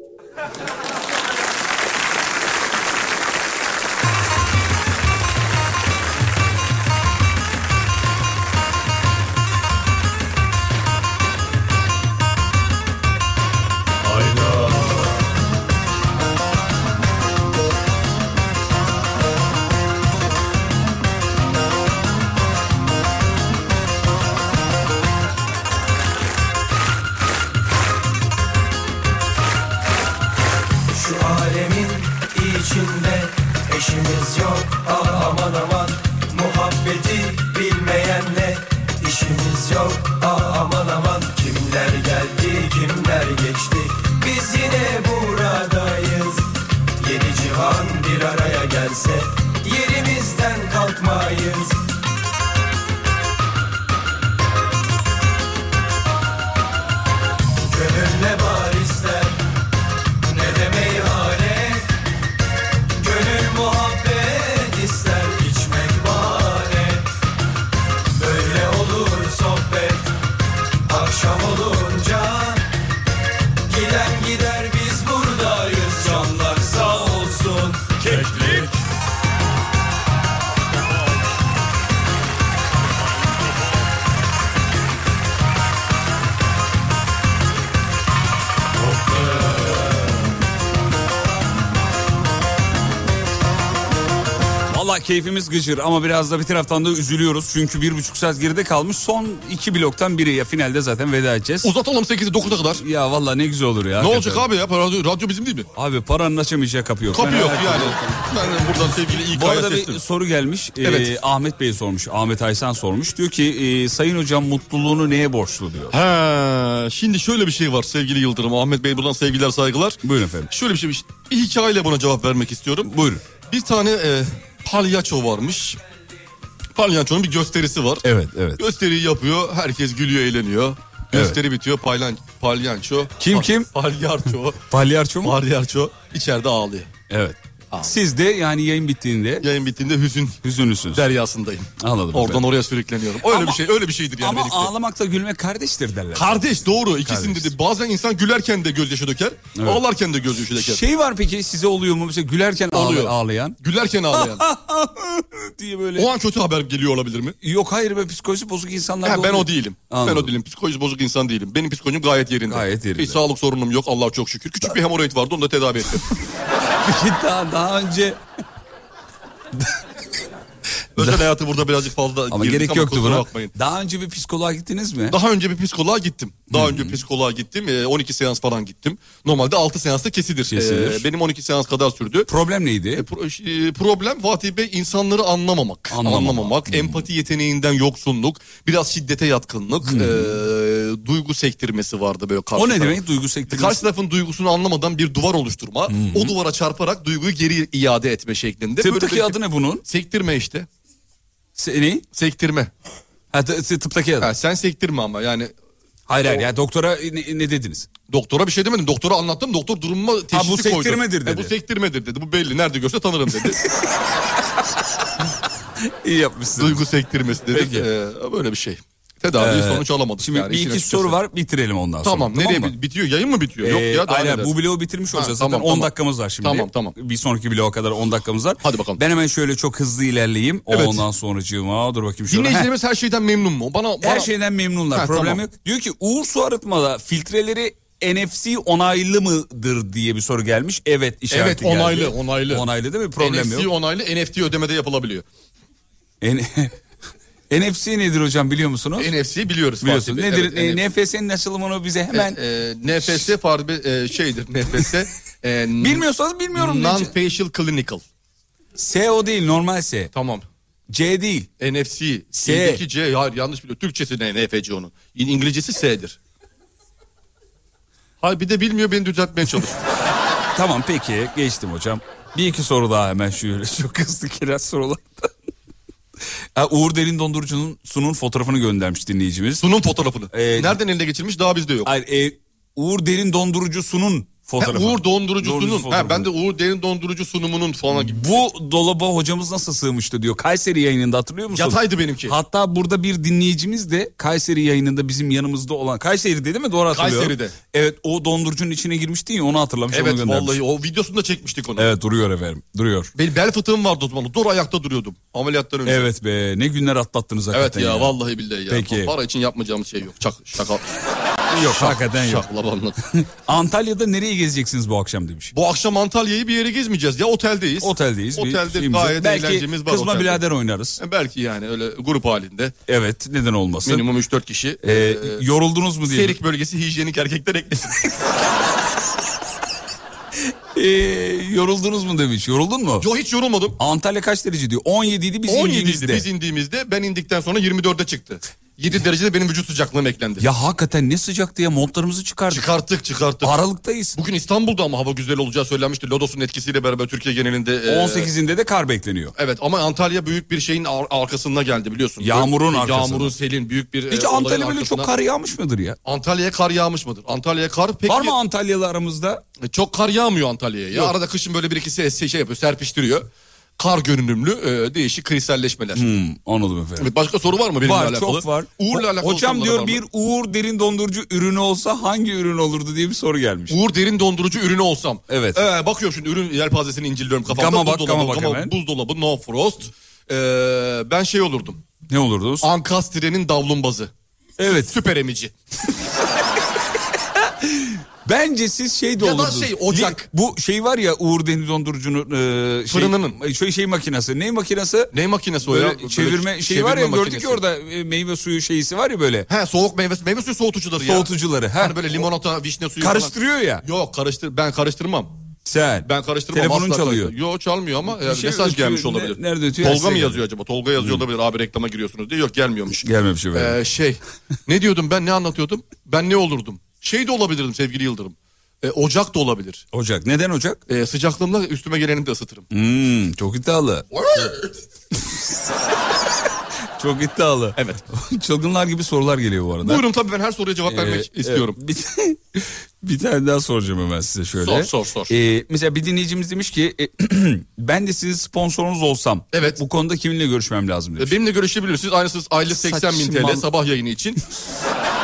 [SPEAKER 10] Şu alemin içinde eşimiz yok ah aman aman Muhabbeti bilmeyenle işimiz yok ah aman aman Kimler geldi kimler geçti biz yine buradayız Yedi cihan bir araya gelse yerimizden kalkmayız Gönül ne var ister ne de meyhane Gönül muhabbet ister içmek bahane Böyle olur sohbet akşam olunca Giden gider biz buradayız canlar sağ olsun Keklik
[SPEAKER 1] Valla keyfimiz gıcır ama biraz da bir taraftan da üzülüyoruz. Çünkü bir buçuk saat geride kalmış. Son iki bloktan biri ya finalde zaten veda edeceğiz.
[SPEAKER 3] Uzatalım 8'i 9'a kadar.
[SPEAKER 1] ya valla ne güzel olur ya.
[SPEAKER 3] Ne
[SPEAKER 1] hakikaten.
[SPEAKER 3] olacak abi ya? Radyo, radyo bizim değil mi?
[SPEAKER 1] Abi paranın açamayacağı kapı yok.
[SPEAKER 3] Kapı
[SPEAKER 1] Ben
[SPEAKER 3] yok
[SPEAKER 1] merak
[SPEAKER 3] yani.
[SPEAKER 1] ediyorum.
[SPEAKER 3] Ben buradan sevgili
[SPEAKER 1] Bu
[SPEAKER 3] İK'ya
[SPEAKER 1] arada bir
[SPEAKER 3] seslenim.
[SPEAKER 1] soru gelmiş. Ee,
[SPEAKER 3] Evet.
[SPEAKER 1] Ahmet Bey sormuş. Ahmet Aysan sormuş. Diyor ki e, sayın hocam mutluluğunu neye borçlu diyor.
[SPEAKER 3] He, şimdi şöyle bir şey var sevgili Yıldırım. Ahmet Bey buradan sevgiler saygılar.
[SPEAKER 1] Buyurun efendim.
[SPEAKER 3] Şöyle bir şey bir- bir hikayeyle buna cevap vermek istiyorum.
[SPEAKER 1] Buyurun.
[SPEAKER 3] Bir tane e, palyaço varmış. Palyaçonun bir gösterisi var.
[SPEAKER 1] Evet evet.
[SPEAKER 3] Gösteriyi yapıyor, herkes gülüyor, eğleniyor. Gösteri bitiyor, paylan, palyaço.
[SPEAKER 1] Kim,
[SPEAKER 3] pa-
[SPEAKER 1] kim?
[SPEAKER 3] Palyaço.
[SPEAKER 1] Palyaço mu?
[SPEAKER 3] palyaço içeride ağlıyor.
[SPEAKER 1] Evet. Siz de yani yayın bittiğinde
[SPEAKER 3] Yayın bittiğinde hüzün
[SPEAKER 1] hüzünlüsünüz.
[SPEAKER 3] deryasındayım.
[SPEAKER 1] Anladım.
[SPEAKER 3] Oradan oraya sürükleniyorum. Öyle
[SPEAKER 1] Ama-
[SPEAKER 3] bir şey, öyle bir şeydir yani
[SPEAKER 1] Ama
[SPEAKER 3] benimki.
[SPEAKER 1] ağlamakla gülmek kardeştir derler.
[SPEAKER 3] Kardeş doğru ikisinde
[SPEAKER 1] Kardeş.
[SPEAKER 3] de bazen insan gülerken de gözyaşı döker, ağlarken de gözyaşı döker.
[SPEAKER 1] şey var peki size oluyor mu? Mesela gülerken
[SPEAKER 3] Oluyor.
[SPEAKER 1] ağla- ağlayan
[SPEAKER 3] Gülerken ağlayan.
[SPEAKER 1] diye böyle.
[SPEAKER 3] o an kötü haber geliyor olabilir mi?
[SPEAKER 1] Yok hayır be psikolojisi bozuk insanlar
[SPEAKER 3] Ha,
[SPEAKER 1] da
[SPEAKER 3] ben
[SPEAKER 1] oluyor.
[SPEAKER 3] o değilim. Ben
[SPEAKER 1] Anladım.
[SPEAKER 3] o değilim. Psikoloji bozuk insan değilim. Benim psikolojim gayet yerinde.
[SPEAKER 1] Gayet yerinde.
[SPEAKER 3] Hiç sağlık sorunum yok Allah'a çok şükür. Küçük bir hemoroid vardı onu da tedavi ettim.
[SPEAKER 1] Peki daha, daha önce
[SPEAKER 3] Özel hayatı burada birazcık fazla
[SPEAKER 1] ama
[SPEAKER 3] girdik
[SPEAKER 1] gerek yoktu
[SPEAKER 3] kusura
[SPEAKER 1] buna.
[SPEAKER 3] bakmayın.
[SPEAKER 1] Daha önce bir psikoloğa gittiniz mi?
[SPEAKER 3] Daha önce bir psikoloğa gittim. Daha önce psikoloğa gittim. Ee, 12 seans falan gittim. Normalde 6 seansta kesilir.
[SPEAKER 1] Kesilir.
[SPEAKER 3] Ee, Benim 12 seans kadar sürdü.
[SPEAKER 1] Problem
[SPEAKER 3] E,
[SPEAKER 1] neydi?
[SPEAKER 3] pro- e, problem Fatih Bey insanları anlamamak.
[SPEAKER 1] Anlamamak.
[SPEAKER 3] Anlamamak. Empati yeteneğinden yoksunluk. Biraz şiddete yatkınlık. e, duygu sektirmesi vardı böyle karşı
[SPEAKER 1] O ne
[SPEAKER 3] taraf.
[SPEAKER 1] demek? Duygu sektirmesi.
[SPEAKER 3] Karşı tarafın duygusunu anlamadan bir duvar oluşturma. O duvara çarparak duyguyu geri iade etme şeklinde. Böyle
[SPEAKER 1] Tıptaki
[SPEAKER 3] bir- şey-
[SPEAKER 1] adı ne bunun?
[SPEAKER 3] Sektirme işte.
[SPEAKER 1] Seni?
[SPEAKER 3] Sektirme.
[SPEAKER 1] Ha, t- t- tıptaki adı.
[SPEAKER 3] Ha, sen sektirme ama yani
[SPEAKER 1] Hayır hayır ya doktora ne, ne dediniz?
[SPEAKER 3] Doktora bir şey demedim. Doktora anlattım. Doktor durumuma teşhisi koydu.
[SPEAKER 1] sektirmedir dedi.
[SPEAKER 3] E, bu sektirmedir dedi. Bu belli. Nerede görse tanırım dedi.
[SPEAKER 1] İyi yapmışsınız.
[SPEAKER 3] Duygu sektirmesi dedi.
[SPEAKER 1] Peki.
[SPEAKER 3] E, böyle bir şey. Tedavi
[SPEAKER 1] Ee,
[SPEAKER 3] sonuç alamadık.
[SPEAKER 1] Şimdi
[SPEAKER 3] yani
[SPEAKER 1] bir
[SPEAKER 3] işin
[SPEAKER 1] iki
[SPEAKER 3] açıkçası.
[SPEAKER 1] soru var bitirelim ondan sonra.
[SPEAKER 3] Tamam. nereye
[SPEAKER 1] mı?
[SPEAKER 3] bi- bitiyor? Yayın mı bitiyor?
[SPEAKER 1] Ee,
[SPEAKER 3] Yok ya daha
[SPEAKER 1] aynen
[SPEAKER 3] neler.
[SPEAKER 1] bu bloğu bitirmiş
[SPEAKER 3] Ha,
[SPEAKER 1] olacağız. Zaten
[SPEAKER 3] tamam,
[SPEAKER 1] 10
[SPEAKER 3] tamam.
[SPEAKER 1] dakiamız var şimdi.
[SPEAKER 3] Tamam, tamam.
[SPEAKER 1] Bir sonraki bloğa kadar 10 dakikamız var.
[SPEAKER 3] Hadi bakalım.
[SPEAKER 1] Ben hemen şöyle çok hızlı ilerleyeyim.
[SPEAKER 3] Evet.
[SPEAKER 1] Ondan sonracığıma dur bakayım şöyle.
[SPEAKER 3] Dinleyicilerimiz her şeyden memnun mu? Bana,
[SPEAKER 1] Her
[SPEAKER 3] bana-
[SPEAKER 1] şeyden memnunlar.
[SPEAKER 3] Ha,
[SPEAKER 1] Problem
[SPEAKER 3] tamam.
[SPEAKER 1] yok. Diyor ki Uğur su arıtmada filtreleri NFC onaylı mıdır diye bir soru gelmiş. Evet işareti
[SPEAKER 3] Evet, onaylı,
[SPEAKER 1] geldi.
[SPEAKER 3] onaylı.
[SPEAKER 1] Onaylı değil mi? Problem
[SPEAKER 3] NFC
[SPEAKER 1] yok.
[SPEAKER 3] onaylı NFT ödemede yapılabiliyor.
[SPEAKER 1] En- NFC nedir hocam biliyor musunuz?
[SPEAKER 3] NFC'yi biliyoruz.
[SPEAKER 1] Biliyorsun.
[SPEAKER 3] Fatih Bey.
[SPEAKER 1] Nedir?
[SPEAKER 3] Evet,
[SPEAKER 1] E,
[SPEAKER 3] NFC.
[SPEAKER 1] NFS'nin açılımını bize hemen
[SPEAKER 3] Evet, e, NFS Fatih Bey, e, şeydir NFS. e,
[SPEAKER 1] bilmiyorsanız bilmiyorum.
[SPEAKER 3] Non
[SPEAKER 1] diyecek.
[SPEAKER 3] facial clinical.
[SPEAKER 1] S o değil normal S.
[SPEAKER 3] Tamam.
[SPEAKER 1] C değil.
[SPEAKER 3] NFC.
[SPEAKER 1] S.
[SPEAKER 3] S'deki C. Hayır yanlış biliyor. Türkçesi ne? NFC onun. İn- İngilizcesi S'dir. Hayır bir de bilmiyor beni düzeltmeye çalışıyor.
[SPEAKER 1] Tamam peki geçtim hocam. Bir iki soru daha hemen şöyle çok hızlı kiraz sorulardan. Ha, Uğur Derin Dondurucu'nun sunun fotoğrafını göndermiş dinleyicimiz.
[SPEAKER 3] Sunum fotoğrafını.
[SPEAKER 1] Ee,
[SPEAKER 3] Nereden eline geçirmiş daha bizde yok.
[SPEAKER 1] Hayır, e, Uğur Derin Dondurucu sunun
[SPEAKER 3] Ha,
[SPEAKER 1] fotoğrafı.
[SPEAKER 3] Uğur
[SPEAKER 1] Dondurucu
[SPEAKER 3] dondurucusunun.
[SPEAKER 1] fotoğrafı.
[SPEAKER 3] Ha, ben de Uğur derin dondurucu sunumunun falan gibi.
[SPEAKER 1] Bu dolaba hocamız nasıl sığmıştı diyor. Kayseri yayınında hatırlıyor musun?
[SPEAKER 3] Yataydı benimki.
[SPEAKER 1] Hatta burada bir dinleyicimiz de Kayseri yayınında bizim yanımızda olan. Kayseri'de değil mi? Doğru hatırlıyorum.
[SPEAKER 3] Kayseri'de.
[SPEAKER 1] Evet o dondurucunun içine girmiştin ya onu hatırlamış. onu
[SPEAKER 3] Evet
[SPEAKER 1] göndermiş.
[SPEAKER 3] vallahi o videosunu da çekmiştik onu.
[SPEAKER 1] Evet duruyor efendim duruyor.
[SPEAKER 3] Benim bel fıtığım vardı o zaman. Dur ayakta duruyordum ameliyattan önce.
[SPEAKER 1] Evet be ne günler atlattınız hakikaten
[SPEAKER 3] Evet ya, vallahi billahi ya.
[SPEAKER 1] Peki.
[SPEAKER 3] Para için yapmayacağımız şey yok. Çak, şaka.
[SPEAKER 1] Yok hakikaten yok.
[SPEAKER 3] Şaklabanlık.
[SPEAKER 1] Antalya'da nereye gezeceksiniz bu akşam demiş.
[SPEAKER 3] Bu akşam Antalya'yı bir yere gezmeyeceğiz ya oteldeyiz.
[SPEAKER 1] Oteldeyiz. bir
[SPEAKER 3] Otelde
[SPEAKER 1] şeyimiz yok.
[SPEAKER 3] gayet
[SPEAKER 1] Belki
[SPEAKER 3] eğlencemiz var.
[SPEAKER 1] kızma
[SPEAKER 3] otelde.
[SPEAKER 1] birader oynarız.
[SPEAKER 3] E, Belki yani öyle grup halinde
[SPEAKER 1] Evet neden olmasın.
[SPEAKER 3] minimum 3-4 kişi.
[SPEAKER 1] Ee,
[SPEAKER 3] Ee,
[SPEAKER 1] yoruldunuz mu diye.
[SPEAKER 3] Serik bölgesi hijyenik erkekler eklesin.
[SPEAKER 1] Ee, yoruldunuz mu demiş. Yoruldun mu?
[SPEAKER 3] Yo hiç yorulmadım.
[SPEAKER 1] Antalya kaç derece diyor. 17 idi biz
[SPEAKER 3] 17
[SPEAKER 1] 17
[SPEAKER 3] idi biz indiğimizde ben indikten sonra 24'e çıktı. 7 derecede benim vücut sıcaklığım eklendi.
[SPEAKER 1] Ya hakikaten ne sıcaktı ya montlarımızı çıkardık.
[SPEAKER 3] Çıkarttık çıkarttık.
[SPEAKER 1] Aralıktayız.
[SPEAKER 3] Bugün İstanbul'da ama hava güzel olacağı söylenmişti. Lodos'un etkisiyle beraber Türkiye genelinde.
[SPEAKER 1] Ee,
[SPEAKER 3] e,
[SPEAKER 1] 18'inde de kar bekleniyor.
[SPEAKER 3] Evet ama Antalya büyük bir şeyin ar- arkasında geldi biliyorsun.
[SPEAKER 1] Yağmurun
[SPEAKER 3] Böyle-
[SPEAKER 1] arkasında.
[SPEAKER 3] Yağmurun, selin büyük bir
[SPEAKER 1] Hiç
[SPEAKER 3] e, olayın
[SPEAKER 1] Antalya böyle çok
[SPEAKER 3] arkasında-
[SPEAKER 1] kar yağmış mıdır ya?
[SPEAKER 3] Antalya'ya kar yağmış mıdır? Antalya'ya kar pek
[SPEAKER 1] Var mı Antalyalı aramızda?
[SPEAKER 3] E, Çok kar yağmıyor Antalya'ya. Ya. Arada kışın böyle bir ikisi es- şey yapıyor, serpiştiriyor. Kar görünümlü e, değişik kristalleşmeler.
[SPEAKER 1] Hmm, anladım efendim.
[SPEAKER 3] Evet, Başka soru var mı benimle
[SPEAKER 1] Var
[SPEAKER 3] alakalı?
[SPEAKER 1] çok var.
[SPEAKER 3] Uğur'la
[SPEAKER 1] Ho-
[SPEAKER 3] alakalı
[SPEAKER 1] Hocam
[SPEAKER 3] sorular var
[SPEAKER 1] diyor
[SPEAKER 3] mı?
[SPEAKER 1] bir Uğur derin dondurucu ürünü olsa hangi ürün olurdu diye bir soru gelmiş.
[SPEAKER 3] Uğur derin dondurucu ürünü olsam.
[SPEAKER 1] Evet.
[SPEAKER 3] Ee, bakıyorum şimdi ürün yelpazesini inceliyorum kafamda.
[SPEAKER 1] Gama bak,
[SPEAKER 3] Buzdolabı,
[SPEAKER 1] gama bak hemen.
[SPEAKER 3] Buzdolabı, no frost. Ee, ben şey olurdum.
[SPEAKER 1] Ne olurdu?
[SPEAKER 3] Ankastre'nin davlumbazı.
[SPEAKER 1] Evet.
[SPEAKER 3] Süper emici.
[SPEAKER 1] Bence siz şey de
[SPEAKER 3] Ya da
[SPEAKER 1] olurdunuz.
[SPEAKER 3] şey, ocak.
[SPEAKER 1] Bu şey var ya Uğur Deniz Dondurucu'nun e, şey,
[SPEAKER 3] Fırınının.
[SPEAKER 1] Şey, şey makinesi. Ne makinesi?
[SPEAKER 3] Ne makinesi o
[SPEAKER 1] Böyle
[SPEAKER 3] ya? Böyle
[SPEAKER 1] çevirme şey var ya
[SPEAKER 3] çevirme
[SPEAKER 1] gördük
[SPEAKER 3] makinesi.
[SPEAKER 1] ya orada e, meyve suyu şeysi var ya böyle.
[SPEAKER 3] He soğuk meyve, meyve suyu soğutucuları ya.
[SPEAKER 1] Soğutucuları. Ha.
[SPEAKER 3] Hani böyle limonata, vişne suyu falan.
[SPEAKER 1] Karıştırıyor ya.
[SPEAKER 3] Yok karıştır ben karıştırmam.
[SPEAKER 1] Sen.
[SPEAKER 3] Ben karıştırmam.
[SPEAKER 1] Telefonun
[SPEAKER 3] asla
[SPEAKER 1] çalıyor.
[SPEAKER 3] karıştırmam. Yok çalmıyor ama yani
[SPEAKER 1] şey
[SPEAKER 3] mesaj
[SPEAKER 1] ötüyor.
[SPEAKER 3] gelmiş
[SPEAKER 1] Ne-
[SPEAKER 3] olabilir.
[SPEAKER 1] nerede ötüyor?
[SPEAKER 3] Tolga mı
[SPEAKER 1] Size
[SPEAKER 3] yazıyor acaba? Tolga yazıyor olabilir abi reklama giriyorsunuz diye. Yok gelmiyormuş.
[SPEAKER 1] Gelmemiş efendim.
[SPEAKER 3] Ee, şey ne diyordum ben ne anlatıyordum? Ben ne olurdum? Şey de olabilirdim sevgili Yıldırım. Ee, ocak da olabilir.
[SPEAKER 1] Ocak. Neden ocak?
[SPEAKER 3] Ee, sıcaklığımla üstüme geleni de ısıtırım.
[SPEAKER 1] Hmm, çok iddialı. Çok iddialı.
[SPEAKER 3] Evet.
[SPEAKER 1] Çılgınlar gibi sorular geliyor bu arada.
[SPEAKER 3] Buyurun tabii ben her soruya cevap
[SPEAKER 1] Ee,
[SPEAKER 3] vermek
[SPEAKER 1] e,
[SPEAKER 3] istiyorum.
[SPEAKER 1] bir, Bir tane daha soracağım hemen size şöyle.
[SPEAKER 3] Sor, sor, sor.
[SPEAKER 1] Ee, mesela bir dinleyicimiz demiş ki e, ben de sizin sponsorunuz olsam. Evet. Bu konuda kiminle görüşmem lazım demiş.
[SPEAKER 3] Ee, Benimle görüşebilirsiniz. Aynısı aylık 80 bin
[SPEAKER 1] Saçmal-
[SPEAKER 3] TL sabah yayını için.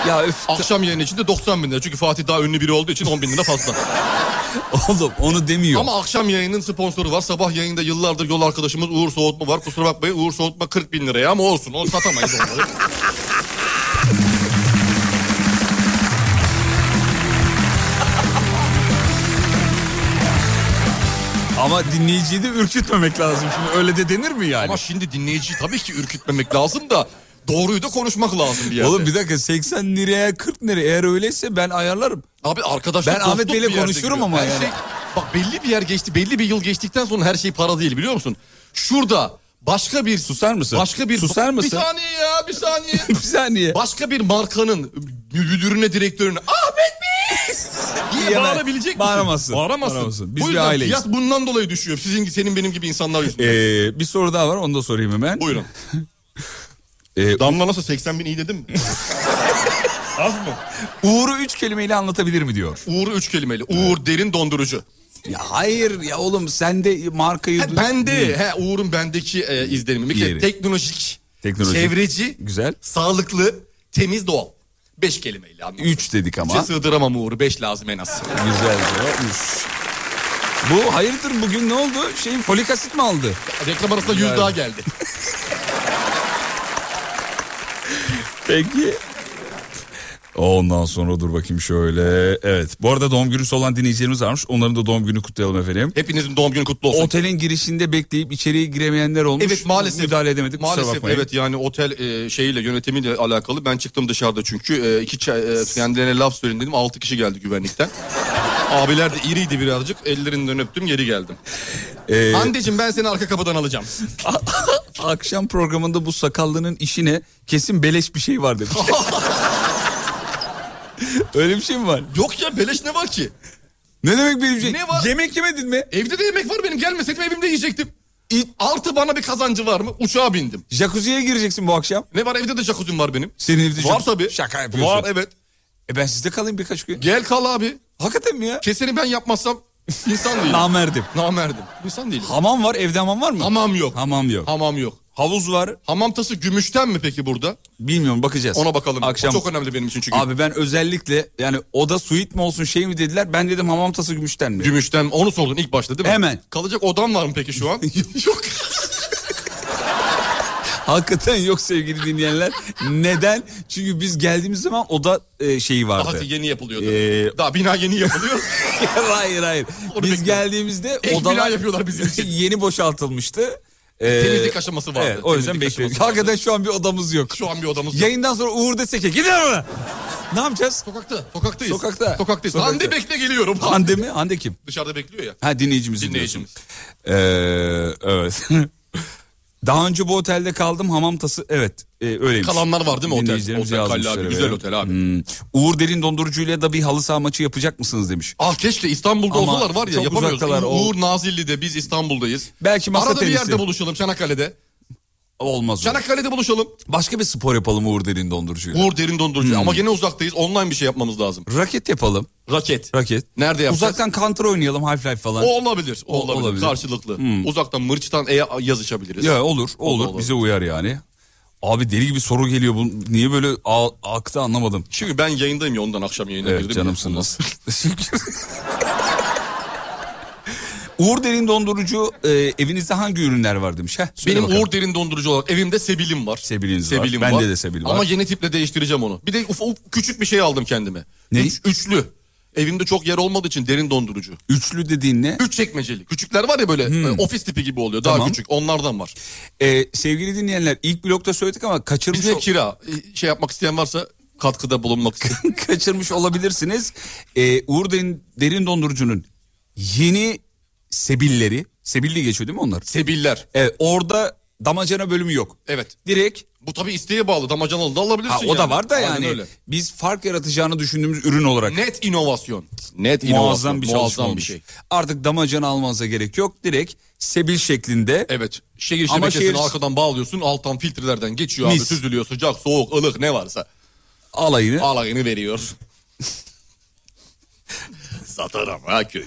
[SPEAKER 1] ya öf.
[SPEAKER 3] Akşam yayını için de 90 bin lira. Çünkü Fatih daha ünlü biri olduğu için 10 bin lira fazla.
[SPEAKER 1] Oğlum onu demiyor.
[SPEAKER 3] Ama akşam yayının sponsoru var. Sabah yayında yıllardır yol arkadaşımız Uğur Soğutma var. Kusura bakmayın Uğur Soğutma 40 bin liraya ama olsun. Onu satamayız onları.
[SPEAKER 1] Ama dinleyiciyi de ürkütmemek lazım. Şimdi öyle de denir mi yani?
[SPEAKER 3] ama şimdi dinleyiciyi tabii ki ürkütmemek lazım da doğruyu da konuşmak lazım bir yerde.
[SPEAKER 1] Oğlum bir dakika 80 liraya 40 liraya eğer öyleyse ben ayarlarım.
[SPEAKER 3] Abi arkadaşlar
[SPEAKER 1] Ben Ahmet Bey'le konuşurum ama yani.
[SPEAKER 3] şey- bak belli bir yer geçti, belli bir yıl geçtikten sonra her şey para değil biliyor musun? Şurada başka bir
[SPEAKER 1] Susar mısın?
[SPEAKER 3] başka bir
[SPEAKER 1] Susar mısın?
[SPEAKER 3] Bir saniye ya, bir saniye.
[SPEAKER 1] bir saniye.
[SPEAKER 3] başka bir markanın müdürüne, direktörüne Ahmet Bey diye
[SPEAKER 1] Diyemez.
[SPEAKER 3] bağırabilecek misin?
[SPEAKER 1] Bağıramazsın.
[SPEAKER 3] Bağıramazsın.
[SPEAKER 1] Bağıramazsın. Biz
[SPEAKER 3] Bu
[SPEAKER 1] bir
[SPEAKER 3] yüzden
[SPEAKER 1] aileyiz.
[SPEAKER 3] fiyat bundan dolayı düşüyor. Sizin senin benim gibi insanlar yüzünden.
[SPEAKER 1] Ee, bir soru daha var onu da sorayım hemen.
[SPEAKER 3] Buyurun.
[SPEAKER 1] Ee,
[SPEAKER 3] Damla nasıl 80 bin iyi dedim mi? Az mı?
[SPEAKER 1] Uğur'u üç kelimeyle anlatabilir mi diyor.
[SPEAKER 3] Uğur üç kelimeli. Uğur derin dondurucu.
[SPEAKER 1] Ya hayır ya oğlum sen de markayı...
[SPEAKER 3] He, bende he Uğur'un bendeki e, izlenimi. Bir kere
[SPEAKER 1] E, Yeri.
[SPEAKER 3] teknolojik,
[SPEAKER 1] Teknolojik.
[SPEAKER 3] çevreci,
[SPEAKER 1] Güzel.
[SPEAKER 3] sağlıklı, temiz doğal. Beş kelimeyle anladım.
[SPEAKER 1] Üç dedik ama.
[SPEAKER 3] Üçe sığdıramam Uğur'u. Beş lazım en az.
[SPEAKER 1] Güzel diyor. Üf. Bu hayırdır bugün ne oldu? Şey folik asit mi aldı?
[SPEAKER 3] Reklam arasında yüz
[SPEAKER 1] Yani.
[SPEAKER 3] daha geldi.
[SPEAKER 1] Peki. Ondan sonra dur bakayım şöyle. Evet. Bu arada doğum günüsü olan dinleyicilerimiz varmış. Onların da doğum günü kutlayalım efendim.
[SPEAKER 3] Hepinizin doğum günü kutlu olsun.
[SPEAKER 1] Otelin girişinde bekleyip içeriye giremeyenler olmuş.
[SPEAKER 3] Evet maalesef.
[SPEAKER 1] Müdahale edemedik kusura
[SPEAKER 3] Maalesef
[SPEAKER 1] bakmayın.
[SPEAKER 3] evet yani otel e, şeyiyle yönetimiyle alakalı. Ben çıktım dışarıda çünkü e, iki çay- e, kendilerine laf söyleyin dedim. Altı kişi geldi güvenlikten. Abiler de iriydi birazcık. Ellerinden öptüm geri geldim.
[SPEAKER 1] Ee,
[SPEAKER 3] Andeciğim ben seni arka kapıdan alacağım.
[SPEAKER 1] akşam programında bu sakallının işine kesin beleş bir şey var demiş. Öyle bir şey mi var?
[SPEAKER 3] Yok ya beleş ne var ki?
[SPEAKER 1] Ne demek bir şey?
[SPEAKER 3] Ne var?
[SPEAKER 1] Yemek yemedin mi?
[SPEAKER 3] Evde de yemek var benim gelmeseydim evimde yiyecektim. İ- Artı bana bir kazancı var mı? Uçağa bindim.
[SPEAKER 1] Jacuzziye gireceksin bu akşam.
[SPEAKER 3] Ne var evde de jacuzzi'm var benim.
[SPEAKER 1] Senin evde
[SPEAKER 3] Var
[SPEAKER 1] jacuzzi-
[SPEAKER 3] tabii.
[SPEAKER 1] Şaka yapıyorsun.
[SPEAKER 3] Var evet.
[SPEAKER 1] E ben sizde kalayım birkaç gün.
[SPEAKER 3] Gel kal abi.
[SPEAKER 1] Hakikaten mi ya?
[SPEAKER 3] Keseni ben yapmazsam insan değilim.
[SPEAKER 1] Namerdim.
[SPEAKER 3] Namerdim. İnsan değilim.
[SPEAKER 1] Hamam var evde hamam var mı?
[SPEAKER 3] Hamam yok.
[SPEAKER 1] Hamam yok.
[SPEAKER 3] Hamam yok.
[SPEAKER 1] Havuz var.
[SPEAKER 3] Hamam tası gümüşten mi peki burada?
[SPEAKER 1] Bilmiyorum bakacağız.
[SPEAKER 3] Ona bakalım.
[SPEAKER 1] Akşam.
[SPEAKER 3] O çok önemli benim için çünkü.
[SPEAKER 1] Abi ben özellikle yani oda suit mi olsun şey mi dediler. Ben dedim hamam tası gümüşten mi?
[SPEAKER 3] Gümüşten onu sordun ilk başta değil mi?
[SPEAKER 1] Hemen.
[SPEAKER 3] Kalacak odam var mı peki şu an? yok.
[SPEAKER 1] Hakikaten yok sevgili dinleyenler. Neden? Çünkü biz geldiğimiz zaman oda e, şeyi
[SPEAKER 3] Daha
[SPEAKER 1] vardı.
[SPEAKER 3] yeni yapılıyordu.
[SPEAKER 1] Ee,
[SPEAKER 3] Daha bina yeni yapılıyor.
[SPEAKER 1] hayır hayır.
[SPEAKER 3] Onu
[SPEAKER 1] biz
[SPEAKER 3] bekliyorum.
[SPEAKER 1] geldiğimizde
[SPEAKER 3] Ek bina
[SPEAKER 1] odalar
[SPEAKER 3] yapıyorlar bizim için.
[SPEAKER 1] yeni boşaltılmıştı. Ee,
[SPEAKER 3] Temizlik aşaması vardı.
[SPEAKER 1] Evet, o yüzden
[SPEAKER 3] Temizlik
[SPEAKER 1] bekliyoruz.
[SPEAKER 3] aşaması vardı.
[SPEAKER 1] Hakikaten şu an bir odamız yok.
[SPEAKER 3] Şu an bir odamız yok.
[SPEAKER 1] Yayından sonra Uğur desek ki gidin ona. Ne yapacağız?
[SPEAKER 3] Sokakta. Sokaktayız.
[SPEAKER 1] Sokakta.
[SPEAKER 3] Sokaktayız.
[SPEAKER 1] Sokakta.
[SPEAKER 3] Hande bekle geliyorum.
[SPEAKER 1] Hande mi? Hande kim?
[SPEAKER 3] Dışarıda bekliyor ya.
[SPEAKER 1] Ha dinleyicimiz.
[SPEAKER 3] Dinleyicimiz.
[SPEAKER 1] Ee, evet. Daha önce bu otelde kaldım hamam tası evet e, öyleymiş.
[SPEAKER 3] Kalanlar var değil mi otel?
[SPEAKER 1] Dinleyicilerimiz
[SPEAKER 3] Otel
[SPEAKER 1] yazmış
[SPEAKER 3] Kalle abi,
[SPEAKER 1] öyle.
[SPEAKER 3] güzel otel abi.
[SPEAKER 1] Hmm. Uğur Derin dondurucuyla da bir halı saha maçı yapacak mısınız demiş.
[SPEAKER 3] Ah keşke İstanbul'da
[SPEAKER 1] Ama
[SPEAKER 3] olsalar var ya
[SPEAKER 1] çok
[SPEAKER 3] yapamıyoruz.
[SPEAKER 1] uzaktalar, o-
[SPEAKER 3] Uğur Nazilli'de biz İstanbul'dayız.
[SPEAKER 1] Belki masa
[SPEAKER 3] Arada bir
[SPEAKER 1] tenisi.
[SPEAKER 3] yerde buluşalım Çanakkale'de.
[SPEAKER 1] Olmaz o.
[SPEAKER 3] Çanakkale'de buluşalım.
[SPEAKER 1] Başka bir spor yapalım Uğur Derin dondurucuyla.
[SPEAKER 3] Uğur derin
[SPEAKER 1] Hmm.
[SPEAKER 3] dondurucu. Ama gene uzaktayız. Online bir şey yapmamız lazım.
[SPEAKER 1] Raket yapalım.
[SPEAKER 3] Raket.
[SPEAKER 1] Raket.
[SPEAKER 3] Nerede yapacağız?
[SPEAKER 1] Uzaktan counter oynayalım Half-Life falan.
[SPEAKER 3] O olabilir. O,
[SPEAKER 1] Hani- O
[SPEAKER 3] olabilir.
[SPEAKER 1] olabilir. Hmm.
[SPEAKER 3] Karşılıklı. Uzaktan mırçtan e yazışabiliriz.
[SPEAKER 1] Ya olur, olur.
[SPEAKER 3] olur.
[SPEAKER 1] Bize uyar yani. Abi deli gibi soru geliyor. Bu niye böyle a- aktı anlamadım.
[SPEAKER 3] Çünkü ben yayındayım ya ondan akşam yayına
[SPEAKER 1] Evet
[SPEAKER 3] girdim.
[SPEAKER 1] canımsınız. Uğur Derin Dondurucu e, evinizde hangi ürünler var demiş. Heh, söyle
[SPEAKER 3] Benim
[SPEAKER 1] bakalım.
[SPEAKER 3] Uğur derin dondurucu olarak evimde sebilim var.
[SPEAKER 1] Sebiliniz var. Bende de sebil var.
[SPEAKER 3] Ama yeni tiple değiştireceğim onu. Bir de uf, uf- küçük bir şey aldım kendime.
[SPEAKER 1] Ne?
[SPEAKER 3] Üç- üçlü. Evimde çok yer olmadığı için derin dondurucu.
[SPEAKER 1] Üçlü dediğin ne?
[SPEAKER 3] Üç çekmeceli. Küçükler var ya böyle e, ofis tipi gibi oluyor. Daha
[SPEAKER 1] Hmm. Tamam.
[SPEAKER 3] küçük. Onlardan var.
[SPEAKER 1] E, sevgili dinleyenler ilk blokta söyledik ama kaçırmış
[SPEAKER 3] Bize
[SPEAKER 1] ol-
[SPEAKER 3] kira e, şey yapmak isteyen varsa katkıda bulunmak isteyen.
[SPEAKER 1] kaçırmış olabilirsiniz. E, Uğur Derin, Derin Dondurucu'nun yeni sebilleri, sebilli geçiyor değil mi onlar?
[SPEAKER 3] Sebiller.
[SPEAKER 1] Evet, orada damacana bölümü yok.
[SPEAKER 3] Evet.
[SPEAKER 1] Direkt
[SPEAKER 3] Bu tabii isteğe bağlı. Damacanalı da alabilirsin.
[SPEAKER 1] Ha, o da
[SPEAKER 3] yani.
[SPEAKER 1] var da
[SPEAKER 3] Aynen
[SPEAKER 1] yani
[SPEAKER 3] öyle.
[SPEAKER 1] biz fark yaratacağını düşündüğümüz ürün olarak
[SPEAKER 3] Net inovasyon. Net
[SPEAKER 1] muazzam bir çalışma
[SPEAKER 3] muazzam bir
[SPEAKER 1] olmuş.
[SPEAKER 3] şey.
[SPEAKER 1] Artık damacana almanıza gerek yok. Direkt sebil şeklinde
[SPEAKER 3] Evet. Şehir
[SPEAKER 1] Ama
[SPEAKER 3] şebekesini
[SPEAKER 1] şehir-
[SPEAKER 3] arkadan bağlıyorsun. Alttan filtrelerden geçiyor abi.
[SPEAKER 1] Mis.
[SPEAKER 3] Süzülüyor sıcak, soğuk, ılık ne varsa.
[SPEAKER 1] alayını
[SPEAKER 3] Alayını veriyor. Satarım ha köyü.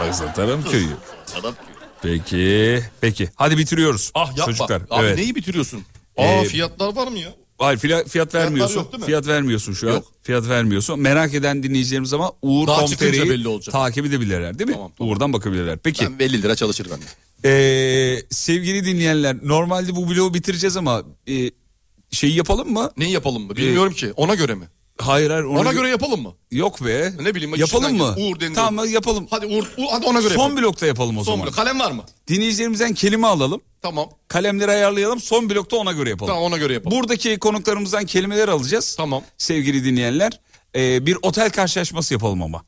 [SPEAKER 1] Bak satarım köyü.
[SPEAKER 3] Satarım
[SPEAKER 1] Peki. Peki. Hadi bitiriyoruz.
[SPEAKER 3] Ah yapma.
[SPEAKER 1] Çocuklar.
[SPEAKER 3] Abi
[SPEAKER 1] evet.
[SPEAKER 3] neyi bitiriyorsun? Aa
[SPEAKER 1] Ee,
[SPEAKER 3] fiyatlar var mı ya?
[SPEAKER 1] Hayır fila- fiyat, vermiyorsun.
[SPEAKER 3] yok değil mi?
[SPEAKER 1] Fiyat vermiyorsun şu an. Fiyat vermiyorsun. Merak eden dinleyicilerimiz ama Uğur
[SPEAKER 3] Daha çıkınca
[SPEAKER 1] Tomteri'yi
[SPEAKER 3] belli olacak.
[SPEAKER 1] takip edebilirler değil mi? Uğur'dan bakabilirler. Peki.
[SPEAKER 3] Ben 50 lira çalışır bende.
[SPEAKER 1] Ee, sevgili dinleyenler normalde bu bloğu bitireceğiz ama e, şeyi yapalım mı?
[SPEAKER 3] Neyi yapalım
[SPEAKER 1] Ee,
[SPEAKER 3] mı? Bilmiyorum ki. Ona göre mi?
[SPEAKER 1] Hayır hayır.
[SPEAKER 3] Ona göre yapalım mı?
[SPEAKER 1] Yok be.
[SPEAKER 3] Ne bileyim.
[SPEAKER 1] Yapalım
[SPEAKER 3] içinden
[SPEAKER 1] mı?
[SPEAKER 3] gel- Uğur denir.
[SPEAKER 1] Tamam yapalım.
[SPEAKER 3] Hadi Uğur, Uğur- hadi ona göre
[SPEAKER 1] Son
[SPEAKER 3] yapalım.
[SPEAKER 1] blokta yapalım o
[SPEAKER 3] Son
[SPEAKER 1] zaman.
[SPEAKER 3] blok. Kalem var mı?
[SPEAKER 1] Dinleyicilerimizden kelime alalım.
[SPEAKER 3] Tamam.
[SPEAKER 1] Kalemleri ayarlayalım. Son blokta ona göre yapalım.
[SPEAKER 3] Tamam, ona göre yapalım.
[SPEAKER 1] Buradaki konuklarımızdan kelimeler alacağız. Tamam. Sevgili dinleyenler. Ee, bir otel karşılaşması yapalım ama.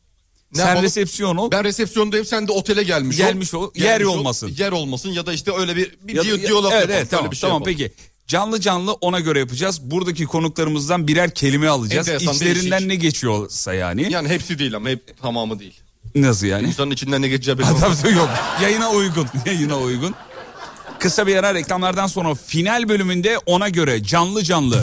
[SPEAKER 3] Ne
[SPEAKER 1] Sen
[SPEAKER 3] yapalım?
[SPEAKER 1] resepsiyon ol.
[SPEAKER 3] Ben resepsiyondayım sen de otele gelmiş ol.
[SPEAKER 1] Gelmiş ol. Yer olmasın.
[SPEAKER 3] Yer olmasın ya da işte öyle bir, bir
[SPEAKER 1] Ya-
[SPEAKER 3] diyor,
[SPEAKER 1] ya-
[SPEAKER 3] diyalog
[SPEAKER 1] evet,
[SPEAKER 3] yapalım.
[SPEAKER 1] evet, tamam,
[SPEAKER 3] öyle bir şey
[SPEAKER 1] tamam
[SPEAKER 3] yapalım.
[SPEAKER 1] peki. Canlı canlı ona göre yapacağız. Buradaki konuklarımızdan birer kelime alacağız.
[SPEAKER 3] Enteresan,
[SPEAKER 1] İçlerinden
[SPEAKER 3] değişik.
[SPEAKER 1] ne geçiyorsa yani.
[SPEAKER 3] Yani hepsi değil ama hep tamamı değil.
[SPEAKER 1] Nasıl yani?
[SPEAKER 3] İnsanın içinden ne geçeceği belli
[SPEAKER 1] Adam
[SPEAKER 3] olmaz.
[SPEAKER 1] da yok. Yayına uygun. Yayına uygun. Kısa bir ara reklamlardan sonra final bölümünde ona göre canlı canlı.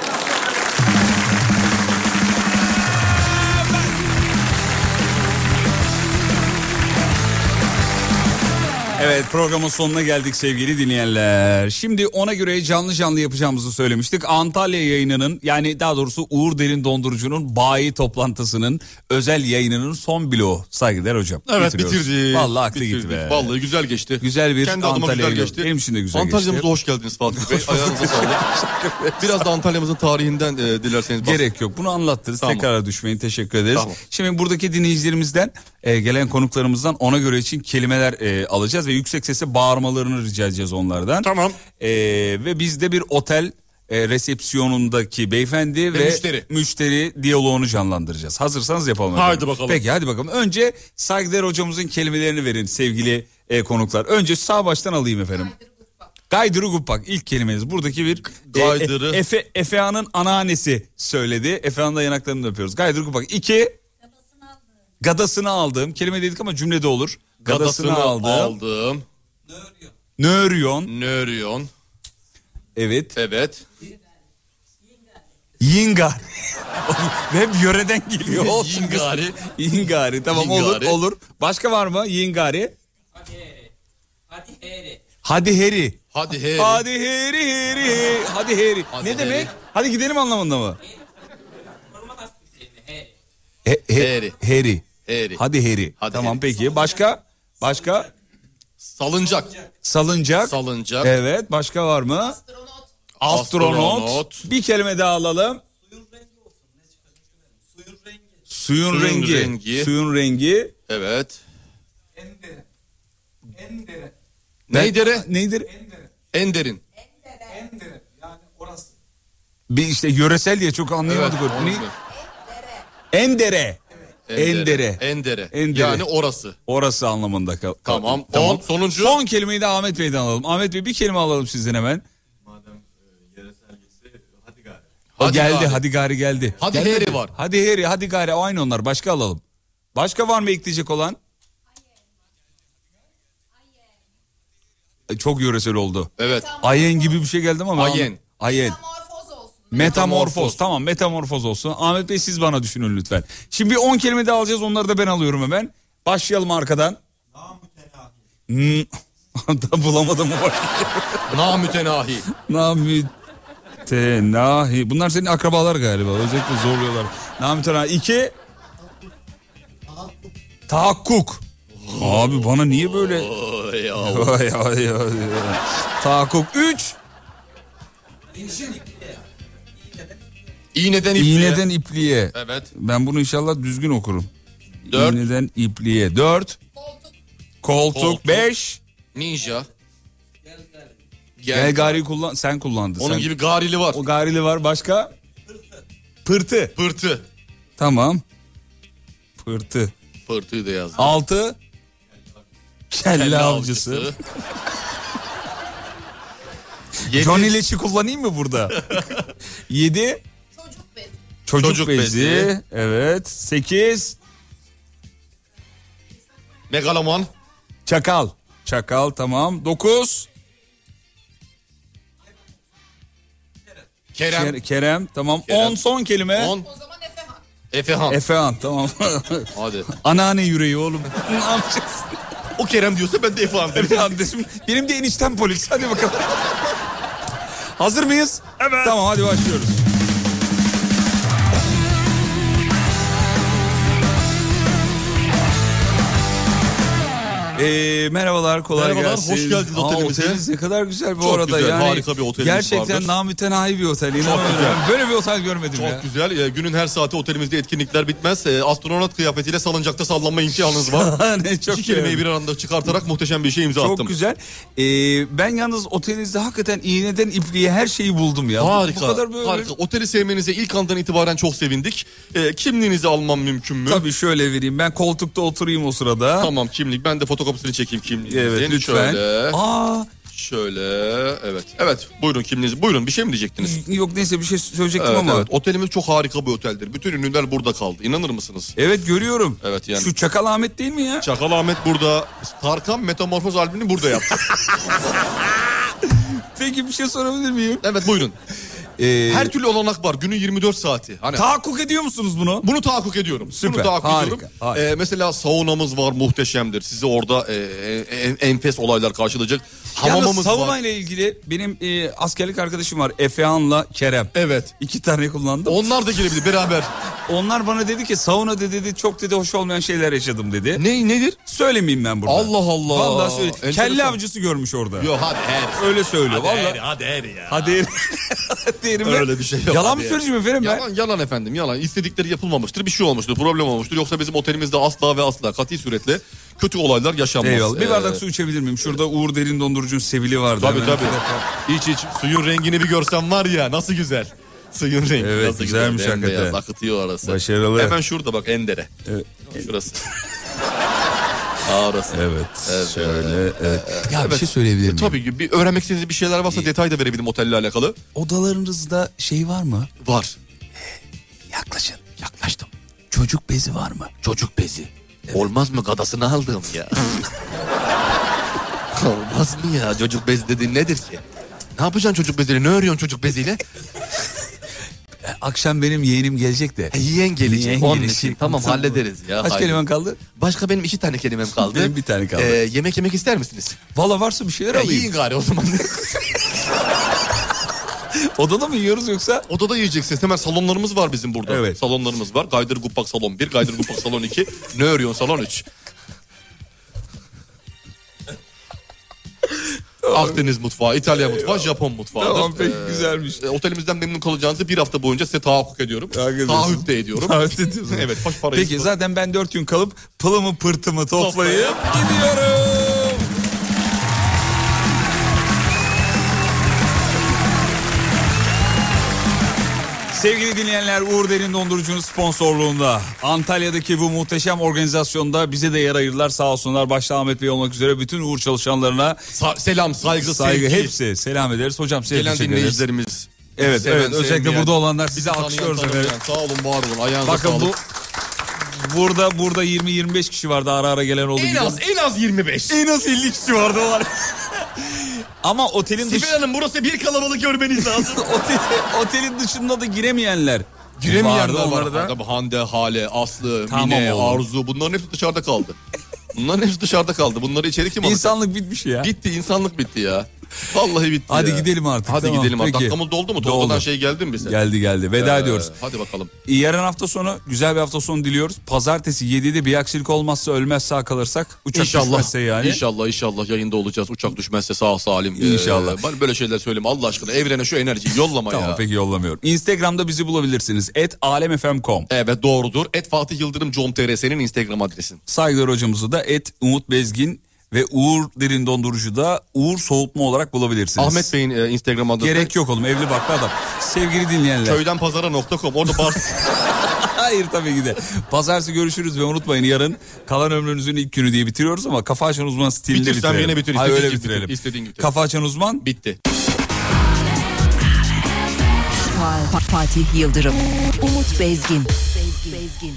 [SPEAKER 1] Evet programın sonuna geldik sevgili dinleyenler. Şimdi ona göre canlı canlı yapacağımızı söylemiştik. Antalya yayınının yani daha doğrusu Uğur Derin Dondurucu'nun bayi toplantısının özel yayınının son bloğu. Saygılar hocam.
[SPEAKER 3] Evet
[SPEAKER 1] Bitiriyoruz.
[SPEAKER 3] bitirdik.
[SPEAKER 1] Vallahi aklı
[SPEAKER 3] Bitirdik.
[SPEAKER 1] gitti be.
[SPEAKER 3] Vallahi güzel geçti.
[SPEAKER 1] Güzel bir
[SPEAKER 3] Kendi adıma
[SPEAKER 1] Antalya
[SPEAKER 3] güzel
[SPEAKER 1] yayını.
[SPEAKER 3] geçti.
[SPEAKER 1] Benim için de güzel
[SPEAKER 3] Antalya'mıza
[SPEAKER 1] geçti.
[SPEAKER 3] hoş geldiniz Fatih Bey. Ayağınıza sağlık. Biraz da Antalya'mızın tarihinden e, dilerseniz bahsedin.
[SPEAKER 1] Gerek yok. Bunu anlattınız.
[SPEAKER 3] Tamam.
[SPEAKER 1] Tekrar düşmeyin. Teşekkür ederiz.
[SPEAKER 3] Tamam.
[SPEAKER 1] Şimdi buradaki dinleyicilerimizden e, gelen konuklarımızdan ona göre için kelimeler e, alacağız ve yüksek sesle bağırmalarını rica edeceğiz onlardan. Tamam. ve bizde bir otel e, resepsiyonundaki beyefendi ve,
[SPEAKER 3] müşteri.
[SPEAKER 1] müşteri diyaloğunu canlandıracağız. Hazırsanız yapalım.
[SPEAKER 3] Haydi
[SPEAKER 1] efendim.
[SPEAKER 3] bakalım.
[SPEAKER 1] Peki hadi bakalım. Önce saygıdeğer hocamızın kelimelerini verin sevgili e, konuklar. Önce sağ baştan alayım efendim. Gaydırı Guppak ilk kelimeniz. Buradaki bir
[SPEAKER 3] Gaydırı.
[SPEAKER 1] E, Efe, Efehan'ın anaannesi söyledi. Efehan'ın da yanaklarını öpüyoruz. Gaydırı Guppak. İki. Gadasını aldım. Kelime dedik ama cümlede olur. Gadasını, aldım.
[SPEAKER 3] aldım.
[SPEAKER 1] Nöryon.
[SPEAKER 3] Nöryon.
[SPEAKER 1] Evet.
[SPEAKER 3] Evet.
[SPEAKER 1] Yingar. Hep yöreden geliyor. Olsun.
[SPEAKER 3] Yingari.
[SPEAKER 1] Yingari. Tamam olur
[SPEAKER 3] Yingari.
[SPEAKER 1] olur. Başka var mı? Yingari. Hadi heri.
[SPEAKER 3] Hadi he.
[SPEAKER 1] Hadi heri heri heri. Hadi heri.
[SPEAKER 3] Hadi
[SPEAKER 1] ne
[SPEAKER 3] heri.
[SPEAKER 1] demek? Hadi gidelim anlamında mı? He,
[SPEAKER 3] Heri.
[SPEAKER 1] heri. Heri.
[SPEAKER 3] Heri.
[SPEAKER 1] Hadi heri.
[SPEAKER 3] Hadi
[SPEAKER 1] tamam
[SPEAKER 3] heri.
[SPEAKER 1] peki. Başka? Başka?
[SPEAKER 3] Salıncak.
[SPEAKER 1] Salıncak.
[SPEAKER 3] Salıncak.
[SPEAKER 1] Evet. Başka var mı? Astronot.
[SPEAKER 3] Astronot.
[SPEAKER 1] Bir kelime daha alalım. Suyun
[SPEAKER 3] Suyun
[SPEAKER 1] rengi.
[SPEAKER 3] rengi.
[SPEAKER 1] Suyun rengi.
[SPEAKER 3] Evet.
[SPEAKER 11] Endere.
[SPEAKER 3] Neydere?
[SPEAKER 1] Nedir?
[SPEAKER 3] Enderin.
[SPEAKER 11] Endere. Yani orası.
[SPEAKER 1] Bir işte yöresel diye çok anlayamadık.
[SPEAKER 3] Evet,
[SPEAKER 1] o. Ne?
[SPEAKER 3] olmuyor.
[SPEAKER 1] Endere.
[SPEAKER 3] Endere.
[SPEAKER 1] Endere.
[SPEAKER 3] Endere.
[SPEAKER 1] Endere.
[SPEAKER 3] Yani orası.
[SPEAKER 1] Orası anlamında. kal-
[SPEAKER 3] Tamam. On, sonuncu.
[SPEAKER 1] Son kelimeyi de Ahmet Bey'den alalım. Ahmet Bey bir kelime alalım sizden hemen. O
[SPEAKER 3] Hadi
[SPEAKER 1] geldi
[SPEAKER 3] gari.
[SPEAKER 1] hadi gari geldi.
[SPEAKER 3] Hadi
[SPEAKER 1] Geldi
[SPEAKER 3] heri
[SPEAKER 1] mi?
[SPEAKER 3] var.
[SPEAKER 1] Hadi heri hadi gari o aynı onlar başka alalım. Başka var mı ekleyecek olan? E, Çok yöresel oldu.
[SPEAKER 3] Evet.
[SPEAKER 1] Ayen gibi bir şey geldi ama. ben-
[SPEAKER 3] Ayen.
[SPEAKER 1] Ayen.
[SPEAKER 12] Morfoz olsun.
[SPEAKER 1] Metamorfoz. Tamam metamorfoz olsun. Ahmet Bey siz bana düşünün lütfen. Şimdi bir 10 kelime daha alacağız onları da ben alıyorum hemen. Başlayalım arkadan. Hmm. Da bulamadım o başka.
[SPEAKER 3] Namütenahi.
[SPEAKER 1] Namütenahi. Bunlar senin akrabalar galiba. Özellikle zorluyorlar. Namütenahi. İki. Tahakkuk. Abi bana niye böyle...
[SPEAKER 3] Oy, oy.
[SPEAKER 1] Vay, vay, vay. Tahakkuk. Üç.
[SPEAKER 3] İğneden ipliğe.
[SPEAKER 1] İğneden ipliğe.
[SPEAKER 3] Evet.
[SPEAKER 1] Ben bunu inşallah düzgün okurum.
[SPEAKER 3] Dört.
[SPEAKER 1] İğneden ipliğe. Dört. Koltuk.
[SPEAKER 3] Koltuk.
[SPEAKER 1] Beş.
[SPEAKER 3] Ninja.
[SPEAKER 1] Gel gari kullan. Sen kullandın.
[SPEAKER 3] Onun
[SPEAKER 1] sen.
[SPEAKER 3] gibi garili var.
[SPEAKER 1] O garili var. Başka? Pırtı.
[SPEAKER 3] Pırtı.
[SPEAKER 1] Tamam. Pırtı.
[SPEAKER 3] Pırtıyı da yazdım.
[SPEAKER 1] Altı. Kelle,
[SPEAKER 3] Kelle
[SPEAKER 1] avcısı.
[SPEAKER 3] avcısı. Yedi.
[SPEAKER 1] Johnny Leş'i kullanayım mı burada? 7. Çocuk bezi. Çocuk,
[SPEAKER 3] Çocuk
[SPEAKER 1] bezi.
[SPEAKER 3] bezi.
[SPEAKER 1] Evet. 8.
[SPEAKER 3] Megaloman.
[SPEAKER 1] Çakal. Çakal tamam. 9.
[SPEAKER 3] Kerem.
[SPEAKER 1] Kerem tamam. 10 son kelime. 10.
[SPEAKER 3] Efehan.
[SPEAKER 1] Efehan tamam.
[SPEAKER 3] Hadi.
[SPEAKER 1] Anneanne yüreği oğlum. ne yapacağız?
[SPEAKER 3] O Kerem diyorsa ben de Efehan derim.
[SPEAKER 1] Efehan derim. Benim de eniştem polis. Hadi bakalım. Hazır mıyız? Evet. Tamam hadi başlıyoruz. Ee, merhabalar kolay
[SPEAKER 3] Merhabalar,
[SPEAKER 1] gelsin.
[SPEAKER 3] hoş geldiniz
[SPEAKER 1] Aa,
[SPEAKER 3] otelimize.
[SPEAKER 1] Oteliniz ne kadar güzel bu
[SPEAKER 3] Çok
[SPEAKER 1] arada.
[SPEAKER 3] güzel,
[SPEAKER 1] yani
[SPEAKER 3] harika bir otelimiz
[SPEAKER 1] Gerçekten
[SPEAKER 3] vardır.
[SPEAKER 1] namütenahi bir otel. inanamıyorum.
[SPEAKER 3] güzel.
[SPEAKER 1] Ben Böyle bir otel görmedim
[SPEAKER 3] Çok
[SPEAKER 1] ya.
[SPEAKER 3] güzel. Ee, günün her saati otelimizde etkinlikler bitmez. Ee, astronot kıyafetiyle salıncakta sallanma imkanınız var.
[SPEAKER 1] ne çok
[SPEAKER 3] İki kelimeyi
[SPEAKER 1] beğendim.
[SPEAKER 3] bir anda çıkartarak muhteşem bir şey imza
[SPEAKER 1] Çok
[SPEAKER 3] attım.
[SPEAKER 1] güzel. Ee, ben yalnız otelinizde hakikaten iğneden ipliğe her şeyi buldum ya. Bu-
[SPEAKER 3] Harika.
[SPEAKER 1] Bu kadar böyle
[SPEAKER 3] harika. Oteli sevmenize ilk andan itibaren çok sevindik. Ee, kimliğinizi almam mümkün mü?
[SPEAKER 1] Tabii şöyle vereyim. Ben koltukta oturayım o sırada.
[SPEAKER 3] Tamam kimlik. Ben de fotokopisini çekeyim kimliğinizin.
[SPEAKER 1] Evet, lütfen.
[SPEAKER 3] Şöyle.
[SPEAKER 1] Aa.
[SPEAKER 3] Şöyle. Evet. Evet. Buyurun kimliğinizi. Buyurun bir şey mi diyecektiniz?
[SPEAKER 1] Yok neyse bir şey söyleyecektim
[SPEAKER 3] Evet,
[SPEAKER 1] ama.
[SPEAKER 3] evet. Otelimiz çok harika bir oteldir. Bütün ünlüler burada kaldı. İnanır mısınız?
[SPEAKER 1] Evet görüyorum.
[SPEAKER 3] Evet yani.
[SPEAKER 1] Şu Çakal Ahmet değil mi ya?
[SPEAKER 3] Çakal Ahmet burada. Tarkan Metamorfoz albümünü burada yaptı.
[SPEAKER 1] Peki bir şey sorabilir miyim?
[SPEAKER 3] evet buyurun.
[SPEAKER 1] Ee,
[SPEAKER 3] Her türlü olanak var. Günün 24 saati. Hani
[SPEAKER 1] Tahakkuk ediyor musunuz bunu?
[SPEAKER 3] bunu tahakkuk ediyorum.
[SPEAKER 1] Süper,
[SPEAKER 3] Bunu tahakkuk
[SPEAKER 1] harika,
[SPEAKER 3] ediyorum.
[SPEAKER 1] harika.
[SPEAKER 3] Ee, mesela saunamız var muhteşemdir. Sizi orada e, e, en- enfes olaylar karşılayacak.
[SPEAKER 1] Yalnız
[SPEAKER 3] Hamamımız
[SPEAKER 1] savunma
[SPEAKER 3] var.
[SPEAKER 1] ile ilgili benim e, askerlik arkadaşım var. Efehan'la Kerem.
[SPEAKER 3] Evet.
[SPEAKER 1] İki tane kullandım.
[SPEAKER 3] Onlar da girebilir beraber.
[SPEAKER 1] Onlar bana dedi ki sauna dedi, dedi çok dedi hoş olmayan şeyler yaşadım dedi.
[SPEAKER 3] ne nedir?
[SPEAKER 1] Söylemeyeyim ben burada.
[SPEAKER 3] Allah Allah.
[SPEAKER 1] Vallahi söyle.
[SPEAKER 3] Enteresan.
[SPEAKER 1] Kelle avcısı görmüş orada.
[SPEAKER 3] Yok hadi her.
[SPEAKER 1] Öyle söylüyor. Vallahi.
[SPEAKER 3] Her, hadi her ya.
[SPEAKER 1] Hadi. Derim ben.
[SPEAKER 3] Öyle bir şey yok.
[SPEAKER 1] Yalan mı
[SPEAKER 3] Hadi.
[SPEAKER 1] söyleyeceğim efendim ben?
[SPEAKER 3] Yalan yalan efendim yalan. İstedikleri yapılmamıştır, bir şey olmuştur, problem olmuştur. Yoksa bizim otelimizde asla ve asla kat'i suretle kötü olaylar yaşanmaz.
[SPEAKER 1] Eyvallah. Bir
[SPEAKER 3] Ee,
[SPEAKER 1] bardak su içebilir miyim? Şurada Uğur Derin Dondurucu'nun sevili vardı.
[SPEAKER 3] Tabii
[SPEAKER 1] Hemen
[SPEAKER 3] tabii.
[SPEAKER 1] bir dakika.
[SPEAKER 3] İç iç suyun rengini bir görsen var ya nasıl güzel. Suyun rengi
[SPEAKER 1] Evet,
[SPEAKER 3] nasıl
[SPEAKER 1] güzelmiş
[SPEAKER 3] güzel. Bembeyaz,
[SPEAKER 1] hakikaten.
[SPEAKER 3] akıtıyor arası.
[SPEAKER 1] Başarılı.
[SPEAKER 3] Hemen şurada bak Endere. Şurası. Aa, Orası.
[SPEAKER 1] Evet. Şöyle. Evet. Ya bir şey söyleyebilir miyim?
[SPEAKER 3] E, Tabii ki bir öğrenmek istediğiniz bir şeyler varsa detay da verebilirim otelle alakalı.
[SPEAKER 1] Odalarınızda şey var mı?
[SPEAKER 3] Var.
[SPEAKER 1] Yaklaşın. Yaklaştım. Çocuk bezi var mı?
[SPEAKER 3] Çocuk bezi. Olmaz mı gadasını aldım ya. Olmaz mı ya çocuk bezi dediğin nedir ki? Ne yapacaksın çocuk beziyle? Ne örüyorsun çocuk beziyle?
[SPEAKER 1] E, Akşam benim yeğenim gelecek de.
[SPEAKER 3] E, Yiyen gelecek.
[SPEAKER 1] Yiyen
[SPEAKER 3] Onun
[SPEAKER 1] gelecek.
[SPEAKER 3] için tamam
[SPEAKER 1] Tamam.
[SPEAKER 3] hallederiz ya.
[SPEAKER 1] Kaç
[SPEAKER 3] haydi.
[SPEAKER 1] kelimen kaldı?
[SPEAKER 3] Başka benim iki tane kelimem kaldı.
[SPEAKER 1] Benim bir tane kaldı.
[SPEAKER 3] Ee, yemek yemek ister misiniz?
[SPEAKER 1] Valla varsa bir şeyler
[SPEAKER 3] Ya
[SPEAKER 1] alayım.
[SPEAKER 3] yiyin gari o zaman.
[SPEAKER 1] Odada mı yiyoruz yoksa?
[SPEAKER 3] Odada yiyeceksiniz. Hemen salonlarımız var bizim burada.
[SPEAKER 1] Evet.
[SPEAKER 3] Salonlarımız var. Gaydır Gupak Salon 1, Gaydır Gupak Salon 2. Ne örüyorsun Salon 3. Akdeniz mutfağı, İtalya mutfağı, Japon mutfağıdır.
[SPEAKER 1] Tamam, peki,
[SPEAKER 3] Ee,
[SPEAKER 1] güzelmiş.
[SPEAKER 3] e, otelimizden memnun kalacağınızı bir hafta boyunca size tahakkuk ediyorum.
[SPEAKER 1] Tahakkuk ediyorsun.
[SPEAKER 3] Taahhüt de ediyorum.
[SPEAKER 1] Taahhüt ediyorsun.
[SPEAKER 3] evet, hoş parayı.
[SPEAKER 1] Peki zaten ben dört gün kalıp pılımı pırtımı toplayıp gidiyorum. Sevgili dinleyenler Uğur Derin Dondurucu'nun sponsorluğunda Antalya'daki bu muhteşem organizasyonda bize de yer ayırdılar sağ olsunlar. Başta Ahmet Bey olmak üzere bütün Uğur çalışanlarına
[SPEAKER 3] Sa- selam, saygı,
[SPEAKER 1] saygı
[SPEAKER 3] sevgi.
[SPEAKER 1] hepsi selam ederiz. Hocam size
[SPEAKER 3] Gelen
[SPEAKER 1] teşekkür ederiz.
[SPEAKER 3] dinleyicilerimiz.
[SPEAKER 1] Evet,
[SPEAKER 3] seven,
[SPEAKER 1] evet, özellikle
[SPEAKER 3] sevmeyen,
[SPEAKER 1] burada olanlar
[SPEAKER 3] bizi
[SPEAKER 1] sizi
[SPEAKER 3] tanıyan,
[SPEAKER 1] alkışlıyoruz
[SPEAKER 3] tanımayan.
[SPEAKER 1] efendim.
[SPEAKER 3] Sağ olun, var olun. Ayağınıza
[SPEAKER 1] Bakın
[SPEAKER 3] sağlık.
[SPEAKER 1] bu burada burada 20-25 kişi vardı ara ara gelen oldu.
[SPEAKER 3] En
[SPEAKER 1] giden-
[SPEAKER 3] az en az 25.
[SPEAKER 1] En az 50 kişi vardı o var. Ama otelin
[SPEAKER 3] Sibel
[SPEAKER 1] dışı,
[SPEAKER 3] Hanım burası bir kalabalık görmeniz lazım.
[SPEAKER 1] otel- otelin dışında da giremeyenler.
[SPEAKER 3] Giremeyenler
[SPEAKER 1] vardı
[SPEAKER 3] var.
[SPEAKER 1] onlarda.
[SPEAKER 3] Tabii Hande, Hale, Aslı,
[SPEAKER 1] Tamam
[SPEAKER 3] Mine,
[SPEAKER 1] oğlum.
[SPEAKER 3] Arzu bunların hepsi dışarıda kaldı. Bunların hepsi dışarıda kaldı. Bunları içeri kim alacak?
[SPEAKER 1] İnsanlık bitmiş ya.
[SPEAKER 3] Bitti insanlık bitti ya. Vallahi bitti
[SPEAKER 1] Hadi
[SPEAKER 3] ya.
[SPEAKER 1] gidelim artık,
[SPEAKER 3] Hadi
[SPEAKER 1] tamam,
[SPEAKER 3] gidelim artık.
[SPEAKER 1] peki.
[SPEAKER 3] Dakikamız doldu mu?
[SPEAKER 1] Doldu.
[SPEAKER 3] Doldu. şey geldi mi bize?
[SPEAKER 1] Geldi geldi. Veda
[SPEAKER 3] Ee,
[SPEAKER 1] ediyoruz.
[SPEAKER 3] Hadi bakalım.
[SPEAKER 1] Yarın hafta sonu güzel bir hafta sonu diliyoruz. Pazartesi 7'de bir aksilik olmazsa ölmez sağ kalırsak uçak
[SPEAKER 3] İnşallah.
[SPEAKER 1] düşmezse yani.
[SPEAKER 3] İnşallah inşallah yayında olacağız. Uçak düşmezse sağ salim. Ee,
[SPEAKER 1] İnşallah.
[SPEAKER 3] ben böyle şeyler söyleme Allah aşkına. Evrene şu enerjiyi yollama
[SPEAKER 1] Tamam
[SPEAKER 3] ya.
[SPEAKER 1] peki yollamıyorum. Instagram'da bizi bulabilirsiniz. Et alemfm.com.
[SPEAKER 3] Evet doğrudur. Et Fatih Yıldırım com.tr senin Instagram adresin.
[SPEAKER 1] Saygılar hocamızı da et Umut Bezgin ve Uğur Derin Dondurucu da Uğur Soğutma olarak bulabilirsiniz.
[SPEAKER 3] Ahmet Bey'in e, Instagram adresi.
[SPEAKER 1] Gerek yok oğlum evli baklı adam. Sevgili dinleyenler.
[SPEAKER 3] Köydenpazara.com orada bars.
[SPEAKER 1] Hayır tabii ki de. Pazartesi görüşürüz ve unutmayın yarın kalan ömrünüzün ilk günü diye bitiriyoruz ama Kafa Açan Uzman stilinde
[SPEAKER 3] Bitir, sen
[SPEAKER 1] bitirelim.
[SPEAKER 3] yine bitir,
[SPEAKER 1] Hayır
[SPEAKER 3] istediğin
[SPEAKER 1] öyle
[SPEAKER 3] gibi bitir,
[SPEAKER 1] bitirelim.
[SPEAKER 3] istediğin gibi bitir.
[SPEAKER 1] Kafa Açan Uzman
[SPEAKER 3] Bitti.
[SPEAKER 2] Vay. Fa- Fatih Yıldırım, Umut Bezgin.